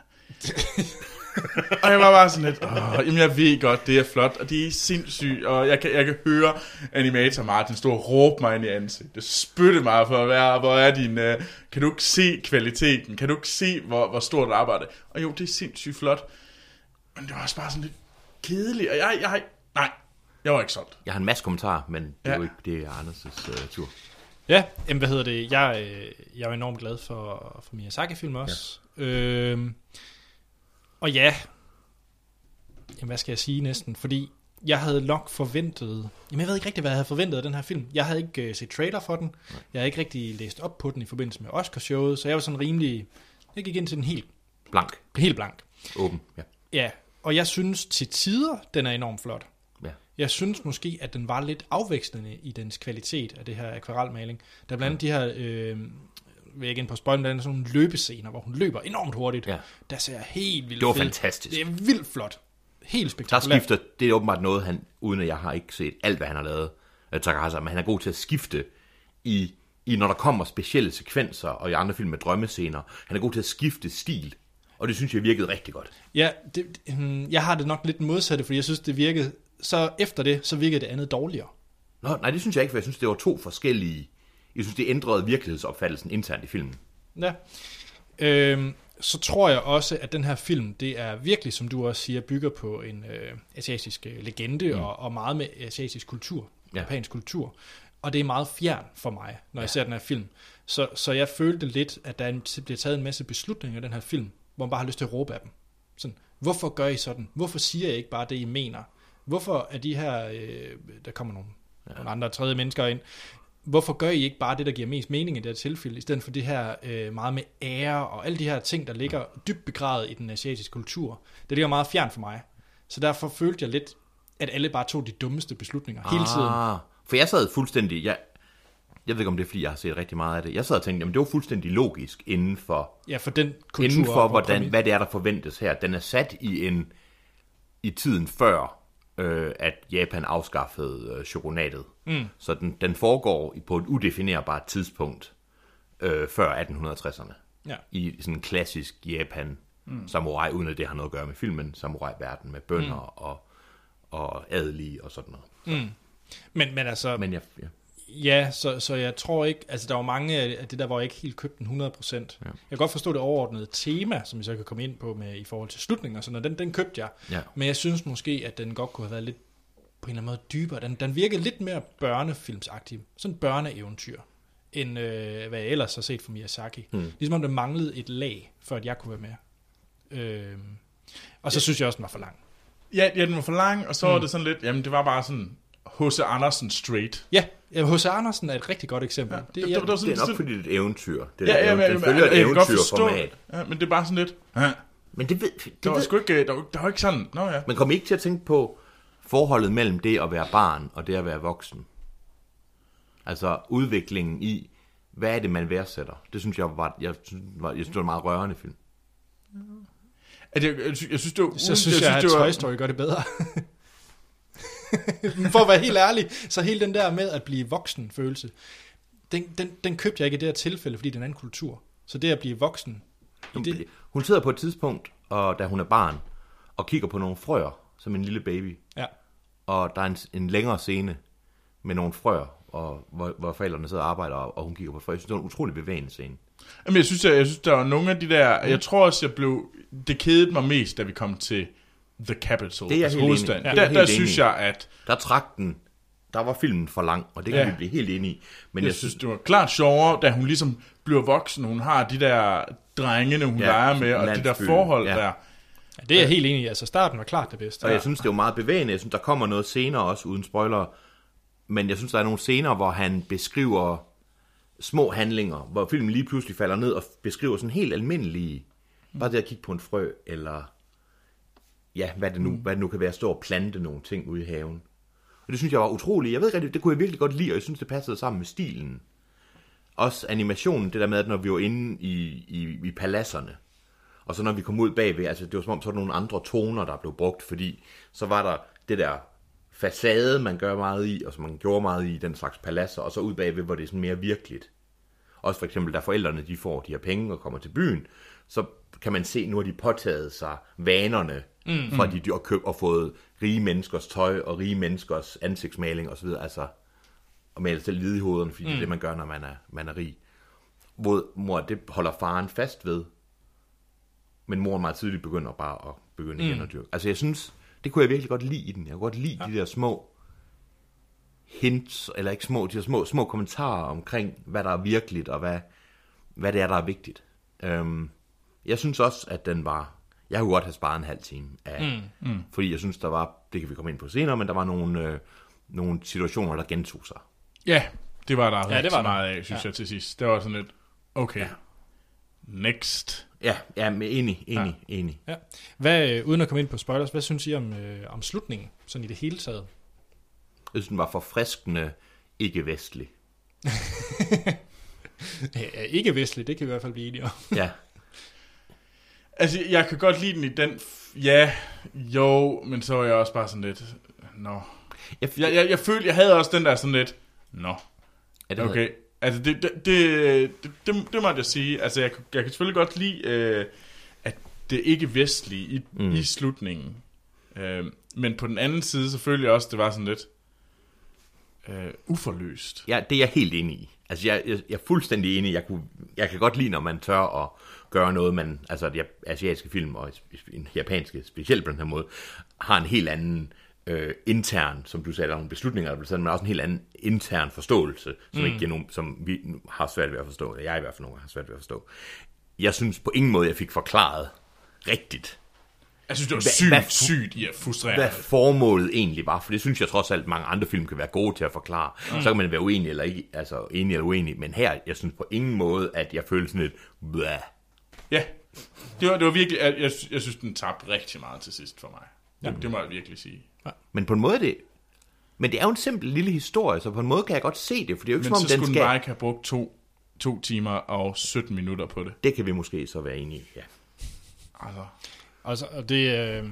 Speaker 2: og jeg var bare sådan lidt, Åh, jamen jeg ved godt, det er flot, og det er sindssygt, og jeg kan, jeg kan høre animator Martin stå og råbe mig ind i ansigtet, spytte mig for at være, hvor er din, øh, kan du ikke se kvaliteten, kan du ikke se, hvor, hvor stort arbejde, er?" og jo, det er sindssygt flot, men det var også bare sådan lidt kedeligt, og jeg, jeg, nej, jeg var ikke solgt.
Speaker 3: Jeg har en masse kommentarer, men det er jo
Speaker 2: Ja.
Speaker 3: ikke det er Anders' uh, tur.
Speaker 1: Ja, jamen, hvad hedder det? Jeg, øh, jeg er enormt glad for, for Miyazaki-film også. Ja. Øhm, og ja, jamen, hvad skal jeg sige næsten? Fordi jeg havde nok forventet... Jamen, jeg ved ikke rigtig, hvad jeg havde forventet af den her film. Jeg havde ikke øh, set trailer for den. Nej. Jeg havde ikke rigtig læst op på den i forbindelse med Oscarshowet, så jeg var sådan rimelig... Jeg gik ind til den helt,
Speaker 3: Blank.
Speaker 1: helt blank.
Speaker 3: Åben. Ja.
Speaker 1: Ja, og jeg synes til tider, den er enormt flot.
Speaker 3: ja.
Speaker 1: Jeg synes måske, at den var lidt afvekslende i dens kvalitet af det her akvarelmaling. Der er blandt andet de her, øh, vil jeg ikke ind på spøjlen, der er sådan nogle løbescener, hvor hun løber enormt hurtigt.
Speaker 3: Ja.
Speaker 1: Der ser helt vildt
Speaker 3: Det var
Speaker 1: fedt.
Speaker 3: fantastisk.
Speaker 1: Det er vildt flot. Helt
Speaker 3: Der
Speaker 1: spektakulært.
Speaker 3: skifter, det er åbenbart noget, han, uden at jeg har ikke set alt, hvad han har lavet, øh, Takahasa, men han er god til at skifte i, i, når der kommer specielle sekvenser, og i andre film med drømmescener. Han er god til at skifte stil, og det synes jeg virkede rigtig godt.
Speaker 1: Ja, det, hmm, jeg har det nok lidt modsatte, fordi jeg synes, det virkede, så efter det, så virkede det andet dårligere.
Speaker 3: Nå, nej, det synes jeg ikke, for jeg synes, det var to forskellige... Jeg synes, det ændrede virkelighedsopfattelsen internt i filmen.
Speaker 1: Ja. Øhm, så tror jeg også, at den her film, det er virkelig, som du også siger, bygger på en øh, asiatisk øh, legende mm. og, og meget med asiatisk kultur,
Speaker 3: Ja.
Speaker 1: ja. japansk kultur. Og det er meget fjern for mig, når ja. jeg ser den her film. Så, så jeg følte lidt, at der er en- bliver taget en masse beslutninger i den her film, hvor man bare har lyst til at råbe af dem. Sådan, hvorfor gør I sådan? Hvorfor siger jeg ikke bare det, I mener? Hvorfor er de her, øh, der kommer nogle, ja. nogle andre tredje mennesker ind, hvorfor gør I ikke bare det, der giver mest mening i det her tilfælde, i stedet for det her øh, meget med ære og alle de her ting, der ligger dybt begravet i den asiatiske kultur. Det ligger meget fjern for mig. Så derfor følte jeg lidt, at alle bare tog de dummeste beslutninger ah. hele tiden.
Speaker 3: Ah, for jeg sad fuldstændig... Jeg, jeg ved ikke, om det er, fordi jeg har set rigtig meget af det. Jeg sad og tænkte, jamen det var fuldstændig logisk inden for,
Speaker 1: Ja, for den kultur.
Speaker 3: inden for
Speaker 1: og
Speaker 3: hvordan,
Speaker 1: præmis.
Speaker 3: hvad det er, der forventes her. Den er sat i en i tiden før, øh, at Japan afskaffede øh, shogunatet. Mm. Så den, den foregår i- på et udefinerbart tidspunkt øh, før 1860'erne.
Speaker 1: Ja.
Speaker 3: i sådan en klassisk Japan mm. samurai, uden at det har noget at gøre med filmen, samurai-verden med bønder mm. og, og adelige og sådan noget.
Speaker 1: Men, men altså, men.
Speaker 3: Men jeg, ja.
Speaker 1: ja, så, så jeg tror ikke, altså der var mange af af det der, hvor jeg ikke helt købte den 100%. Ja. Jeg kan godt forstå det overordnede tema, som jeg så kan komme ind på med i forhold til slutningen og sådan noget, den, den købte jeg.
Speaker 3: Ja.
Speaker 1: Men jeg synes måske, at den godt kunne have været lidt på en eller anden måde dybere. Den, den virkede lidt mere børnefilmsagtig. Sådan børneeventyr, end øh, hvad jeg ellers har set fra Miyazaki. Mm. Ligesom om det manglede et lag, for at jeg kunne være med. Øh, og så ja. synes jeg også, den var for lang.
Speaker 2: Ja, ja den var for lang, og så mm. var det sådan lidt, jamen det var bare sådan H.C. Andersen straight.
Speaker 1: Ja, øh, H.C. Andersen er et rigtig godt eksempel. Ja, det,
Speaker 2: Det, det, det, var sådan,
Speaker 3: Det er
Speaker 2: sådan-
Speaker 3: nok fordi, det er et eventyr. Det
Speaker 2: Ja,
Speaker 3: er et
Speaker 2: ja,
Speaker 3: eventyr.
Speaker 2: men,
Speaker 3: den
Speaker 2: men,
Speaker 3: følger et
Speaker 2: jeg kan godt forstå,
Speaker 3: eventyrformat.
Speaker 2: ja, men det er bare sådan lidt, ja,
Speaker 3: Men det ved, det
Speaker 2: der var
Speaker 3: ved
Speaker 2: sgu ikke, øh, der var, der var ikke sådan, nå ja.
Speaker 3: man kom ikke til at tænke på, forholdet mellem det at være barn og det at være voksen. Altså udviklingen i, hvad er det, man værdsætter. Det synes jeg var, jeg, synes, var, jeg synes, det var en meget rørende film.
Speaker 2: At jeg, jeg, sy- jeg synes, det var...
Speaker 1: Så synes jeg, jeg
Speaker 2: det
Speaker 1: synes, at
Speaker 2: var-
Speaker 1: Toy Story gør det bedre. Men For at være helt ærlig, så hele den der med at blive voksen følelse, den, den, den købte jeg ikke i det her tilfælde, fordi den er en anden kultur. Så det at blive voksen, i det,
Speaker 3: Hun sidder på et tidspunkt, og da hun er barn, og kigger på nogle frøer, som en lille baby.
Speaker 1: ja.
Speaker 3: Og der er en, en længere scene med nogle frøer, og, hvor, hvor forældrene sidder og arbejder, og, og hun kigger på et frø. Jeg synes, det var en utrolig bevægende scene.
Speaker 2: Jamen, jeg synes, jeg, jeg synes, der var nogle af de der...
Speaker 1: Mm.
Speaker 2: Jeg tror også, jeg blev... Det kedede mig mest, da vi kom til The Capital,
Speaker 3: Det er jeg helt enig i.
Speaker 2: hovedstaden.
Speaker 3: Det er
Speaker 2: Der,
Speaker 3: jeg
Speaker 2: der,
Speaker 3: helt
Speaker 2: der
Speaker 3: enig i.
Speaker 2: synes jeg, at
Speaker 3: Der trak den, der var filmen for lang, og det kan
Speaker 2: Ja.
Speaker 3: ja. vi blive helt enige i. Men
Speaker 2: jeg synes, det var klart sjovere, da hun ligesom bliver voksen. Hun har de der drengene, hun
Speaker 3: Ja,
Speaker 2: ja, leger med, og det der
Speaker 3: landsbyen,
Speaker 2: forhold
Speaker 3: ja.
Speaker 2: ja. der.
Speaker 1: ja det er jeg helt enig i. Altså starten var klart det bedste.
Speaker 3: Og jeg synes, det er jo meget bevægende. Jeg synes, der kommer noget senere også, uden spoiler. Men jeg synes, der er nogle scener, hvor han beskriver små handlinger, hvor filmen lige pludselig falder ned og beskriver sådan helt almindelige, bare det at kigge på en frø, eller ja, hvad det nu, hvad det nu kan være, stå og plante nogle ting ude i haven. Og det synes jeg var utroligt. Jeg ved ikke rigtig, det kunne jeg virkelig godt lide, og jeg synes, det passede sammen med stilen. Også animationen, det der med, at når vi var inde i, i, i paladserne, og så når vi kom ud bagved, altså det var som om, så var der nogle andre toner, der blev brugt, fordi så var der det der facade, man gør meget i, og som man gjorde meget i, den slags paladser, og så ud bagved, hvor det er sådan mere virkeligt. Også for eksempel, da forældrene de får de her penge og kommer til byen, så kan man se, nu har de påtaget sig vanerne mm. fra de dyr og køb og fået rige menneskers tøj og rige menneskers ansigtsmaling osv. Altså, og male selv hvide i hovederne, fordi mm. det er det, man gør, når man er, man er rig. Hvor mor, det holder faren fast ved, men moren meget tidligt begynder bare at begynde igen at dyrke. Altså jeg synes, det kunne jeg virkelig godt lide i den. Jeg kunne godt lide ja. de der små hints, eller ikke små, de der små, små kommentarer omkring, hvad der er virkeligt, og hvad, hvad det er, der er vigtigt. Øhm, jeg synes også, at den var... Jeg kunne godt have sparet en halv time af, mm. Mm. fordi jeg synes, der var, det kan vi komme ind på senere, men der var nogle, øh, nogle situationer, der gentog sig.
Speaker 2: Ja, det var der ja,
Speaker 1: det
Speaker 2: rigtig
Speaker 1: var der.
Speaker 2: meget af, synes ja. jeg til sidst. Det var sådan lidt, okay, ja. next.
Speaker 3: Ja, ja men enig, enig, ja. enig.
Speaker 1: Ja. Hvad, øh, uden at komme ind på spoilers, hvad synes I om, øh, om slutningen, sådan i det hele taget?
Speaker 3: Jeg synes, den var forfriskende ikke-vestlig.
Speaker 1: Ja, Øh, ikke vestligt, det kan vi i hvert fald blive enige om.
Speaker 3: Ja,
Speaker 2: Altså, jeg kan godt lide den i den... F- ja, jo, men så var jeg også bare sådan lidt... Nå.
Speaker 3: jeg,
Speaker 2: Jeg, jeg, jeg følte, jeg havde også den der sådan lidt... Nå,
Speaker 3: ja, det ved jeg
Speaker 2: okay. Altså, det, det, det, det, det, det måtte jeg sige. Altså, jeg, jeg kan selvfølgelig godt lide, øh, at det ikke vestlige i, mm. i slutningen. Øh, men på den anden side, så følte jeg også, det var sådan lidt... Øh, uforløst.
Speaker 3: Ja, det er jeg helt enig i. Altså, jeg, jeg, jeg er fuldstændig enig. Jeg, kunne, jeg kan godt lide, når man tør at gøre noget, man, altså de asiatiske film, og sp- en japanske specielt på den her måde, har en helt anden øh, intern, som du sagde, der er nogle beslutninger, der bliver taget, men også en helt anden intern forståelse, som, mm. ikke giver nogen, som vi har svært ved at forstå, eller jeg i hvert fald nogle gange har svært ved at forstå. Jeg synes på ingen måde, jeg fik forklaret rigtigt,
Speaker 2: Jeg synes, det var
Speaker 3: Hvad-
Speaker 2: sygt,
Speaker 3: hvad-
Speaker 2: sygt i at frustrere.
Speaker 3: hvad formålet egentlig var, for det synes jeg trods alt, mange andre film kan være gode til at forklare. Mm. Så kan man være uenig eller ikke, altså enig eller uenig, men her, jeg synes på ingen måde, at jeg føler sådan lidt, blæh.
Speaker 2: Ja, det var, det var virkelig, jeg, jeg, jeg synes, den tabte rigtig meget til sidst for mig. Ja. Det, det må jeg virkelig sige.
Speaker 3: Men på en måde er det, men det er jo en simpel lille historie, så på en måde kan jeg godt se det, for det er jo ikke
Speaker 2: Men
Speaker 3: som om,
Speaker 2: så
Speaker 3: den
Speaker 2: skulle
Speaker 3: skal...
Speaker 2: den bare ikke have brugt to, to timer og 17 minutter på det.
Speaker 3: Det kan vi måske så være enige i, ja.
Speaker 2: Altså,
Speaker 1: Og, så, og det... Øh...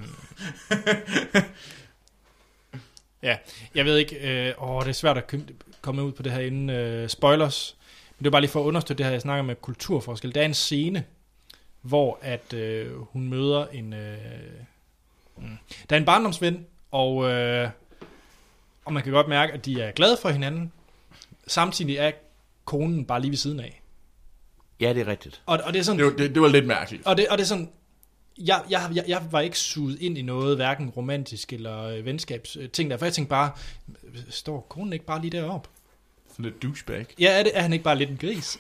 Speaker 1: ja, jeg ved ikke... Øh... Åh, det er svært at kø- komme ud på det her inden øh, spoilers. Men det er bare lige for at understøtte det her, jeg snakker med kulturforskel. Der er en scene, hvor at øh, hun møder en... Øh... mm, Der er en barndomsven, og, øh... og man kan godt mærke, at de er glade for hinanden. Samtidig er konen bare lige ved siden af.
Speaker 3: Ja, det er rigtigt.
Speaker 1: Og, og det er sådan...
Speaker 2: det, var, det, det var lidt mærkeligt.
Speaker 1: Og det, og det er sådan, jeg, jeg, jeg, jeg var ikke suget ind i noget, hverken romantisk eller øh, venskabs øh, ting der, for jeg tænkte bare, øh, står konen ikke bare lige deroppe?
Speaker 2: Sådan lidt douchebag.
Speaker 1: Ja, er, det, er han ikke bare lidt en gris?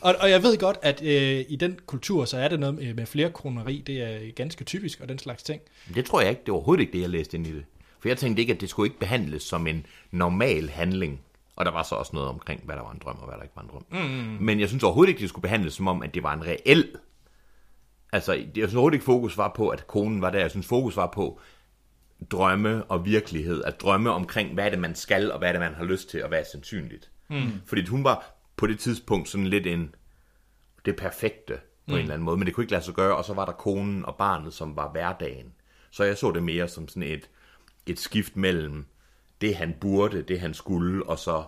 Speaker 1: og, og jeg ved godt, at øh, i den kultur, så er det noget med, med flere kroneri, det er ganske typisk, og den slags ting.
Speaker 3: Men Det tror jeg ikke, det var overhovedet ikke det, jeg læste ind i det. For jeg tænkte ikke, at det skulle ikke behandles som en normal handling. Og der var så også noget omkring, hvad der var en drøm og hvad der ikke var en drøm. Mm. Men jeg synes overhovedet ikke, det skulle behandles som om, at det var en reel... Altså, jeg synes overhovedet ikke, fokus var på, at konen var der. Jeg synes, fokus var på, drømme og virkelighed, at drømme omkring, hvad er det, man skal, og hvad er det, man har lyst til, og hvad er sandsynligt. Mm. Fordi hun var på det tidspunkt sådan lidt en, det perfekte på mm. en eller anden måde, men det kunne ikke lade sig gøre, og så var der konen og barnet, som var hverdagen. Så jeg så det mere som sådan et, et skift mellem det, han burde, det, han skulle, og så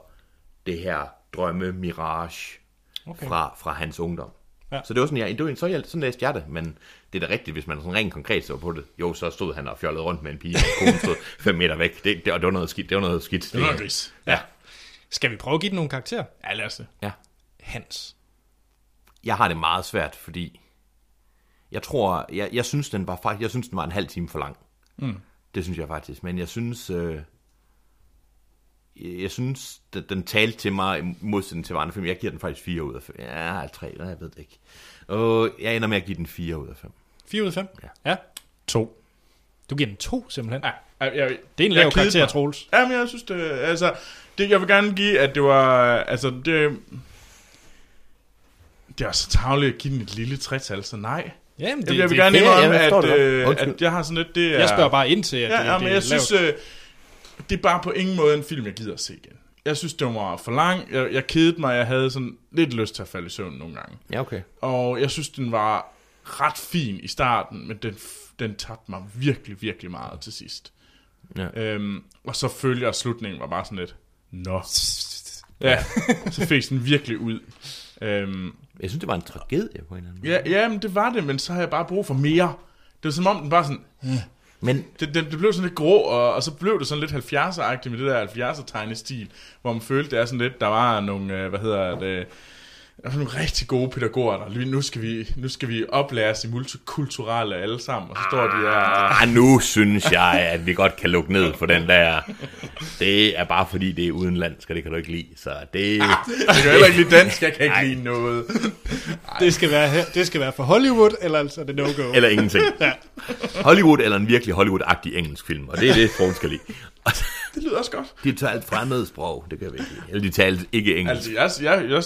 Speaker 3: det her drømme, mirage okay. fra, fra hans ungdom. Ja. Så det var sådan, jeg, det var, en- så jeg, sådan læste jeg det, men det er da rigtigt, hvis man sådan rent konkret så på det. Jo, så stod han og fjollede rundt med en pige, og konen stod fem meter væk. Det, det, og det var noget skidt. Det var noget skidt.
Speaker 2: Det var en gris.
Speaker 3: Ja.
Speaker 1: Skal vi prøve at give den nogle karakterer?
Speaker 2: Ja, lad os det.
Speaker 3: ja.
Speaker 1: Hans.
Speaker 3: Jeg har det meget svært, fordi jeg tror, jeg, jeg synes, den var, fakt- jeg synes, den var en halv time for lang. Mm. Det synes jeg faktisk. Men jeg synes, øh, jeg jeg synes, den, den talte til mig i modsætning til andre film. Jeg giver den faktisk 4 ud af 5. Ja, 3, nej, jeg ved det ikke. Og jeg ender med at give den 4 ud af 5.
Speaker 1: 4 ud af 5? Ja. ja. To. Du giver den to, simpelthen. Ja.
Speaker 2: Jeg, jeg,
Speaker 1: Det er en
Speaker 2: jeg
Speaker 1: lav
Speaker 2: kedede
Speaker 1: karakter,
Speaker 2: mig.
Speaker 1: Troels.
Speaker 2: Jamen, jeg synes det, altså, det, jeg vil gerne give, at det var, altså, det, det er også tavligt at give den et lille tretal, så nej.
Speaker 1: Jamen,
Speaker 2: Det, jeg vil
Speaker 1: det-
Speaker 2: gerne
Speaker 3: ja,
Speaker 2: indrømme,
Speaker 3: jeg forstår
Speaker 2: at,
Speaker 3: det godt.
Speaker 2: øh,
Speaker 3: Undskyld.
Speaker 2: at jeg har sådan lidt, det er...
Speaker 1: Jeg spørger bare ind til, at
Speaker 2: Ja,
Speaker 1: det,
Speaker 2: ja
Speaker 1: det
Speaker 2: men
Speaker 1: er
Speaker 2: jeg synes,
Speaker 1: lavt.
Speaker 2: øh, det er bare på ingen måde en film, jeg gider at se igen. Jeg synes, det var for lang. Jeg, jeg kedede mig. Jeg havde sådan lidt lyst til at falde i søvn nogle gange.
Speaker 3: Ja, okay.
Speaker 2: Og jeg synes, den var ret fin i starten, men den, f- den tabte mig virkelig, virkelig meget til sidst.
Speaker 3: Ja.
Speaker 2: Øhm, og så følger og slutningen var bare sådan lidt, nå. Ja, så fik den virkelig ud. Øhm,
Speaker 3: Jeg synes, det var en tragedie på en eller anden måde.
Speaker 2: ja, ja, men det var det, men så har jeg bare brug for mere. Det var som om, den bare sådan,
Speaker 3: Men
Speaker 2: det, det, det blev sådan lidt grå, og, og så blev det sådan lidt 70'er-agtigt med det der 70'er-tegnestil, hvor man følte, det er sådan lidt, der var nogle, øh, hvad hedder det, øh, der var nogle rigtig gode pædagoger, der lige- nu skal vi, nu skal vi oplære os i multikulturelle alle sammen, og så står de der,
Speaker 3: ah, nu synes jeg, at vi godt kan lukke ned for den der. Det er bare fordi, det er udenlandsk, og det kan du ikke lide. Så det...
Speaker 2: jeg Ah, kan heller ikke lide dansk, jeg kan
Speaker 3: Ah,
Speaker 2: ikke lide noget.
Speaker 1: Det skal, være, her- det skal være for Hollywood, eller altså er det no-go.
Speaker 3: Eller ingenting. Hollywood eller en virkelig Hollywood-agtig engelsk film, og det er det, Troels skal lide. Og så-
Speaker 2: Det lyder også godt.
Speaker 3: De talte fremmede sprog, det kan vi ikke lide. Eller de talte ikke engelsk.
Speaker 2: Altså, jeg, jeg, jeg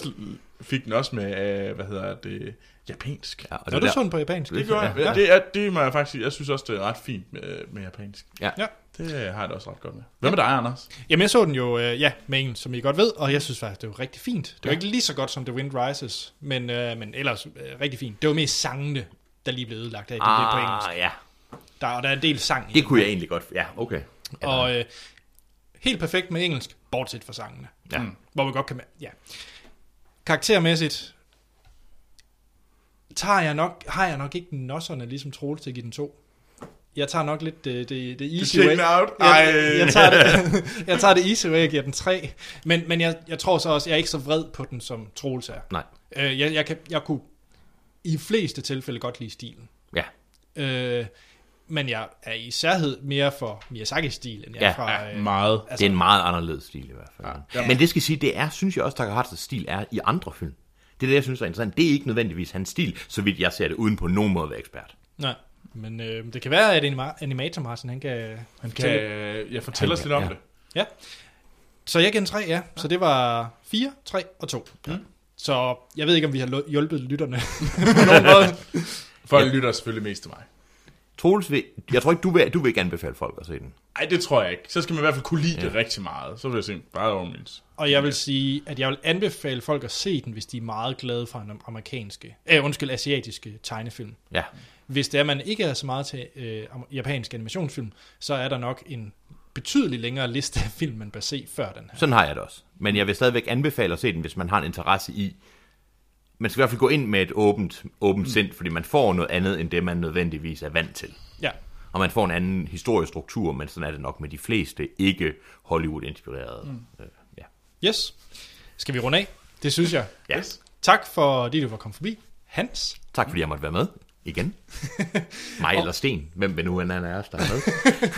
Speaker 2: fik den også med, øh, hvad hedder det, japansk.
Speaker 3: Ja, og
Speaker 1: Når
Speaker 3: altså, det
Speaker 1: du
Speaker 3: der-
Speaker 1: sådan på japansk?
Speaker 2: Det gør jeg, ja, det, er, det må jeg faktisk, jeg synes også, det er ret fint med, med japansk.
Speaker 3: Ja.
Speaker 1: Ja.
Speaker 2: Det har jeg det også ret godt med. Hvad med dig, Anders?
Speaker 1: Jamen, jeg så den jo, øh, ja, med engelsk, som I godt ved, og jeg synes faktisk, det var rigtig fint. Det var ikke lige så godt som The Wind Rises, men, øh, men ellers øh, rigtig fint. Det var mest sangene, der lige blev ødelagt af, det ah. på engelsk.
Speaker 3: Ah, ja.
Speaker 1: Der, og der er en del sang i
Speaker 3: Det kunne jeg egentlig godt. Ja, okay. Ja,
Speaker 1: Og øh, helt perfekt med engelsk, bortset fra sangene.
Speaker 3: ja.
Speaker 2: Mm.
Speaker 1: Hvor vi godt kan... Ja. Karaktermæssigt tager jeg nok, har jeg nok ikke nosserne, ligesom Troels til at give den to. Jeg tager nok lidt øh, det, det, det easy
Speaker 2: take
Speaker 1: way.
Speaker 2: den out?
Speaker 1: Jeg,
Speaker 2: Ej.
Speaker 1: jeg, tager det, jeg tager det easy way, jeg giver den tre. Men, men jeg, jeg tror så også, jeg er ikke så vred på den, som Troels er.
Speaker 3: Nej.
Speaker 1: Øh, jeg, jeg, kan, jeg kunne i fleste tilfælde godt lide stilen.
Speaker 3: Ja.
Speaker 1: Øh, men jeg er i særhed mere for Miyazaki-stil, end jeg
Speaker 3: Ja,
Speaker 1: er fra... Øh,
Speaker 2: Meget.
Speaker 3: Altså, det er en meget anderledes stil i hvert fald. Ja. Men det skal sige, det er, synes jeg også, Takahata's stil er i andre film. Det er det, jeg synes er interessant. Det er ikke nødvendigvis hans stil, så vidt jeg ser det, uden på nogen måde at være ekspert.
Speaker 1: nej, men øh, det kan være, at anima- animator Martin, han kan...
Speaker 2: Han kan, jeg fortæller os lidt om
Speaker 3: Ja.
Speaker 2: det.
Speaker 1: Ja. Så jeg gav den 3, ja. Så det var 4, 3 og 2. Ja. Så jeg ved ikke, om vi har lu- hjulpet lytterne på nogen måde.
Speaker 2: Folk lytter selvfølgelig mest til mig.
Speaker 3: Troels, vil, jeg tror ikke, du vil, du vil ikke anbefale folk at se den.
Speaker 2: Nej, det tror jeg ikke. Så skal man i hvert fald kunne lide ja. det rigtig meget. Så vil jeg sige, bare over min.
Speaker 1: Og jeg vil sige, at jeg vil anbefale folk at se den, hvis de er meget glade for den amerikanske, øh, undskyld, asiatiske tegnefilm.
Speaker 3: Ja.
Speaker 1: Hvis det er, man ikke er så meget til øh, am- japansk animationsfilm, så er der nok en betydelig længere liste af film, man bør se før den her.
Speaker 3: Sådan har jeg det også. Men jeg vil stadigvæk anbefale at se den, hvis man har en interesse i. Man skal i hvert fald gå ind med et åbent, åbent mm. sind, fordi man får noget andet, end det man nødvendigvis er vant til.
Speaker 1: Ja,
Speaker 3: Og man får en anden historiestruktur, men sådan er det nok med de fleste ikke Hollywood-inspirerede. Mm. Øh, ja.
Speaker 1: yes. Skal vi runde af? Det synes jeg.
Speaker 3: Ja.
Speaker 2: Yes.
Speaker 1: Tak for, fordi du var kommet forbi. Hans,
Speaker 3: Tak fordi jeg måtte være med. Igen. Mig eller Sten. Hvem vil nu end han er, os, der er med?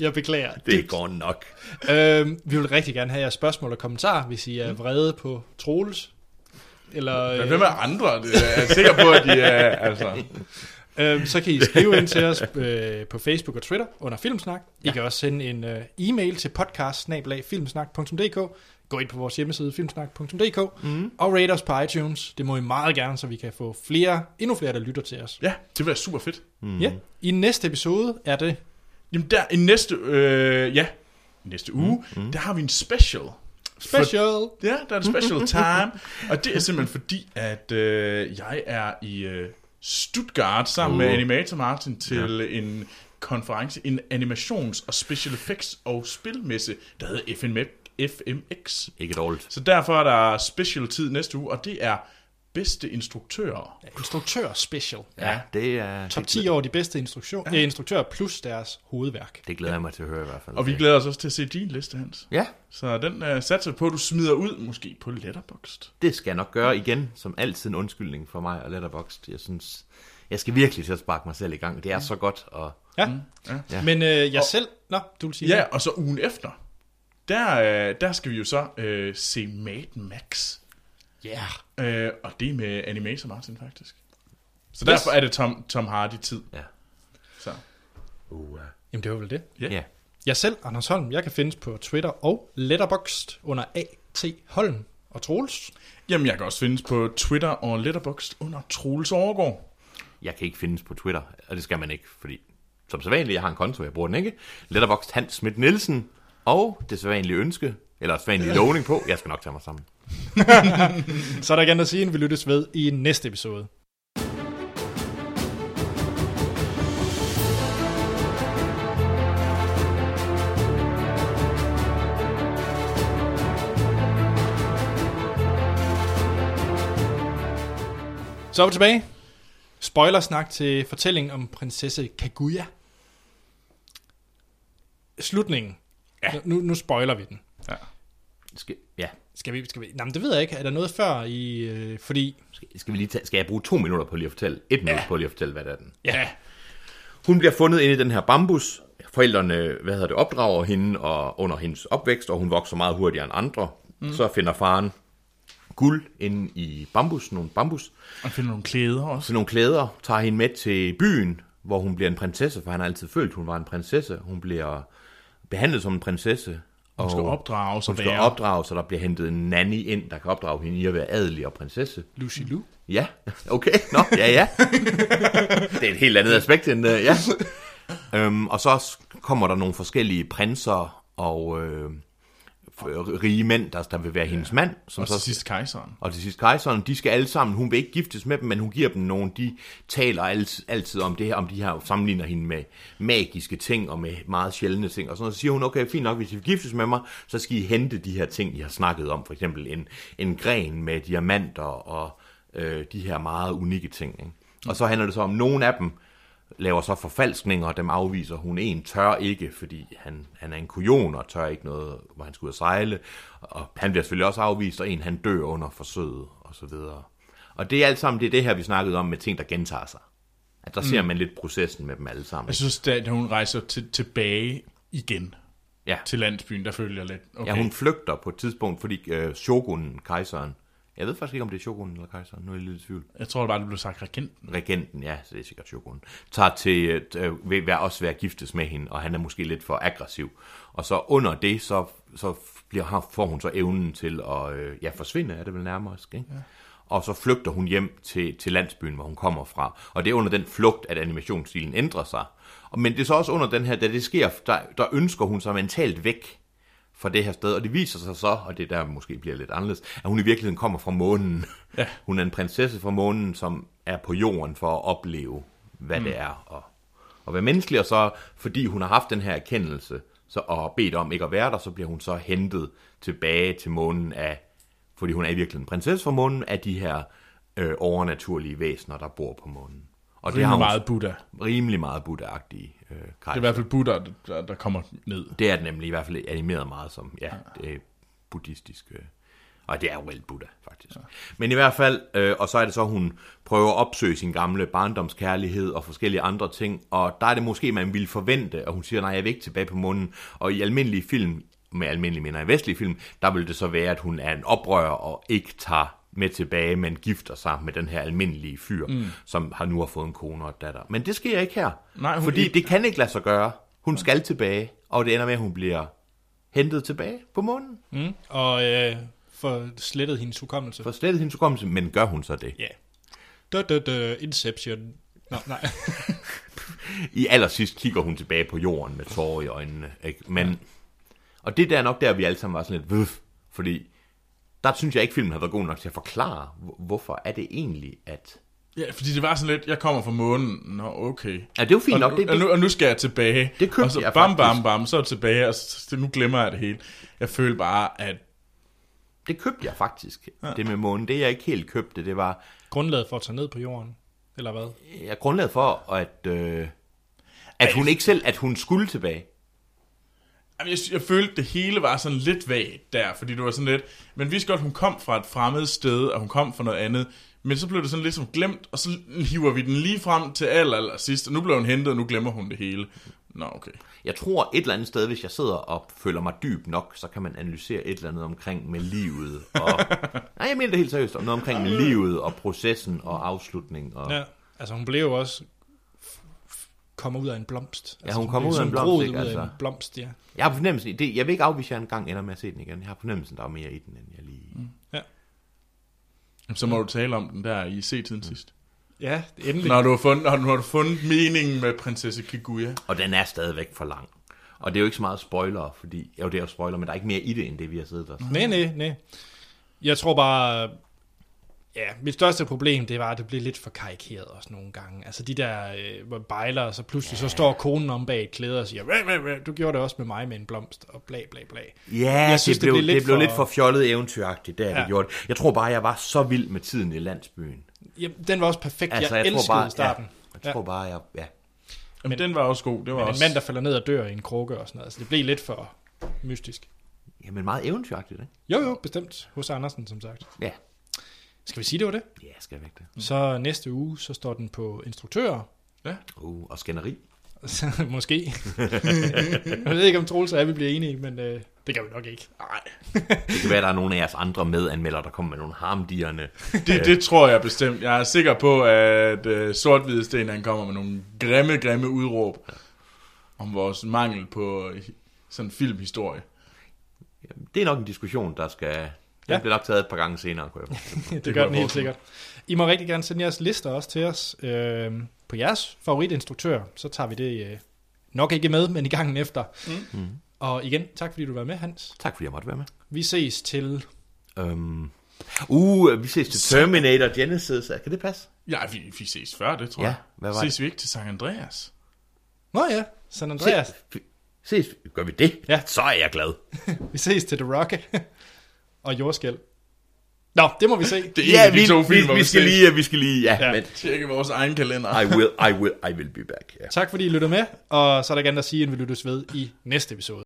Speaker 1: jeg beklager.
Speaker 3: Det går nok.
Speaker 1: øhm, vi vil rigtig gerne have jeres spørgsmål og kommentarer, hvis I er vrede på Troels. Eller,
Speaker 2: Men
Speaker 1: øh,
Speaker 2: øh, hvem er andre? Det er jeg sikker på, at de er... Altså,
Speaker 1: Øhm, så kan I skrive ind til os øh, på Facebook og Twitter under Filmsnak. I kan også sende en øh, e-mail til podcast Gå ind på vores hjemmeside filmsnak.dk mm. og rate os på iTunes. Det må I meget gerne, så vi kan få flere, endnu flere, der lytter til os.
Speaker 2: Ja, det vil være super fedt.
Speaker 1: Mm. Ja. I næste episode er det...
Speaker 2: Jamen der, i næste, øh, ja, næste uge, mm. der har vi en special.
Speaker 1: Special!
Speaker 2: Ja, der er en special time. Og det er simpelthen fordi, at øh, jeg er i øh, Stuttgart sammen med Animator Martin til Uh. ja. en konference, en animations- og special effects og spilmesse, der hedder FMX. FMX.
Speaker 3: Ikke dårligt.
Speaker 2: Så derfor er der special tid næste uge, og det er bedste instruktører.
Speaker 1: Instruktør special.
Speaker 3: Ja, det er...
Speaker 1: Top 10 over de bedste instruktør, ja. instruktører plus deres hovedværk.
Speaker 3: Det glæder jeg mig til at høre i hvert fald.
Speaker 2: Og vi glæder os også til at se din liste, Hans.
Speaker 3: Ja,
Speaker 2: Så den øh, satser på, at du smider ud, måske på Letterboxd.
Speaker 3: det skal jeg nok gøre igen, som altid en undskyldning for mig og Letterboxd. Jeg synes, jeg skal virkelig til at sparke mig selv i gang. Det er så godt, og
Speaker 1: Ja. Mm, ja. Men øh, jeg selv... Nå, du vil sige
Speaker 2: Ja,
Speaker 1: det.
Speaker 2: og så ugen efter, der, øh, der skal vi jo så øh, se Mad Max.
Speaker 1: Yeah.
Speaker 2: Øh, og det er med Animator Martin, faktisk. Så derfor er det Tom, Tom Hardy-tid.
Speaker 3: Ja.
Speaker 2: Så.
Speaker 1: Jamen, det var vel det.
Speaker 2: Ja.
Speaker 3: ja.
Speaker 1: Jeg selv, Anders Holm, jeg kan findes på Twitter og Letterboxd under A.T. Holm og Troels.
Speaker 2: Jamen, jeg kan også findes på Twitter og Letterboxd under Troels Overgaard.
Speaker 3: Jeg kan ikke findes på Twitter, og det skal man ikke, fordi som sædvanligt, jeg har en konto, jeg bruger den ikke. Letterboxd Hans Schmidt Nielsen, og det sædvanlige ønske, eller sædvanlige lovning på, jeg skal nok tage mig sammen.
Speaker 1: Så er der gerne at sige, at vi lyttes ved i næste episode. Så er vi tilbage. Spoilersnak til fortællingen om prinsesse Kaguya. Slutningen. Ja. Nu, nu spoiler vi den.
Speaker 3: Skal, ja.
Speaker 1: Skal vi, skal vi? Nå, men det ved jeg ikke. Er der noget før i... Øh, fordi...
Speaker 3: skal, skal, vi lige tage, skal jeg bruge to minutter på lige at fortælle? Et minut på lige at fortælle, hvad det er den.
Speaker 1: Ja.
Speaker 3: Hun bliver fundet inde i den her bambus. Forældrene, hvad hedder det, opdrager hende og under hendes opvækst, og hun vokser meget hurtigere end andre. Mm. Så finder faren guld inde i bambus, nogle bambus.
Speaker 2: Og finde nogle klæder også.
Speaker 3: Så nogle klæder tager hende med til byen, hvor hun bliver en prinsesse, for han har altid følt, hun var en prinsesse. Hun bliver behandlet som en prinsesse. Og
Speaker 2: Hun skal opdrages og
Speaker 3: hun skal
Speaker 2: være.
Speaker 3: opdrage, så der bliver hentet en nanny ind, der kan opdrage hende i at være adelig og prinsesse.
Speaker 1: Lucy Lou.
Speaker 3: Ja, okay, nå, ja, ja. Det er et helt andet aspekt end, øh, ja. Øhm, og så s- kommer der nogle forskellige prinser og øh, f- rige mænd, der, der vil være hendes mand. Som
Speaker 2: Og så sidst kejseren.
Speaker 3: og til sidst kejseren, de skal alle sammen, hun vil ikke giftes med dem, men hun giver dem nogle, de taler alt, altid om det her, om de her, sammenligner hende med magiske ting og med meget sjældne ting, og sådan noget. så siger hun, okay, fint nok, hvis I vil giftes med mig, så skal I hente de her ting, I har snakket om, for eksempel en, en gren med diamanter og øh, de her meget unikke ting. Ikke? Og så handler det så om, nogle af dem laver så forfalskninger, og dem afviser hun. En tør ikke, fordi han, han er en kujon og tør ikke noget, hvor han skulle ud at sejle. Og han bliver selvfølgelig også afvist, og en han dør under forsøget, og så videre. Og det er alt sammen, det er det her, vi snakkede om med ting, der gentager sig. At der mm. ser man lidt processen med dem alle sammen.
Speaker 2: Jeg synes, da da hun rejser til, tilbage igen
Speaker 3: Ja.
Speaker 2: til landsbyen, der følger jeg lidt. Okay.
Speaker 3: ja, hun flygter på et tidspunkt, fordi øh, shogunen, kejseren, jeg ved faktisk ikke, om det er shogunen eller kejseren, nu er jeg lidt i tvivl.
Speaker 2: Jeg tror bare, det blev sagt regenten.
Speaker 3: regenten, ja, så det er sikkert Shogun, tager til, at, øh, vil være, også være giftes med hende, og han er måske lidt for aggressiv. Og så under det, så, så bliver, har- får hun så evnen til at øh, ja, forsvinde, er det vel nærmere, ikke? Ja. Og så flygter hun hjem til, til landsbyen, hvor hun kommer fra. Og det er under den flugt, at animationsstilen ændrer sig. Og- Men det er så også under den her, da det sker, der, der ønsker hun sig mentalt væk fra det her sted, og det viser sig så, og det er der måske bliver lidt anderledes, at hun i virkeligheden kommer fra månen. Ja. Hun er en prinsesse fra månen, som er på jorden for at opleve, hvad mm. det er og, og være menneskelig, og så fordi hun har haft den her erkendelse, så, og bedt om ikke at være der, så bliver hun så hentet tilbage til månen af, fordi hun er i virkeligheden en prinsesse fra månen, af de her øh, overnaturlige væsener, der bor på månen. Og
Speaker 2: Det er meget Buddha. Det
Speaker 3: rimelig meget buddha-agtige øh,
Speaker 2: er i
Speaker 3: karakter.
Speaker 2: hvert fald Buddha, der, der kommer ned.
Speaker 3: Det er den nemlig i hvert fald animeret meget som, ja, det er buddhistisk. øh, Og det er jo reelt Buddha, faktisk. Ja. Men i hvert fald, øh, og så er det så, hun prøver at opsøge sin gamle barndomskærlighed og forskellige andre ting, og der er det måske, man ville forvente, og hun siger, nej, jeg vil ikke tilbage på munden. Og i almindelige film, med almindelige mener i vestlige film, der vil det så være, at hun er en oprører og ikke tager med tilbage, men gifter sig med den her almindelige fyr, mm. som har nu har fået en kone og et datter. Men det sker ikke her,
Speaker 2: Nej, hun-
Speaker 3: fordi det kan ikke lade sig gøre. Hun skal tilbage, og det ender med, at hun bliver hentet tilbage på månen.
Speaker 1: Mm. Og øh, for slettet hendes hukommelse.
Speaker 3: For slet hendes hukommelse, men gør hun så det?
Speaker 1: Ja. Da, da, da, Inception. Nå, nej.
Speaker 3: I allersidst kigger hun tilbage på jorden med tårer i øjnene. Ikke? Men, og det er der nok der, vi alle sammen var sådan lidt, Vøf, fordi der synes jeg ikke, filmen har været god nok til at forklare, hvor- hvorfor er det egentlig, at...
Speaker 2: Ja, fordi det var sådan lidt, jeg kommer fra månen, nå okay.
Speaker 3: Ja, det er jo fint
Speaker 2: Og,
Speaker 3: nok,
Speaker 2: nu-
Speaker 3: det,
Speaker 2: og,
Speaker 3: det,
Speaker 2: nu, og nu skal jeg tilbage.
Speaker 3: Det købte
Speaker 2: og så,
Speaker 3: jeg
Speaker 2: bam,
Speaker 3: faktisk.
Speaker 2: bam, bam, så er jeg tilbage, og så, så, nu glemmer jeg det hele. Jeg føler bare, at
Speaker 3: det købte jeg faktisk, det med månen. Det jeg ikke helt købte, det var
Speaker 1: Grundlaget for at tage ned på jorden. Eller hvad?
Speaker 3: jeg grundlaget for, at, øh, at hun ikke selv, at hun skulle tilbage.
Speaker 2: Jamen, jeg, jeg følte, det hele var sådan lidt vagt der, fordi det var sådan lidt, men vidste godt, hun kom fra et fremmed sted, og hun kom fra noget andet, men så blev det sådan lidt som glemt, og så hiver vi den lige frem til aller, aller sidst, og nu blev hun hentet, og nu glemmer hun det hele. Nå, okay.
Speaker 3: Jeg tror et eller andet sted, hvis jeg sidder og føler mig dyb nok, så kan man analysere et eller andet omkring med livet. Og, nej, jeg mener det helt seriøst. Om noget omkring med livet og processen og afslutningen. Og,
Speaker 1: Ja. Altså, hun blev jo også f- f- kommer ud af en blomst. Altså,
Speaker 3: hun kom
Speaker 1: blev
Speaker 3: ud af en
Speaker 1: sådan
Speaker 3: blomst,
Speaker 1: groet
Speaker 3: ikke?
Speaker 1: ud af en
Speaker 3: Altså.
Speaker 1: blomst, ja.
Speaker 3: Jeg har på fornemmelsen, i det, jeg vil ikke afvise, at jeg engang ender med at se den igen. Jeg har på fornemmelsen, der er mere i den, end jeg lige...
Speaker 2: Mm. Jamen, Så må du tale om den der i C-tiden sidst.
Speaker 1: Ja, endelig.
Speaker 2: Når du har fundet, når du har fundet meningen med prinsesse Kiguya.
Speaker 3: Og den er stadigvæk for lang. Og det er jo ikke så meget spoiler, fordi... Jo, det er jo spoiler, men der er ikke mere i det, end det, vi har siddet og...
Speaker 1: Nej, nej, nej. Jeg tror bare, ja, mit største problem, det var, at det blev lidt for karikeret også nogle gange. Altså de der øh, hvor bejler, og så pludselig ja. så står konen om bag et klæde og siger, "Væ, væ, væ, du gjorde det også med mig med en blomst, og bla bla bla.
Speaker 3: Ja,
Speaker 1: Jeg synes,
Speaker 3: det,
Speaker 1: det
Speaker 3: blev,
Speaker 1: blev
Speaker 3: det
Speaker 1: lidt
Speaker 3: blev
Speaker 1: for-
Speaker 3: lidt for fjollet eventyragtigt, der ja. det
Speaker 1: Ja.
Speaker 3: gjorde det. Jeg tror bare, jeg var så vild med tiden i landsbyen.
Speaker 1: Jamen, den var også perfekt, altså, jeg, jeg elskede bare, starten.
Speaker 3: Ja, jeg tror bare, jeg... Ja.
Speaker 2: Jamen, men, den var også god. Det var
Speaker 1: Men en
Speaker 2: også...
Speaker 1: mand, der falder ned og dør i en krukke og sådan noget, altså det blev lidt for mystisk.
Speaker 3: Jamen meget eventyragtigt, ikke?
Speaker 1: Jo, jo, bestemt. Hos Andersen, som sagt. Mm.
Speaker 3: Ja.
Speaker 1: Skal vi sige, det var det?
Speaker 3: Ja, skal væk det.
Speaker 1: Så næste uge, så står den på instruktører,
Speaker 3: Uh, og skænderi.
Speaker 1: Så, måske. jeg ved ikke, om Troels og jeg vil blive enige, men øh, det kan vi nok ikke. Nej.
Speaker 3: Det kan være, der er nogle af jeres andre medanmeldere, der kommer med nogle øh, harmdierne.
Speaker 2: Det, det tror jeg bestemt. Jeg er sikker på, at øh, sort Sten, han kommer med nogle grimme, grimme udråb om vores mangel på øh, sådan filmhistorie.
Speaker 3: Jamen, Det er nok en diskussion, der skal... Den ja.
Speaker 1: Ja.
Speaker 3: bliver nok taget et par gange senere, kunne jeg forestille mig.
Speaker 1: det, det
Speaker 2: Det kan
Speaker 1: gør
Speaker 2: jeg
Speaker 1: den helt
Speaker 2: forestille
Speaker 1: sikkert. I må rigtig gerne sende jeres lister også til os øh, på jeres favoritinstruktør. Så tager vi det øh, nok ikke med, men i gangen efter. Mm. Og igen, tak fordi du var med, Hans.
Speaker 3: Tak fordi jeg måtte være med.
Speaker 1: Vi ses til...
Speaker 3: Øhm. Uh, vi ses til Terminator Genesis. Kan det passe?
Speaker 2: Ja, vi, vi ses før det, tror
Speaker 3: Ja,
Speaker 2: jeg.
Speaker 3: hvad var
Speaker 2: ses vi ikke til Sankt Andreas?
Speaker 1: Nå ja, San Andreas.
Speaker 3: Se, ses. Gør vi det?
Speaker 1: Ja.
Speaker 3: Så er jeg glad.
Speaker 1: Vi ses til The Rock. og jordskæl. Nå, det må vi se.
Speaker 2: Det er en af de to film,
Speaker 3: vi, vi, skal lige, vi skal lige, ja. ja.
Speaker 1: Ja.
Speaker 3: Men
Speaker 2: Tjekke vores egen kalender.
Speaker 3: I will, I will, I will be back. Ja.
Speaker 1: Tak fordi I lytter med, og så er der gerne at sige, at vi lyttes ved i næste episode.